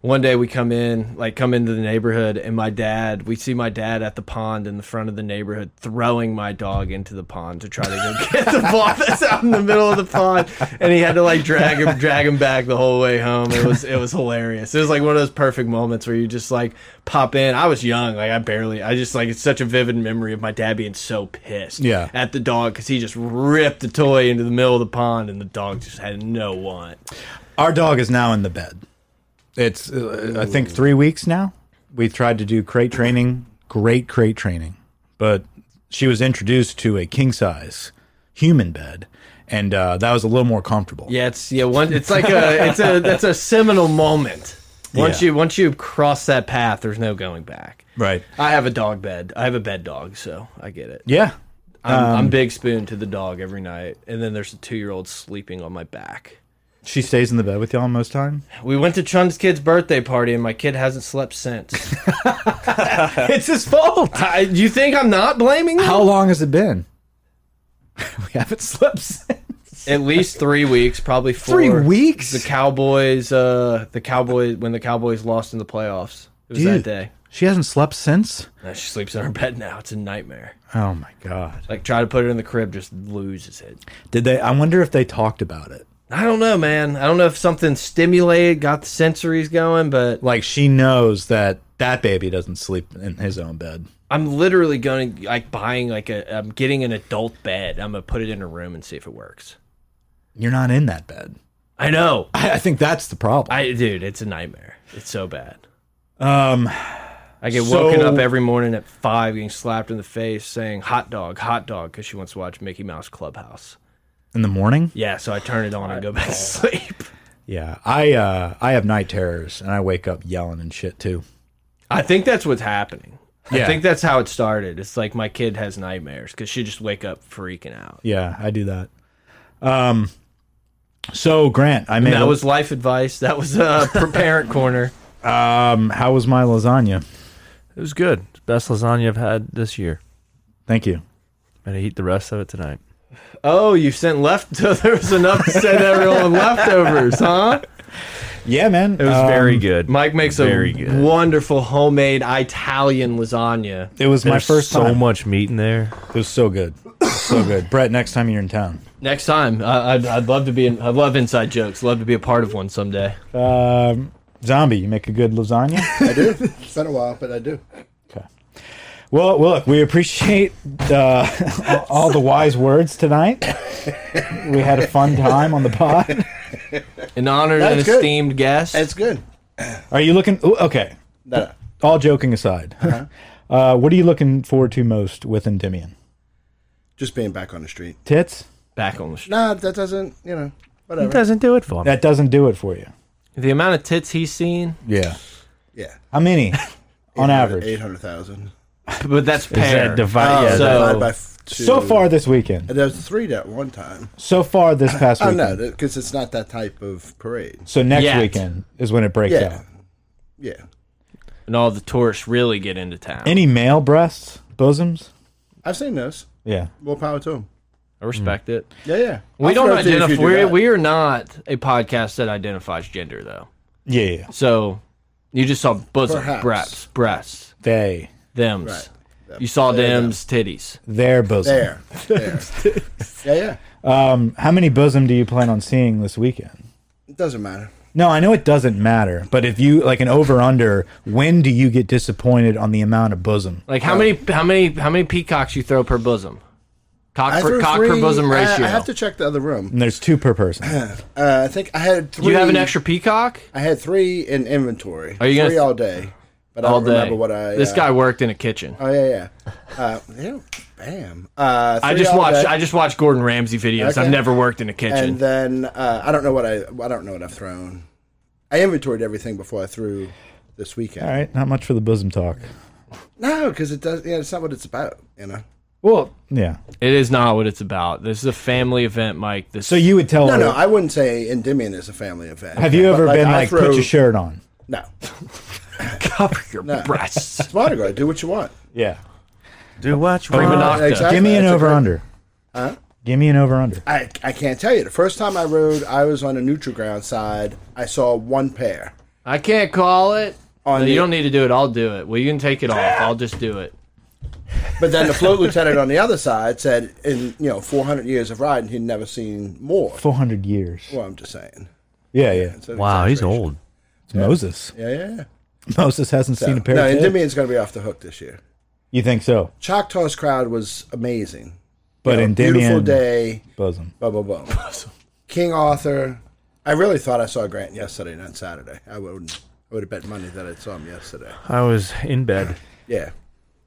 [SPEAKER 2] one day we come in, like come into the neighborhood, and my dad, we see my dad at the pond in the front of the neighborhood throwing my dog into the pond to try to go get the ball that's out in the middle of the pond, and he had to like drag him, drag him back the whole way home. It was it was hilarious. It was like one of those perfect moments where you just like pop in. I was young, like I barely, I just like it's such a vivid memory of my dad being so pissed,
[SPEAKER 3] Yeah.
[SPEAKER 2] at the dog because he just ripped the toy into the middle of the pond, and the dog just had no want.
[SPEAKER 3] Our dog is now in the bed. It's, uh, I think, three weeks now. We've tried to do crate training, great crate training, but she was introduced to a king size human bed, and uh, that was a little more comfortable.
[SPEAKER 2] Yeah, it's yeah. One, it's like a it's a that's a seminal moment. Once
[SPEAKER 3] Yeah.
[SPEAKER 2] you once you cross that path, there's no going back.
[SPEAKER 3] Right.
[SPEAKER 2] I have a dog bed. I have a bed dog, so I get it.
[SPEAKER 3] Yeah.
[SPEAKER 2] I'm, I'm big spoon to the dog every night, and then there's a two year old sleeping on my back.
[SPEAKER 3] She stays in the bed with y'all most time.
[SPEAKER 2] We went to Chun's kid's birthday party, and my kid hasn't slept since.
[SPEAKER 3] it's his fault.
[SPEAKER 2] I, you think I'm not blaming him?
[SPEAKER 3] How long has it been? we haven't slept since.
[SPEAKER 2] At least three weeks, probably four.
[SPEAKER 3] Three weeks?
[SPEAKER 2] The Cowboys, uh, the Cowboys when the Cowboys lost in the playoffs. It was that day.
[SPEAKER 3] She hasn't slept since?
[SPEAKER 2] Now she sleeps in her bed now. It's a nightmare.
[SPEAKER 3] Oh my god.
[SPEAKER 2] Like try to put it in the crib, just loses it.
[SPEAKER 3] Did they I wonder if they talked about it.
[SPEAKER 2] I don't know, man. I don't know if something stimulated, got the sensories going, but
[SPEAKER 3] Like she knows that that baby doesn't sleep in his own bed.
[SPEAKER 2] I'm literally going to like buying like a. I'm getting an adult bed. I'm gonna put it in a room and see if it works.
[SPEAKER 3] You're not in that bed.
[SPEAKER 2] I know.
[SPEAKER 3] I, I think that's the problem.
[SPEAKER 2] I dude, it's a nightmare. It's so bad.
[SPEAKER 3] um
[SPEAKER 2] I get
[SPEAKER 3] So-
[SPEAKER 2] woken up every morning at five, getting slapped in the face, saying "hot dog, hot dog" because she wants to watch Mickey Mouse Clubhouse.
[SPEAKER 3] in the morning?
[SPEAKER 2] Yeah, so I turn it on and go back to sleep.
[SPEAKER 3] Yeah. I uh I have night terrors and I wake up yelling and shit too.
[SPEAKER 2] I think that's what's happening.
[SPEAKER 3] Yeah.
[SPEAKER 2] I think that's how it started. It's like my kid has nightmares because she just wake up freaking out.
[SPEAKER 3] Yeah, I do that. Um so Grant, I made
[SPEAKER 2] And that
[SPEAKER 3] a-
[SPEAKER 2] was life advice. That was uh, for parent corner.
[SPEAKER 3] um how was my lasagna?
[SPEAKER 5] It was good. Best lasagna I've had this year.
[SPEAKER 3] Thank you.
[SPEAKER 5] I'm gonna eat the rest of it tonight.
[SPEAKER 2] Oh, you sent left. So there was enough to send everyone leftovers, huh?
[SPEAKER 3] Yeah, man. Um,
[SPEAKER 5] It was very good.
[SPEAKER 2] Mike makes
[SPEAKER 5] Very
[SPEAKER 2] a
[SPEAKER 5] good.
[SPEAKER 2] wonderful homemade Italian lasagna.
[SPEAKER 3] It was my
[SPEAKER 5] There's
[SPEAKER 3] first
[SPEAKER 5] so
[SPEAKER 3] time.
[SPEAKER 5] much meat in there.
[SPEAKER 3] It was so good, so good. Brett, next time you're in town,
[SPEAKER 2] Next time, I, I'd, I'd love to be. In, I love inside jokes. Love to be a part of one someday.
[SPEAKER 3] um, zombie, you make a good lasagna.
[SPEAKER 4] I do. It's been a while, but I do.
[SPEAKER 3] well, look, we appreciate uh, all- all the wise words tonight. We had a fun time on the pod.
[SPEAKER 2] An honored and
[SPEAKER 4] That's good.
[SPEAKER 2] esteemed guest.
[SPEAKER 4] It's good.
[SPEAKER 3] Are you looking? ooh, Okay,
[SPEAKER 4] No, no.
[SPEAKER 3] Uh-huh. all joking aside, uh, what are you looking forward to most with Endymion?
[SPEAKER 4] Just being back on the street.
[SPEAKER 3] Tits?
[SPEAKER 2] Back on the street.
[SPEAKER 4] Nah, that doesn't, you know,
[SPEAKER 5] It
[SPEAKER 4] whatever.
[SPEAKER 5] doesn't do it for me.
[SPEAKER 3] That doesn't do it for you.
[SPEAKER 2] The amount of tits he's seen,
[SPEAKER 3] Yeah.
[SPEAKER 4] yeah.
[SPEAKER 3] How many? on average.
[SPEAKER 4] 800,000.
[SPEAKER 2] but that's
[SPEAKER 5] Is
[SPEAKER 2] pair.
[SPEAKER 5] that divide? yeah,
[SPEAKER 2] Um, so-
[SPEAKER 5] that-
[SPEAKER 4] divided by f- two.
[SPEAKER 3] So far this
[SPEAKER 4] And
[SPEAKER 3] weekend.
[SPEAKER 4] There was three at one time.
[SPEAKER 3] So far this past
[SPEAKER 4] Oh,
[SPEAKER 3] weekend.
[SPEAKER 4] no, because it's not that type of parade.
[SPEAKER 3] So next
[SPEAKER 2] Yet.
[SPEAKER 3] weekend is when it breaks
[SPEAKER 4] Yeah.
[SPEAKER 3] out.
[SPEAKER 4] Yeah.
[SPEAKER 2] and all the tourists really get into town.
[SPEAKER 3] Any male breasts, bosoms?
[SPEAKER 4] I've seen those.
[SPEAKER 3] Yeah.
[SPEAKER 4] More power to them.
[SPEAKER 2] I respect it.
[SPEAKER 4] Yeah, yeah.
[SPEAKER 2] We
[SPEAKER 4] I'll
[SPEAKER 2] don't
[SPEAKER 4] throw it to you if
[SPEAKER 2] identify.
[SPEAKER 4] you do
[SPEAKER 2] we're,
[SPEAKER 4] that.
[SPEAKER 2] we are not a podcast that identifies gender, though.
[SPEAKER 3] Yeah. yeah.
[SPEAKER 2] So you just saw bosom,
[SPEAKER 4] Perhaps.
[SPEAKER 2] breasts, breasts,
[SPEAKER 3] They.
[SPEAKER 2] them's.
[SPEAKER 4] Right.
[SPEAKER 2] You saw
[SPEAKER 4] There you go.
[SPEAKER 2] them's titties.
[SPEAKER 3] Their bosom.
[SPEAKER 4] There. There. yeah, yeah.
[SPEAKER 3] Um, how many bosom do you plan on seeing this weekend?
[SPEAKER 4] It doesn't matter.
[SPEAKER 3] No, I know it doesn't matter, but if you like an over under, when do you get disappointed on the amount of bosom?
[SPEAKER 2] Like how many how many how many peacocks you throw per bosom? Cock
[SPEAKER 4] I
[SPEAKER 2] per
[SPEAKER 4] threw
[SPEAKER 2] cock per
[SPEAKER 4] three-
[SPEAKER 2] bosom
[SPEAKER 4] I-
[SPEAKER 2] ratio.
[SPEAKER 4] I, have to check the other room.
[SPEAKER 3] And there's two per person.
[SPEAKER 4] Uh, I think I had three.
[SPEAKER 2] Do you have an extra peacock?
[SPEAKER 4] I had three in inventory.
[SPEAKER 2] Are you gonna-
[SPEAKER 4] three all day? But I
[SPEAKER 2] All
[SPEAKER 4] don't
[SPEAKER 2] day.
[SPEAKER 4] remember what I.
[SPEAKER 2] this
[SPEAKER 4] uh,
[SPEAKER 2] guy worked in a kitchen.
[SPEAKER 4] Oh yeah, yeah. Uh, yeah bam. Uh,
[SPEAKER 2] I
[SPEAKER 4] three
[SPEAKER 2] just
[SPEAKER 4] all
[SPEAKER 2] watched
[SPEAKER 4] day,
[SPEAKER 2] I just watched Gordon Ramsay videos.
[SPEAKER 4] Okay.
[SPEAKER 2] I've never worked in a kitchen.
[SPEAKER 4] and then uh, I don't know what I. I don't know what I've thrown. I inventoried everything before I threw this weekend.
[SPEAKER 3] All right, not much for the bosom talk.
[SPEAKER 4] No, because it does. Yeah, it's not what it's about. You know.
[SPEAKER 2] well,
[SPEAKER 3] Yeah.
[SPEAKER 2] it is not what it's about. This is a family event, Mike. This
[SPEAKER 3] So you would tell
[SPEAKER 4] No,
[SPEAKER 3] her,
[SPEAKER 4] no. I wouldn't say Endymion is a family event.
[SPEAKER 3] have you
[SPEAKER 4] But,
[SPEAKER 3] ever been
[SPEAKER 4] I
[SPEAKER 3] like,
[SPEAKER 4] throw-
[SPEAKER 3] put your shirt on?
[SPEAKER 4] No.
[SPEAKER 2] cover your breasts.
[SPEAKER 4] It's Mardi Gras. Do what you want.
[SPEAKER 3] Yeah.
[SPEAKER 5] Do what you
[SPEAKER 2] Bring
[SPEAKER 5] want.
[SPEAKER 2] it up. Nocta.
[SPEAKER 3] Give me an
[SPEAKER 4] That's a
[SPEAKER 3] over
[SPEAKER 4] great-
[SPEAKER 3] under. Give me an over under.
[SPEAKER 4] I, I can't tell you. The first time I rode, I was on a neutral ground side. I saw one pair.
[SPEAKER 2] I can't call it.
[SPEAKER 4] On
[SPEAKER 2] No,
[SPEAKER 4] the-
[SPEAKER 2] you don't need to do it. I'll do it. Well, you can take it off. I'll just do it.
[SPEAKER 4] But then the float lieutenant on the other side said, in you know, 400 years of riding, he'd never seen more.
[SPEAKER 3] 400 years.
[SPEAKER 4] Well, I'm just saying.
[SPEAKER 3] Yeah, yeah.
[SPEAKER 4] It's an
[SPEAKER 5] Wow, he's
[SPEAKER 4] exaggeration.
[SPEAKER 5] old.
[SPEAKER 3] It's Moses.
[SPEAKER 4] Yeah, yeah. yeah.
[SPEAKER 3] Moses hasn't seen a pair
[SPEAKER 4] no,
[SPEAKER 3] of tits.
[SPEAKER 4] Endymion's going to be off the hook this year.
[SPEAKER 3] You think so?
[SPEAKER 4] Choctaw's crowd was amazing.
[SPEAKER 3] But
[SPEAKER 4] You know,
[SPEAKER 3] in
[SPEAKER 4] beautiful
[SPEAKER 3] Damien,
[SPEAKER 4] day.
[SPEAKER 3] bosom.
[SPEAKER 4] Blah blah blah. King Arthur. I really thought I saw Grant yesterday, not Saturday. I would I would have bet money that I saw him yesterday.
[SPEAKER 5] I was in bed.
[SPEAKER 4] Yeah.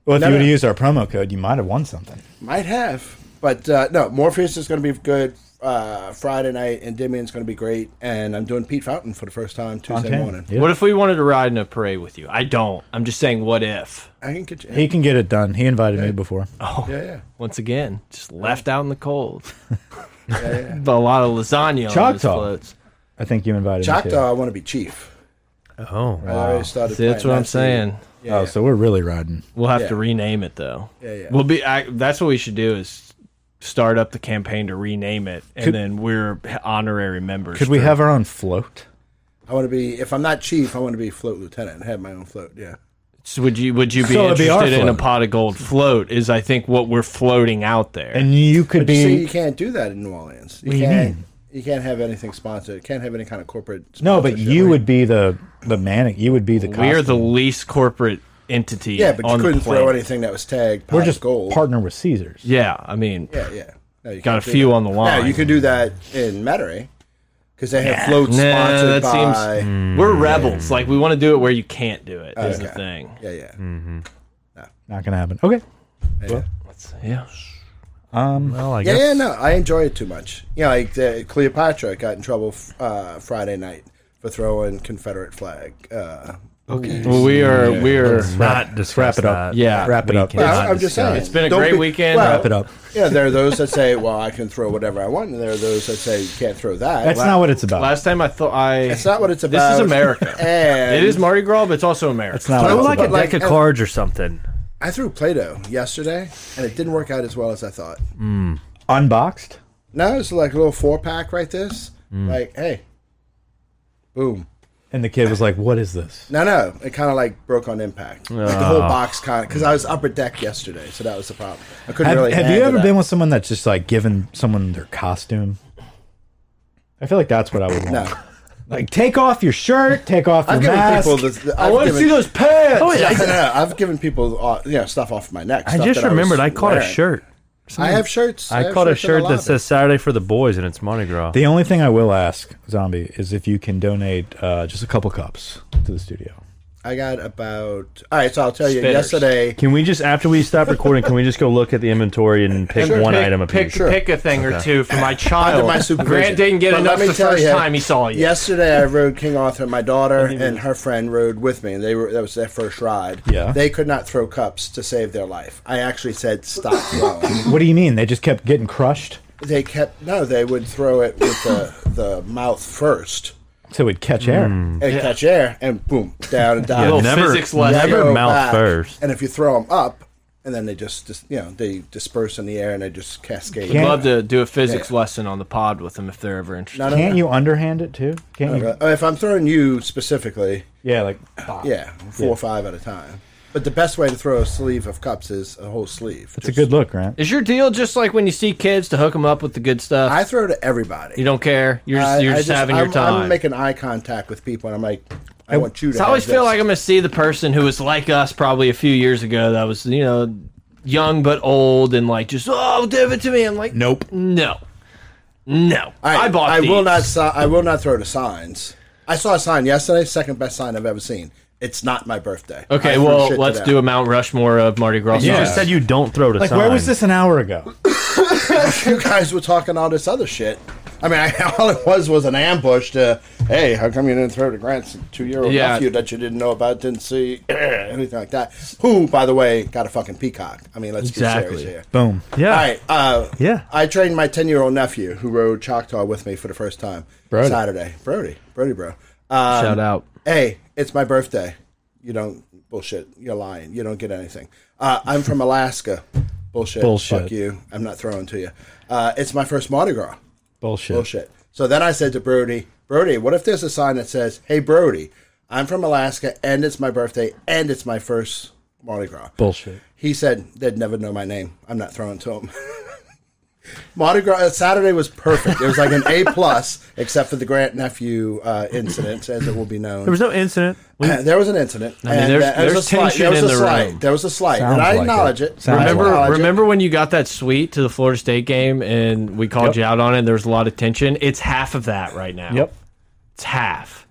[SPEAKER 3] Well, if
[SPEAKER 4] No,
[SPEAKER 3] you
[SPEAKER 4] no.
[SPEAKER 3] would have used our promo code, you might have won something.
[SPEAKER 4] Might have, but uh, no. Morpheus is going to be good uh, Friday night, and Damien's going to be great. And I'm doing Pete Fountain for the first time Tuesday
[SPEAKER 3] Fontaine.
[SPEAKER 4] morning.
[SPEAKER 3] Yeah.
[SPEAKER 2] What if we wanted to ride in a parade with you? I don't. I'm just saying, what if?
[SPEAKER 4] I can get you.
[SPEAKER 3] He can get it done. He invited me before.
[SPEAKER 2] Oh,
[SPEAKER 4] yeah, yeah.
[SPEAKER 2] once again, just left out in the cold.
[SPEAKER 4] yeah, yeah.
[SPEAKER 2] But a lot of lasagna on those
[SPEAKER 3] Choctaw.
[SPEAKER 2] floats.
[SPEAKER 3] I think you invited me.
[SPEAKER 4] Choctaw,
[SPEAKER 3] too.
[SPEAKER 4] I want to be chief.
[SPEAKER 5] Oh,
[SPEAKER 4] I already started.
[SPEAKER 2] See, that's
[SPEAKER 4] planning
[SPEAKER 2] what I'm
[SPEAKER 4] that season.
[SPEAKER 2] saying.
[SPEAKER 4] Yeah,
[SPEAKER 3] Oh,
[SPEAKER 4] yeah.
[SPEAKER 3] so we're really riding.
[SPEAKER 2] We'll have
[SPEAKER 4] Yeah.
[SPEAKER 2] to rename it though.
[SPEAKER 4] Yeah, yeah.
[SPEAKER 2] We'll be. I, that's what we should do is start up the campaign to rename it, and
[SPEAKER 3] Could-
[SPEAKER 2] then we're honorary members.
[SPEAKER 3] Could we
[SPEAKER 2] for-
[SPEAKER 3] have our own float?
[SPEAKER 4] I want to be. If I'm not chief, I want to be float lieutenant. Have my own float. Yeah.
[SPEAKER 2] So would you Would you be
[SPEAKER 3] So it'd be our
[SPEAKER 2] interested in a
[SPEAKER 3] float.
[SPEAKER 2] pot of gold float? Is I think what we're floating out there.
[SPEAKER 3] And you could
[SPEAKER 4] You see,
[SPEAKER 3] be
[SPEAKER 4] you can't do that in New Orleans. You
[SPEAKER 3] What do you
[SPEAKER 4] can't.
[SPEAKER 3] mean?
[SPEAKER 4] You can't have anything sponsored. You can't have any kind of corporate.
[SPEAKER 3] no, but
[SPEAKER 4] sponsorship.
[SPEAKER 3] you would be the the manic. You would be the.
[SPEAKER 2] we are the
[SPEAKER 3] costume.
[SPEAKER 2] least corporate entity.
[SPEAKER 4] Yeah, but you
[SPEAKER 2] on the
[SPEAKER 4] couldn't throw
[SPEAKER 2] planet.
[SPEAKER 4] anything that was tagged.
[SPEAKER 3] We're
[SPEAKER 4] pot
[SPEAKER 3] just
[SPEAKER 4] gold.
[SPEAKER 3] partner with Caesars.
[SPEAKER 2] Yeah, I mean,
[SPEAKER 4] Yeah, yeah. No, you
[SPEAKER 2] got a
[SPEAKER 4] can't do
[SPEAKER 2] few
[SPEAKER 4] that.
[SPEAKER 2] on the line.
[SPEAKER 4] Yeah, you could do that in Metairie because they have floats
[SPEAKER 2] Nah, that
[SPEAKER 4] sponsored
[SPEAKER 2] seems- Mm.
[SPEAKER 4] by.
[SPEAKER 3] mm.
[SPEAKER 2] We're rebels. Like we want to do it where you can't do it. Is the
[SPEAKER 4] Okay.
[SPEAKER 2] thing.
[SPEAKER 4] Yeah, yeah.
[SPEAKER 3] Mm. Not gonna happen. Okay.
[SPEAKER 2] Yeah.
[SPEAKER 3] Um.
[SPEAKER 5] well, I
[SPEAKER 4] Yeah,
[SPEAKER 5] guess.
[SPEAKER 4] yeah, no, I enjoy it too much. You know, like the, Cleopatra got in trouble f- uh, Friday night for throwing Confederate flag. Uh, okay.
[SPEAKER 2] Well, we are. We are.
[SPEAKER 5] Not discuss
[SPEAKER 3] wrap it up.
[SPEAKER 5] that.
[SPEAKER 2] Yeah.
[SPEAKER 3] Wrap it
[SPEAKER 5] We
[SPEAKER 3] up.
[SPEAKER 5] can't
[SPEAKER 4] Well, I'm just
[SPEAKER 5] discuss.
[SPEAKER 4] saying.
[SPEAKER 2] It's been a
[SPEAKER 4] Don't
[SPEAKER 2] great
[SPEAKER 4] be-
[SPEAKER 2] weekend.
[SPEAKER 4] well-
[SPEAKER 3] Wrap it up.
[SPEAKER 4] Yeah, there are those that say, well, I can throw whatever I want, and there are those that say, you can't throw that.
[SPEAKER 3] That's
[SPEAKER 4] Well,
[SPEAKER 3] not what it's about.
[SPEAKER 2] Last time I thought I.
[SPEAKER 4] That's not what it's
[SPEAKER 2] This
[SPEAKER 4] about.
[SPEAKER 2] is America.
[SPEAKER 4] And
[SPEAKER 2] It is Mardi Gras, but it's also America.
[SPEAKER 3] It's not
[SPEAKER 5] Throw
[SPEAKER 3] what
[SPEAKER 5] like
[SPEAKER 3] it's
[SPEAKER 4] But
[SPEAKER 5] a
[SPEAKER 3] about.
[SPEAKER 4] like-
[SPEAKER 5] deck of cards or something.
[SPEAKER 4] I threw Play Doh yesterday, and it didn't work out as well as I thought.
[SPEAKER 3] Unboxed.
[SPEAKER 4] No, it's like a little four pack right this.
[SPEAKER 2] Mm.
[SPEAKER 4] Like, hey. Boom.
[SPEAKER 3] And the kid was like, "What is this?"
[SPEAKER 4] No, no. It kind of like broke on impact. Like the whole
[SPEAKER 2] Ah.
[SPEAKER 4] box kind of, because I was upper deck yesterday, so that was the problem. I couldn't
[SPEAKER 3] Have,
[SPEAKER 4] really.
[SPEAKER 3] have you
[SPEAKER 4] handle
[SPEAKER 3] ever
[SPEAKER 4] that.
[SPEAKER 3] been with someone that's just like given someone their costume? I feel like that's what I would want.
[SPEAKER 4] No.
[SPEAKER 3] Like, take off your shirt, take off your
[SPEAKER 4] I've given
[SPEAKER 3] mask.
[SPEAKER 4] people this. I've
[SPEAKER 2] I want to
[SPEAKER 4] given,
[SPEAKER 2] see those pants.
[SPEAKER 5] Oh,
[SPEAKER 4] Yeah, no, no, I've given people, uh, you know, stuff off my neck.
[SPEAKER 5] I
[SPEAKER 4] stuff
[SPEAKER 5] just
[SPEAKER 4] that was
[SPEAKER 5] remembered I caught a
[SPEAKER 4] wearing.
[SPEAKER 5] shirt.
[SPEAKER 4] I have shirts.
[SPEAKER 5] I
[SPEAKER 4] have
[SPEAKER 5] caught a
[SPEAKER 4] shirts in
[SPEAKER 5] shirt that
[SPEAKER 4] lobby.
[SPEAKER 5] says Saturday for the boys, and it's Mardi Gras.
[SPEAKER 3] The only thing I will ask, Zombie, is if you can donate uh, just a couple cups to the studio.
[SPEAKER 4] I got about. All right, so I'll tell you.
[SPEAKER 2] Spitters.
[SPEAKER 4] Yesterday,
[SPEAKER 5] Can we just after we stop recording? can we just go look at the inventory and pick one
[SPEAKER 2] pick,
[SPEAKER 5] item a
[SPEAKER 2] pick,
[SPEAKER 5] piece?
[SPEAKER 4] Sure.
[SPEAKER 2] pick a thing or two for my
[SPEAKER 4] under
[SPEAKER 2] child.
[SPEAKER 4] my supervision.
[SPEAKER 2] Grant didn't get
[SPEAKER 4] But
[SPEAKER 2] enough
[SPEAKER 4] let me
[SPEAKER 2] the
[SPEAKER 4] tell
[SPEAKER 2] first
[SPEAKER 4] you,
[SPEAKER 2] time he saw you.
[SPEAKER 4] Yesterday, I rode King Arthur. My daughter and her friend rode with me, and they were that was their first ride.
[SPEAKER 3] Yeah.
[SPEAKER 4] they could not throw cups to save their life. I actually said stop throwing.
[SPEAKER 3] What do you mean? They just kept getting crushed,
[SPEAKER 4] they kept no. They would throw it with the the mouth first
[SPEAKER 3] so it'd catch air.
[SPEAKER 4] and catch air, and boom, down and down.
[SPEAKER 2] Little
[SPEAKER 5] never-
[SPEAKER 2] physics lesson.
[SPEAKER 5] never-
[SPEAKER 4] go
[SPEAKER 5] mouth first.
[SPEAKER 4] And if you throw them up, and then they just, dis you know they disperse in the air and they just cascade.
[SPEAKER 3] Can't-
[SPEAKER 2] Love to do a physics lesson on the pod with them if they're ever interested.
[SPEAKER 4] Not
[SPEAKER 3] Can't you underhand it too? Can't you?
[SPEAKER 4] Uh, If I'm throwing you specifically,
[SPEAKER 3] Yeah, like
[SPEAKER 4] yeah, four or five at a time. But the best way to throw a sleeve of cups is a whole sleeve.
[SPEAKER 3] it's a good look, Grant.
[SPEAKER 2] Is your deal just like when you see kids to hook them up with the good stuff?
[SPEAKER 4] I throw to everybody.
[SPEAKER 2] you don't care. You're just,
[SPEAKER 4] I-
[SPEAKER 2] you're
[SPEAKER 4] I
[SPEAKER 2] just, having
[SPEAKER 4] I'm,
[SPEAKER 2] your time.
[SPEAKER 4] I'm making eye contact with people, and I'm like, I want you to.
[SPEAKER 2] I always
[SPEAKER 4] have this.
[SPEAKER 2] feel like I'm going to see the person who was like us probably a few years ago that was, you know, young but old and like just, oh, give it to me. I'm like,
[SPEAKER 3] Nope.
[SPEAKER 2] No. No. I, bought
[SPEAKER 4] I will
[SPEAKER 2] these.
[SPEAKER 4] not. Si- I will not throw to signs. I saw a sign yesterday, second best sign I've ever seen. It's not my birthday. I
[SPEAKER 2] Okay,
[SPEAKER 4] threw
[SPEAKER 2] well,
[SPEAKER 4] shit to
[SPEAKER 2] let's
[SPEAKER 4] them.
[SPEAKER 2] do a Mount Rushmore of Mardi Gras.
[SPEAKER 5] You
[SPEAKER 3] Yeah.
[SPEAKER 5] just said you don't throw to
[SPEAKER 3] Like
[SPEAKER 5] sign.
[SPEAKER 3] where was this an hour ago?
[SPEAKER 4] you guys were talking all this other shit. I mean, I, all it was was an ambush to, hey, how come you didn't throw to Grant's two year old
[SPEAKER 2] Yeah.
[SPEAKER 4] nephew that you didn't know about, didn't see, anything like that? Who, by the way, got a fucking peacock? I mean, let's be
[SPEAKER 2] Exactly.
[SPEAKER 4] serious here.
[SPEAKER 3] Boom.
[SPEAKER 5] Yeah.
[SPEAKER 4] All right. Uh,
[SPEAKER 5] Yeah.
[SPEAKER 4] I trained my 10 year old nephew who rode Choctaw with me for the first time
[SPEAKER 3] Brody.
[SPEAKER 4] Saturday. Brody. Brody, bro. Um,
[SPEAKER 2] Shout out.
[SPEAKER 4] Hey, it's my birthday. You don't bullshit. You're lying. You don't get anything. Uh, I'm from Alaska. Bullshit.
[SPEAKER 3] Bullshit.
[SPEAKER 4] Fuck you. I'm not throwing to you. Uh, it's my first Mardi Gras.
[SPEAKER 3] Bullshit.
[SPEAKER 4] Bullshit. So then I said to Brody, Brody, what if there's a sign that says, "Hey Brody, I'm from Alaska and it's my birthday and it's my first Mardi Gras."
[SPEAKER 3] Bullshit.
[SPEAKER 4] He said they'd never know my name. I'm not throwing to him. Mardi Gras uh, Saturday was perfect. It was like an A plus, except for the Grant nephew uh, incident, as it will be known.
[SPEAKER 5] There was no incident. We-
[SPEAKER 4] Uh, there was an incident. I
[SPEAKER 2] mean, there's- there's tension
[SPEAKER 4] there was
[SPEAKER 2] in
[SPEAKER 4] a
[SPEAKER 2] the
[SPEAKER 4] slight.
[SPEAKER 2] room.
[SPEAKER 4] There was a slight,
[SPEAKER 3] Sounds
[SPEAKER 4] and I
[SPEAKER 3] like
[SPEAKER 4] acknowledge
[SPEAKER 3] it.
[SPEAKER 4] it.
[SPEAKER 3] Sounds
[SPEAKER 4] I
[SPEAKER 3] like it.
[SPEAKER 2] Remember,
[SPEAKER 4] acknowledge it.
[SPEAKER 2] remember when you got that suite to the Florida State game and we called
[SPEAKER 3] Yep.
[SPEAKER 2] you out on it? And there was a lot of tension. It's half of that right now.
[SPEAKER 3] Yep.
[SPEAKER 2] It's half.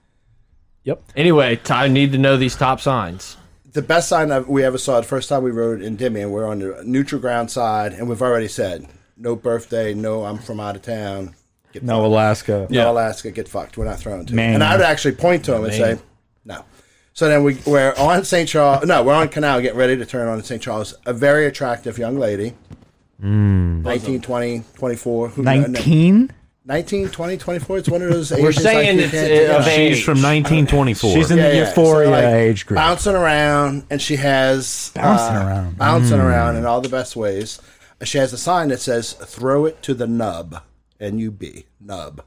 [SPEAKER 3] Yep.
[SPEAKER 2] Anyway, t- I need to know these top signs.
[SPEAKER 4] the best sign I've, we ever saw the first time we rode in Dimmian. We're on the neutral ground side, and we've already said no birthday, no I'm from out of town, get
[SPEAKER 3] No Alaska.
[SPEAKER 4] no
[SPEAKER 2] Yeah.
[SPEAKER 4] Alaska, get fucked. We're not thrown to.
[SPEAKER 3] Man.
[SPEAKER 4] And I would actually point to him and
[SPEAKER 2] Man.
[SPEAKER 4] say no. So then we we're on St. Charles. No, we're on Canal, getting ready to turn on St. Charles. A very attractive young lady. nineteen, twenty, twenty-four. 19, 20, 24. Who,
[SPEAKER 3] Hmm. Nineteen.
[SPEAKER 4] 19, 20, 24. It's one of those
[SPEAKER 2] We're
[SPEAKER 4] ages like
[SPEAKER 2] saying
[SPEAKER 4] you
[SPEAKER 2] it's
[SPEAKER 4] can't-
[SPEAKER 2] uh, of
[SPEAKER 4] yeah.
[SPEAKER 2] age.
[SPEAKER 5] She's from 1924.
[SPEAKER 3] She's in the euphoria
[SPEAKER 4] So, like,
[SPEAKER 3] age group.
[SPEAKER 4] Bouncing around, and she has uh,
[SPEAKER 3] Bouncing around. Hmm.
[SPEAKER 4] bouncing around in all the best ways. She has a sign that says "Throw it to the nub," N U B nub.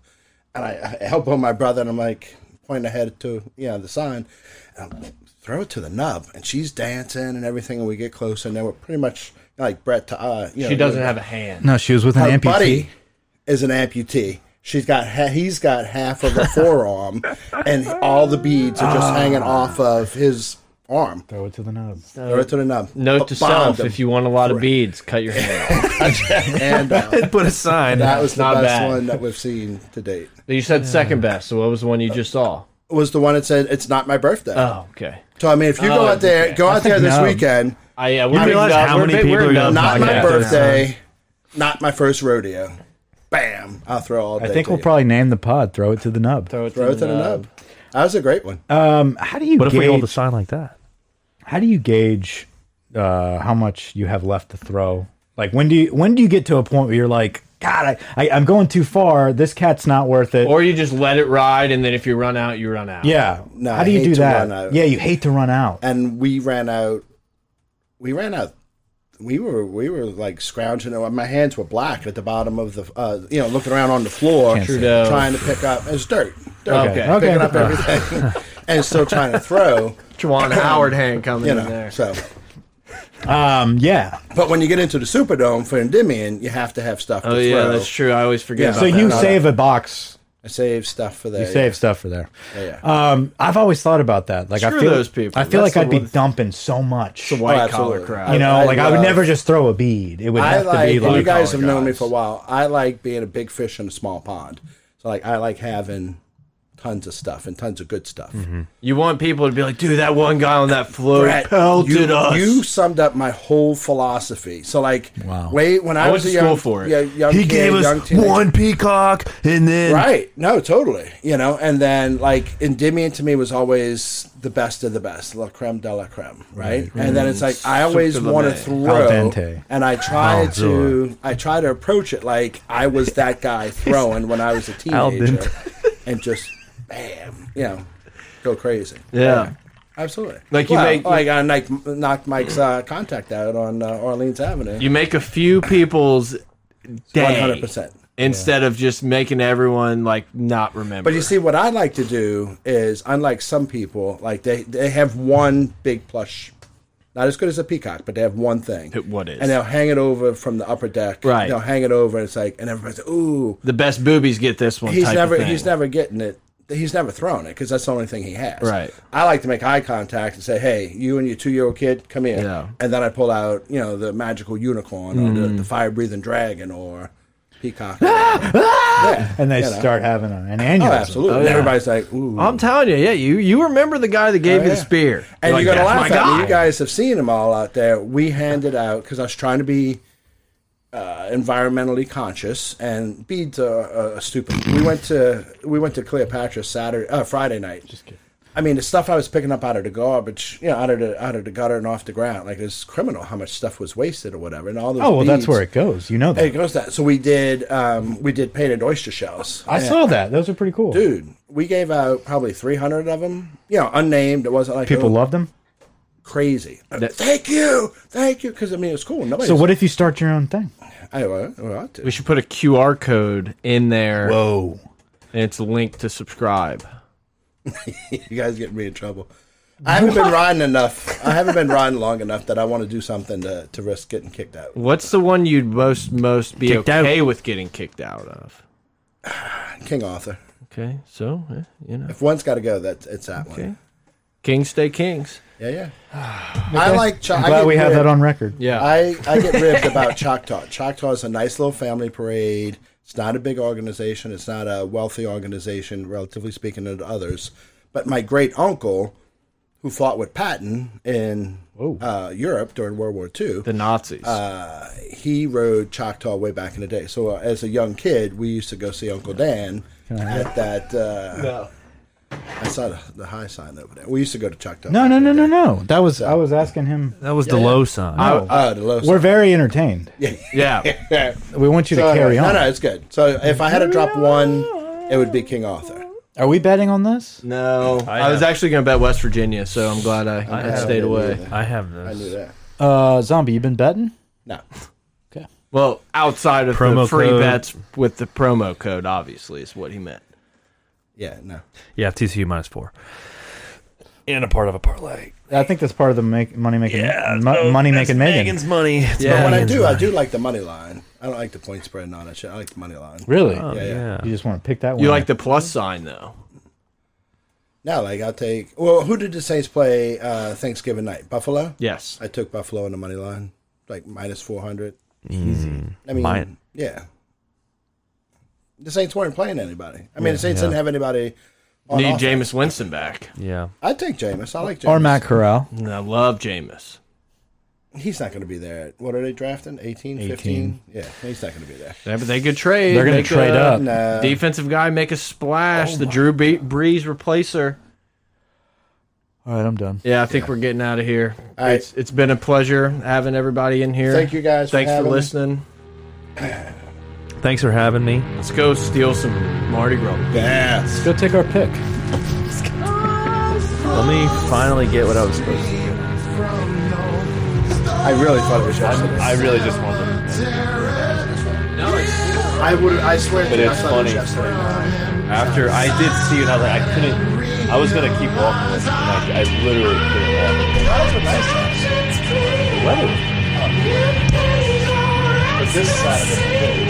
[SPEAKER 4] And I, I help my brother, and I'm like pointing ahead to you know the sign. And I'm like, Throw it to the nub, and she's dancing and everything. And we get close, and then we're pretty much like Brett. To, uh, you know,
[SPEAKER 2] She doesn't
[SPEAKER 4] we're-
[SPEAKER 2] have a hand.
[SPEAKER 3] No, she was with
[SPEAKER 4] her
[SPEAKER 3] an amputee.
[SPEAKER 4] buddy is an amputee. She's got ha- he's got half of a forearm, and all the beads are just hanging
[SPEAKER 2] Ah.
[SPEAKER 4] off of his arm.
[SPEAKER 3] Throw it to the nose.
[SPEAKER 4] Throw it to the nub.
[SPEAKER 2] Uh, Note to
[SPEAKER 4] Bombed
[SPEAKER 2] self:
[SPEAKER 4] him.
[SPEAKER 2] if you want a lot of beads, cut your hand off.
[SPEAKER 4] and uh,
[SPEAKER 5] Put a sign.
[SPEAKER 4] that was the
[SPEAKER 2] Not
[SPEAKER 4] best
[SPEAKER 2] bad.
[SPEAKER 4] one that we've seen to date.
[SPEAKER 2] You said second best. So what was the one you just saw?
[SPEAKER 4] It was the one that said it's not my birthday.
[SPEAKER 2] Oh, okay.
[SPEAKER 4] so I mean, if you
[SPEAKER 2] Oh,
[SPEAKER 4] go out there,
[SPEAKER 2] okay.
[SPEAKER 4] go out there this
[SPEAKER 3] nub.
[SPEAKER 4] weekend.
[SPEAKER 2] I yeah. We
[SPEAKER 5] You realize how many people are gonna
[SPEAKER 4] Not
[SPEAKER 5] Podcast.
[SPEAKER 4] my
[SPEAKER 5] Yeah.
[SPEAKER 4] birthday. Not my first rodeo. Bam! I'll throw all. Day
[SPEAKER 3] I think
[SPEAKER 4] to
[SPEAKER 3] we'll
[SPEAKER 4] you.
[SPEAKER 3] probably name the pod. Throw it to the nub.
[SPEAKER 2] Throw it
[SPEAKER 4] throw it to the nub. That was a great one.
[SPEAKER 3] Um, how do you
[SPEAKER 5] What if we
[SPEAKER 3] gauge?
[SPEAKER 5] hold a sign like that?
[SPEAKER 3] how do you gauge uh, how much you have left to throw? Like when do you when do you get to a point where you're like, God, I, I I'm going too far. This cat's not worth it.
[SPEAKER 2] Or you just let it ride, and then if you run out, you run out.
[SPEAKER 3] yeah.
[SPEAKER 4] No,
[SPEAKER 3] how
[SPEAKER 4] I
[SPEAKER 3] do you
[SPEAKER 4] hate
[SPEAKER 3] do
[SPEAKER 4] to
[SPEAKER 3] that?
[SPEAKER 4] run out.
[SPEAKER 3] Yeah, you hate to run out.
[SPEAKER 4] and we ran out. We ran out. We were we were like scrounging. around. My hands were black at the bottom of the uh, you know looking around on the floor,
[SPEAKER 3] Can't see.
[SPEAKER 2] Trudeau.
[SPEAKER 4] trying to pick up. It was dirt. dirt
[SPEAKER 2] Okay.
[SPEAKER 4] picking
[SPEAKER 3] Okay.
[SPEAKER 4] up everything and still trying to throw.
[SPEAKER 2] Juwan Howard hand coming
[SPEAKER 4] You
[SPEAKER 2] in
[SPEAKER 4] know,
[SPEAKER 2] there.
[SPEAKER 4] so.
[SPEAKER 3] Um, yeah.
[SPEAKER 4] But when you get into the Superdome for Endymion, you have to have stuff. To
[SPEAKER 2] Oh yeah,
[SPEAKER 4] throw.
[SPEAKER 2] that's true. I always forget.
[SPEAKER 4] Yeah.
[SPEAKER 2] About
[SPEAKER 3] So
[SPEAKER 2] that.
[SPEAKER 3] you
[SPEAKER 4] no,
[SPEAKER 3] save a box.
[SPEAKER 4] I save stuff for that.
[SPEAKER 3] You save stuff for there.
[SPEAKER 4] Yeah,
[SPEAKER 3] Um, I've always thought about that. Like I
[SPEAKER 2] Screw
[SPEAKER 3] feel
[SPEAKER 2] those people.
[SPEAKER 3] I feel
[SPEAKER 2] That's
[SPEAKER 3] like
[SPEAKER 2] the
[SPEAKER 3] I'd be
[SPEAKER 2] one-
[SPEAKER 3] dumping so much.
[SPEAKER 2] white collar
[SPEAKER 4] Oh, absolutely.
[SPEAKER 2] crowd.
[SPEAKER 3] you know,
[SPEAKER 4] I
[SPEAKER 3] like I would
[SPEAKER 4] love-
[SPEAKER 3] never just throw a bead. It would
[SPEAKER 4] I
[SPEAKER 3] have to
[SPEAKER 4] like,
[SPEAKER 3] be
[SPEAKER 4] and you
[SPEAKER 3] like
[SPEAKER 4] guys
[SPEAKER 2] collar
[SPEAKER 4] have known me
[SPEAKER 2] guys.
[SPEAKER 4] for a while. I like being a big fish in a small pond. So like I like having tons of stuff and tons of good stuff.
[SPEAKER 2] You want people to be like, dude, that one guy on that float
[SPEAKER 4] Brett,
[SPEAKER 2] pelted
[SPEAKER 4] you,
[SPEAKER 2] us.
[SPEAKER 4] you summed up my whole philosophy. So like,
[SPEAKER 3] Wow.
[SPEAKER 4] wait, when I,
[SPEAKER 2] I went
[SPEAKER 4] was
[SPEAKER 2] to
[SPEAKER 4] a young,
[SPEAKER 2] school for it.
[SPEAKER 4] Yeah, young
[SPEAKER 5] He
[SPEAKER 4] kid,
[SPEAKER 5] gave
[SPEAKER 4] young
[SPEAKER 5] us
[SPEAKER 4] teenager-
[SPEAKER 5] one peacock, and then
[SPEAKER 4] Right. No, totally. You know, and then like Endymion to me was always the best of the best, la creme de la creme, right? And then it's like I always
[SPEAKER 2] Soup de la
[SPEAKER 4] want to
[SPEAKER 2] main.
[SPEAKER 3] Al
[SPEAKER 4] throw,
[SPEAKER 3] dente.
[SPEAKER 4] and I try
[SPEAKER 5] Al
[SPEAKER 4] to, I try to approach it like I was that guy throwing when I was a
[SPEAKER 5] Al
[SPEAKER 4] teenager, and just bam, you know, go crazy.
[SPEAKER 2] yeah.
[SPEAKER 4] Absolutely.
[SPEAKER 2] Like you
[SPEAKER 4] Well,
[SPEAKER 2] make-
[SPEAKER 4] like I like, knocked Mike's uh, contact out on uh, Orleans Avenue.
[SPEAKER 2] You make a few people's day.
[SPEAKER 4] One hundred percent.
[SPEAKER 2] Instead of just making everyone like not remember.
[SPEAKER 4] But you see, what I like to do is, unlike some people, like they they have one big plush, not as good as a peacock, but they have one thing.
[SPEAKER 2] It- what is?
[SPEAKER 4] And they'll hang it over from the upper deck.
[SPEAKER 2] Right.
[SPEAKER 4] They'll hang it over, and it's like, and everybody's like, "Ooh,
[SPEAKER 2] the best boobies get this one.
[SPEAKER 4] he's
[SPEAKER 2] type Of
[SPEAKER 4] never
[SPEAKER 2] thing.
[SPEAKER 4] he's never getting it. He's never thrown it because that's the only thing he has."
[SPEAKER 2] Right.
[SPEAKER 4] I like to make eye contact and say, "Hey, you and your two year old kid, come here."
[SPEAKER 2] Yeah. Mm.
[SPEAKER 4] And then I pull out, you know, the magical unicorn or the, the fire breathing dragon or peacock. or whatever. Yeah.
[SPEAKER 3] and they
[SPEAKER 4] You know.
[SPEAKER 3] start having an
[SPEAKER 4] Oh,
[SPEAKER 3] annual.
[SPEAKER 4] absolutely.
[SPEAKER 2] yeah.
[SPEAKER 4] Everybody's like, "Ooh." Oh,
[SPEAKER 2] I'm telling you, yeah, you you remember the guy that
[SPEAKER 3] Uh,
[SPEAKER 2] gave you the
[SPEAKER 4] yeah.
[SPEAKER 2] spear,
[SPEAKER 4] And
[SPEAKER 2] Like,
[SPEAKER 4] you're gonna
[SPEAKER 2] that's
[SPEAKER 4] laugh
[SPEAKER 2] my
[SPEAKER 4] at me.
[SPEAKER 2] guy.
[SPEAKER 4] You guys have seen them all out there. We handed out because I was trying to be uh, environmentally conscious, and beads are uh, stupid. We went to we went to Cleopatra Saturday uh, Friday night. Just kidding. I mean, the stuff I was picking up out of the garbage, you know, out of the out of the gutter and off the ground, like it's criminal how much stuff was wasted or whatever, and all those.
[SPEAKER 3] Oh well, that's
[SPEAKER 4] beads-
[SPEAKER 3] where it goes. You know that.
[SPEAKER 4] It goes that. So we did um, we did painted oyster shells.
[SPEAKER 3] I saw that. Those are pretty cool.
[SPEAKER 4] Dude, we gave out probably 300 of them. You know, unnamed. It wasn't like
[SPEAKER 3] People
[SPEAKER 4] oh,
[SPEAKER 3] love them.
[SPEAKER 4] crazy. Uh, thank you, thank you. Because I mean, it's cool. Nobody.
[SPEAKER 3] So what if you start your own thing?
[SPEAKER 4] I, well, well, I do.
[SPEAKER 2] We should put a QR code in there,
[SPEAKER 3] Whoa.
[SPEAKER 2] and it's linked to subscribe.
[SPEAKER 4] you guys getting me in trouble. I haven't been riding enough. I haven't been riding long enough that I want to do something to, to risk getting kicked out.
[SPEAKER 2] What's the one you'd most most be
[SPEAKER 5] Kicked
[SPEAKER 2] okay with getting kicked out of?
[SPEAKER 4] King Arthur.
[SPEAKER 2] Okay, so eh, you know,
[SPEAKER 4] If one's got to go, that it's that one.
[SPEAKER 2] kings stay kings.
[SPEAKER 4] Yeah, yeah. I like. Cho-
[SPEAKER 3] I'm
[SPEAKER 4] I
[SPEAKER 3] glad
[SPEAKER 4] get
[SPEAKER 3] we have
[SPEAKER 4] ribbed-
[SPEAKER 3] that on record.
[SPEAKER 2] Yeah,
[SPEAKER 4] I, I get ribbed about Choctaw. Choctaw is a nice little family parade. It's not a big organization. It's not a wealthy organization, relatively speaking, to others. But my great uncle, who fought with Patton in uh, Europe during World War II,
[SPEAKER 2] the Nazis.
[SPEAKER 4] Uh, he rode Choctaw way back in the day. So uh, as a young kid, we used to go see Uncle Dan at that. Uh, I saw the, the high sign over there. We used to go to Choctaw.
[SPEAKER 3] No, no, no, no, no. That was I was asking him.
[SPEAKER 5] that was the low sign.
[SPEAKER 3] Oh,
[SPEAKER 4] Oh, the low
[SPEAKER 3] we're very entertained.
[SPEAKER 2] yeah,
[SPEAKER 4] sign.
[SPEAKER 3] We want you to
[SPEAKER 4] So,
[SPEAKER 3] carry
[SPEAKER 4] no,
[SPEAKER 3] on.
[SPEAKER 4] No, it's good. So if I had to drop one, it would be King Arthur.
[SPEAKER 3] Are we betting on this?
[SPEAKER 2] no, I, was
[SPEAKER 5] have-
[SPEAKER 2] actually going to bet West Virginia, so I'm glad I, I, stayed away.
[SPEAKER 5] I have
[SPEAKER 4] I knew
[SPEAKER 5] this.
[SPEAKER 4] that.
[SPEAKER 3] Uh, zombie, you been betting?
[SPEAKER 4] No.
[SPEAKER 2] Well, outside of the
[SPEAKER 5] Promo
[SPEAKER 2] free
[SPEAKER 5] code.
[SPEAKER 2] bets with the promo code, obviously is what he meant.
[SPEAKER 4] Yeah, no.
[SPEAKER 5] Yeah, TCU minus four, and a part of a parlay.
[SPEAKER 3] I think that's part of the make, money making
[SPEAKER 5] Yeah,
[SPEAKER 3] mo-
[SPEAKER 5] so
[SPEAKER 3] Uh, money
[SPEAKER 5] that's
[SPEAKER 3] making Megan.
[SPEAKER 5] Megan's money. It's
[SPEAKER 2] Yeah.
[SPEAKER 4] But
[SPEAKER 5] Megan's
[SPEAKER 4] when I do, I
[SPEAKER 5] money.
[SPEAKER 4] do like the money line. I don't like the point spread and all that shit. I like the money line.
[SPEAKER 3] Really?
[SPEAKER 5] Oh,
[SPEAKER 4] Yeah,
[SPEAKER 5] yeah.
[SPEAKER 4] yeah.
[SPEAKER 3] You just want to pick that one.
[SPEAKER 2] Uh, You like the plus sign though.
[SPEAKER 4] No, like I'll take. Well, who did the Saints play uh, Thanksgiving night? Buffalo.
[SPEAKER 2] Yes.
[SPEAKER 4] I took Buffalo on the money line, like minus four hundred.
[SPEAKER 5] Mm.
[SPEAKER 4] I mean,
[SPEAKER 5] Mine.
[SPEAKER 4] yeah. The Saints weren't playing anybody. I mean, the Saints
[SPEAKER 5] yeah.
[SPEAKER 4] didn't have anybody. On
[SPEAKER 2] Need
[SPEAKER 4] offense.
[SPEAKER 2] Jameis Winston back.
[SPEAKER 5] Yeah.
[SPEAKER 4] I take Jameis. I like Jameis.
[SPEAKER 3] or Matt Corral?
[SPEAKER 2] And I love Jameis.
[SPEAKER 4] He's not going to be there. at- What are they drafting? 18,
[SPEAKER 3] 18.
[SPEAKER 4] 15? Yeah, he's not going to be there.
[SPEAKER 2] Yeah, but they could trade.
[SPEAKER 3] They're gonna
[SPEAKER 2] Make
[SPEAKER 3] trade
[SPEAKER 2] a
[SPEAKER 3] up.
[SPEAKER 4] Nah.
[SPEAKER 2] Defensive guy make a
[SPEAKER 4] Oh
[SPEAKER 2] splash. the Drew Be- Brees replacer.
[SPEAKER 3] All right, I'm done.
[SPEAKER 2] Yeah, I think we're getting out of here.
[SPEAKER 4] All right.
[SPEAKER 2] It's it's been a pleasure having everybody in here.
[SPEAKER 4] Thank you guys for
[SPEAKER 2] Thanks for,
[SPEAKER 4] having me.
[SPEAKER 2] listening.
[SPEAKER 5] Thanks for having me.
[SPEAKER 2] Let's go steal some Mardi Gras.
[SPEAKER 4] Yes.
[SPEAKER 3] Go take our pick.
[SPEAKER 5] Let me finally get what I was supposed to.
[SPEAKER 4] I really thought it was yesterday.
[SPEAKER 5] I really just wanted. To,
[SPEAKER 4] I would. I swear. But
[SPEAKER 5] it's funny. after I did see it, I was like, I couldn't. I was gonna keep walking, and I, I literally couldn't walk. Weather.
[SPEAKER 1] But this side of it.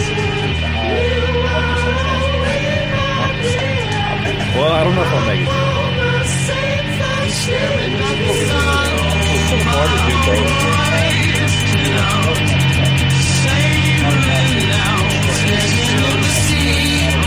[SPEAKER 5] Well, I don't know if I'll make it.
[SPEAKER 1] Thank